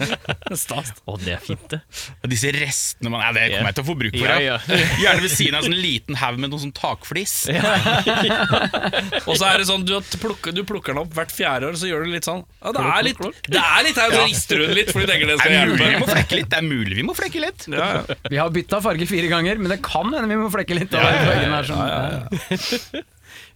Speaker 1: Å, det er fint, det.
Speaker 3: Og Disse restene man, Nei, Det kommer jeg til å få bruk for.
Speaker 1: Ja,
Speaker 3: ja. Gjerne ved siden av en sånn liten haug med noen sånn takflis.
Speaker 2: Og så er det sånn, du, har plukket, du plukker den opp hvert fjerde år, så gjør du litt sånn. Ja, det er litt, det er litt her, og så rister du den litt, for du tenker det
Speaker 3: Det
Speaker 2: skal
Speaker 3: er mulig vi
Speaker 2: hjelpe.
Speaker 3: må flekke litt! Det er mulig vi må flekke litt
Speaker 2: Ja, ja.
Speaker 8: Vi har bytta farge fire ganger, men det kan hende vi må flekke litt. av fargen her, sånn.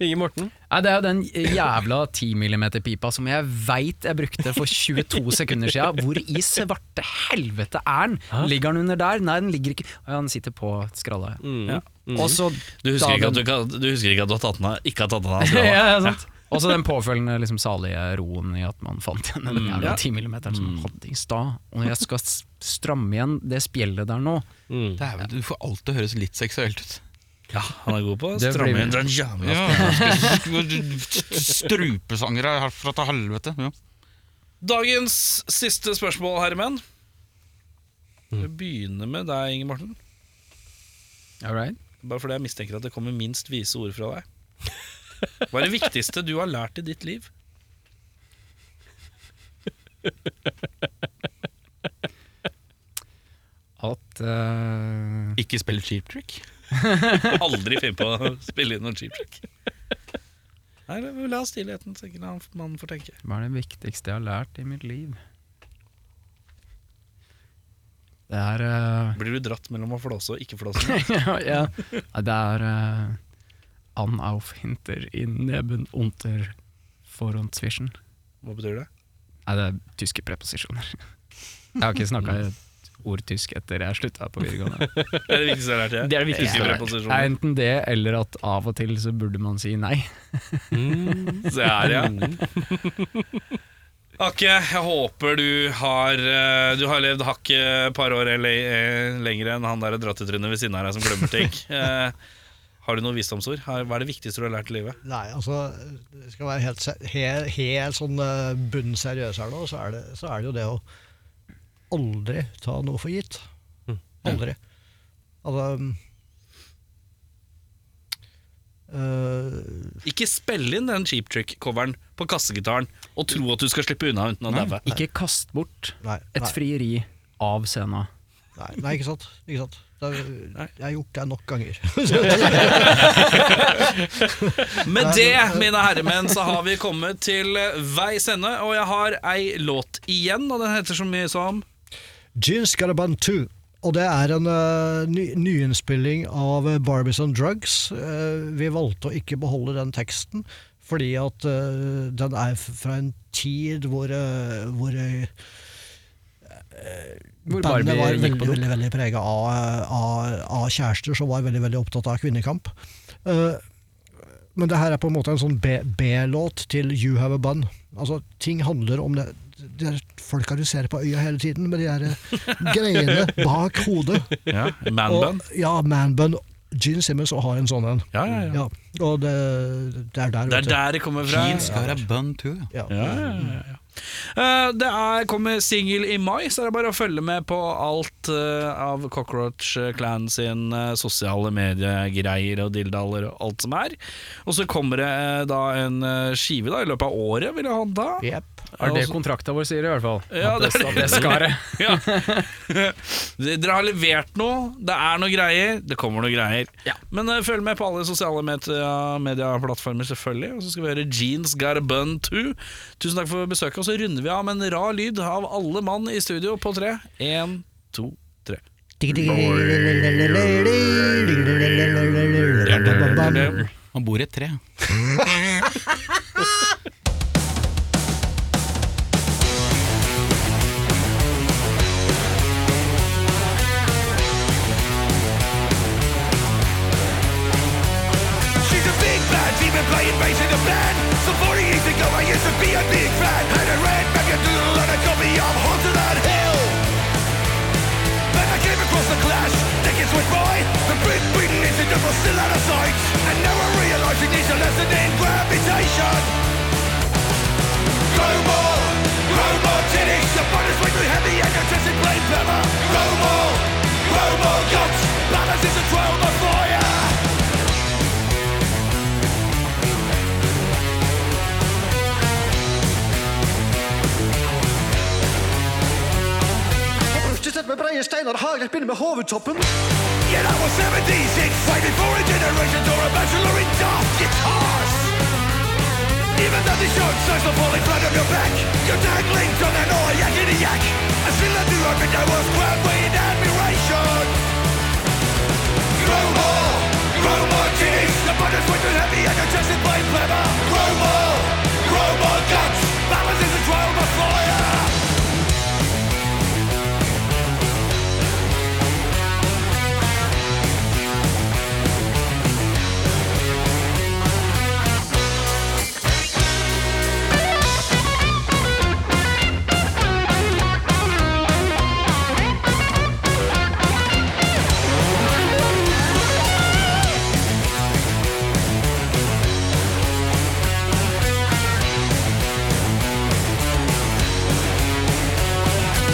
Speaker 1: Inge Morten.
Speaker 8: Nei, det er jo den jævla 10 mm-pipa som jeg veit jeg brukte for 22 sekunder sia. Hvor i svarte helvete er den? Ligger den under der? Nei, den ligger ikke Å ja, den sitter på skralla. Ja. Ja. Og så
Speaker 2: Mm. Du,
Speaker 8: da
Speaker 2: husker ikke at
Speaker 8: den-
Speaker 2: du, kan- du husker ikke at du har tatt den av? Ikke har tatt den av? skal jeg ha.
Speaker 8: ja, ja, sant. Og så den påfølgende liksom, salige roen i at man fant igjen den jævla 10 mm som man hadde i stad. Og når jeg skal s- stramme igjen det spjeldet der nå
Speaker 3: Dæven, Du får alt til å høres litt seksuelt ut.
Speaker 2: Ja, han er god på å
Speaker 8: Det
Speaker 2: stramme
Speaker 8: blir-
Speaker 2: inn den jævla
Speaker 3: Ja, Strupesangere herfra til helvete. Ja.
Speaker 2: Dagens siste spørsmål, herremenn. Vi begynner med deg, Inge Morten.
Speaker 8: All right.
Speaker 2: Bare fordi jeg mistenker at det kommer minst vise ord fra deg. Hva er det viktigste du har lært i ditt liv?
Speaker 8: At eh,
Speaker 3: Ikke spill cheap trick.
Speaker 2: Aldri finne på å spille inn noen cheap trick. Nei, det- la stillheten tenke la mannen får tenke.
Speaker 8: Hva er det viktigste jeg har lært i mitt liv? Det er eh,
Speaker 2: Blir du dratt mellom å flåse og ikke flåse?
Speaker 8: ja, ja. Nei, Det er eh, An auf hinter i neben unter foran zwischen.
Speaker 1: Hva betyr det?
Speaker 8: Nei, det er tyske preposisjoner. Jeg har ikke snakka et ord tysk etter jeg slutta på videregående.
Speaker 1: Det er det viktigste jeg har lært. jeg.
Speaker 10: Det er det viktigste
Speaker 1: Tyske
Speaker 10: jeg har
Speaker 1: preposisjoner.
Speaker 8: Nei, enten det, eller at av og til så burde man si nei.
Speaker 1: Se her, ja. Akke, jeg håper du har eh, Du har levd hakket et par år eller eh, lenger enn han der drattetrynet ved siden av deg som glemmer ting. Eh, Har du noen visdomsord? Har- Hva er det viktigste du har lært i livet?
Speaker 7: Nei, altså Det skal være helt, se- helt, helt sånn eh, bunnseriøs her nå, så er, det, så er det jo det å aldri ta noe for gitt. Aldri. Altså um, eh,
Speaker 2: Ikke spille inn den cheap trick-coveren på kassegitaren og tro at du skal slippe unna uten å daue.
Speaker 8: Ikke kast bort
Speaker 7: nei,
Speaker 8: et
Speaker 7: nei,
Speaker 8: frieri av scena.
Speaker 7: nei, nei, ikke sant? Ikke sant? Det, er- jeg har gjort det nok ganger.
Speaker 2: Med det, mine herremenn, så har vi kommet til eh, veis ende, og jeg har ei låt igjen, og den heter så mye som
Speaker 7: Jeans Got a Band 2. Og det er en eh, ny, nyinnspilling av eh, Barbies on Drugs. Eh, vi valgte å ikke beholde den teksten, fordi at eh, den er f- fra en tid hvor, eh, hvor eh,
Speaker 8: Hvor
Speaker 7: bandet var
Speaker 8: Barbie
Speaker 7: veldig,
Speaker 8: gikk på do.
Speaker 7: veldig, veldig prega av, av, av kjærester som var veldig, veldig opptatt av kvinnekamp. Eh, men det her er på en måte en sånn B- B-låt til You Have A Bun. Altså, ting handler om det. Det er folka du ser på øya hele tiden, med de der eh, greiene bak hodet.
Speaker 2: ja,
Speaker 7: Og, ja, manbun. Gene Simmons og har en sånn en.
Speaker 2: Ja, ja, ja.
Speaker 7: Ja, og det, det er der,
Speaker 2: Det er
Speaker 7: vet du.
Speaker 2: der det kommer fra.
Speaker 7: Ja.
Speaker 2: Eh, Det er, kommer singel i mai, så er det bare å følge med på alt eh, av Cockroach Clan sin eh, sosiale mediegreier og dildaller og alt som er. Og så kommer det eh, da en eh, skive da, i løpet av året, vil jeg anta.
Speaker 7: Jep.
Speaker 8: Er det kontrakta vår sier, i hvert fall?
Speaker 2: Ja, det er det.
Speaker 8: At det skaret.
Speaker 2: Ja. Dere har levert noe, det er noe greier, det kommer noe greier. Men eh, følg med på alle sosiale media- medieplattformer, selvfølgelig. Og så skal vi høre Jeans Got a Bun 2. Tusen takk for besøket, og så runder vi av med en rar lyd av alle mann i studio på tre. Én, to, tre.
Speaker 11: Han bor i et tre.
Speaker 3: She's a big fan, she's been playing bass in a band. Some 40 years ago, I used to be a big fan. And I ran back into the line and got me up onto that hill. Then I came across the clash, tickets went by. The big beaten incident was still out of sight. And now I realize it needs a lesson in gravitation. Grow more, grow more titties. The fun is way too heavy and your chest is blade pepper. Grow more, grow more guts. Balance is a trial by fire.
Speaker 7: Brustet med breie steiner, haglet begynner med hovedtoppen.
Speaker 3: Yet I was 76, fighting for a generation or a bachelor in dark guitars. Even though the shirt size are falling flat on your back, you're dangling on an all yak in a yak. I still at the orbit, I was crowned with admiration. Grow more, grow more titties. The buttons were too heavy and your chest is plain clever. Grow more, grow more guts. Balance is a trial by fire.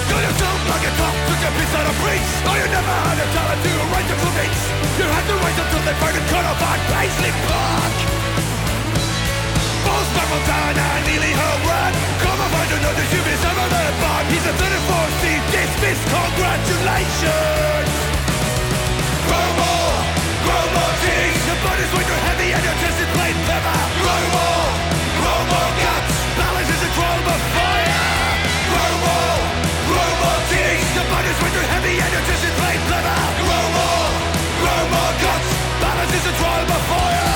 Speaker 3: Got your tongue like a top, took a piece out of breach. Oh, you never had a talent to write the critics. You had to wait until they fired and cut off on Paisley Park. Both Michael Dunn and Neely Horan. Come on, find another human, some other bond. He's a 34 seed, dismissed, congratulations. Grow more, grow more titties. Your body's way too heavy and your chest is plain leather. Grow more, grow more guts. Balance is a chrome of fire. Grow more, grow more titties. Your body's way too heavy and your chest is plain leather. Grow more, grow more guts. Balance is a chrome of fire.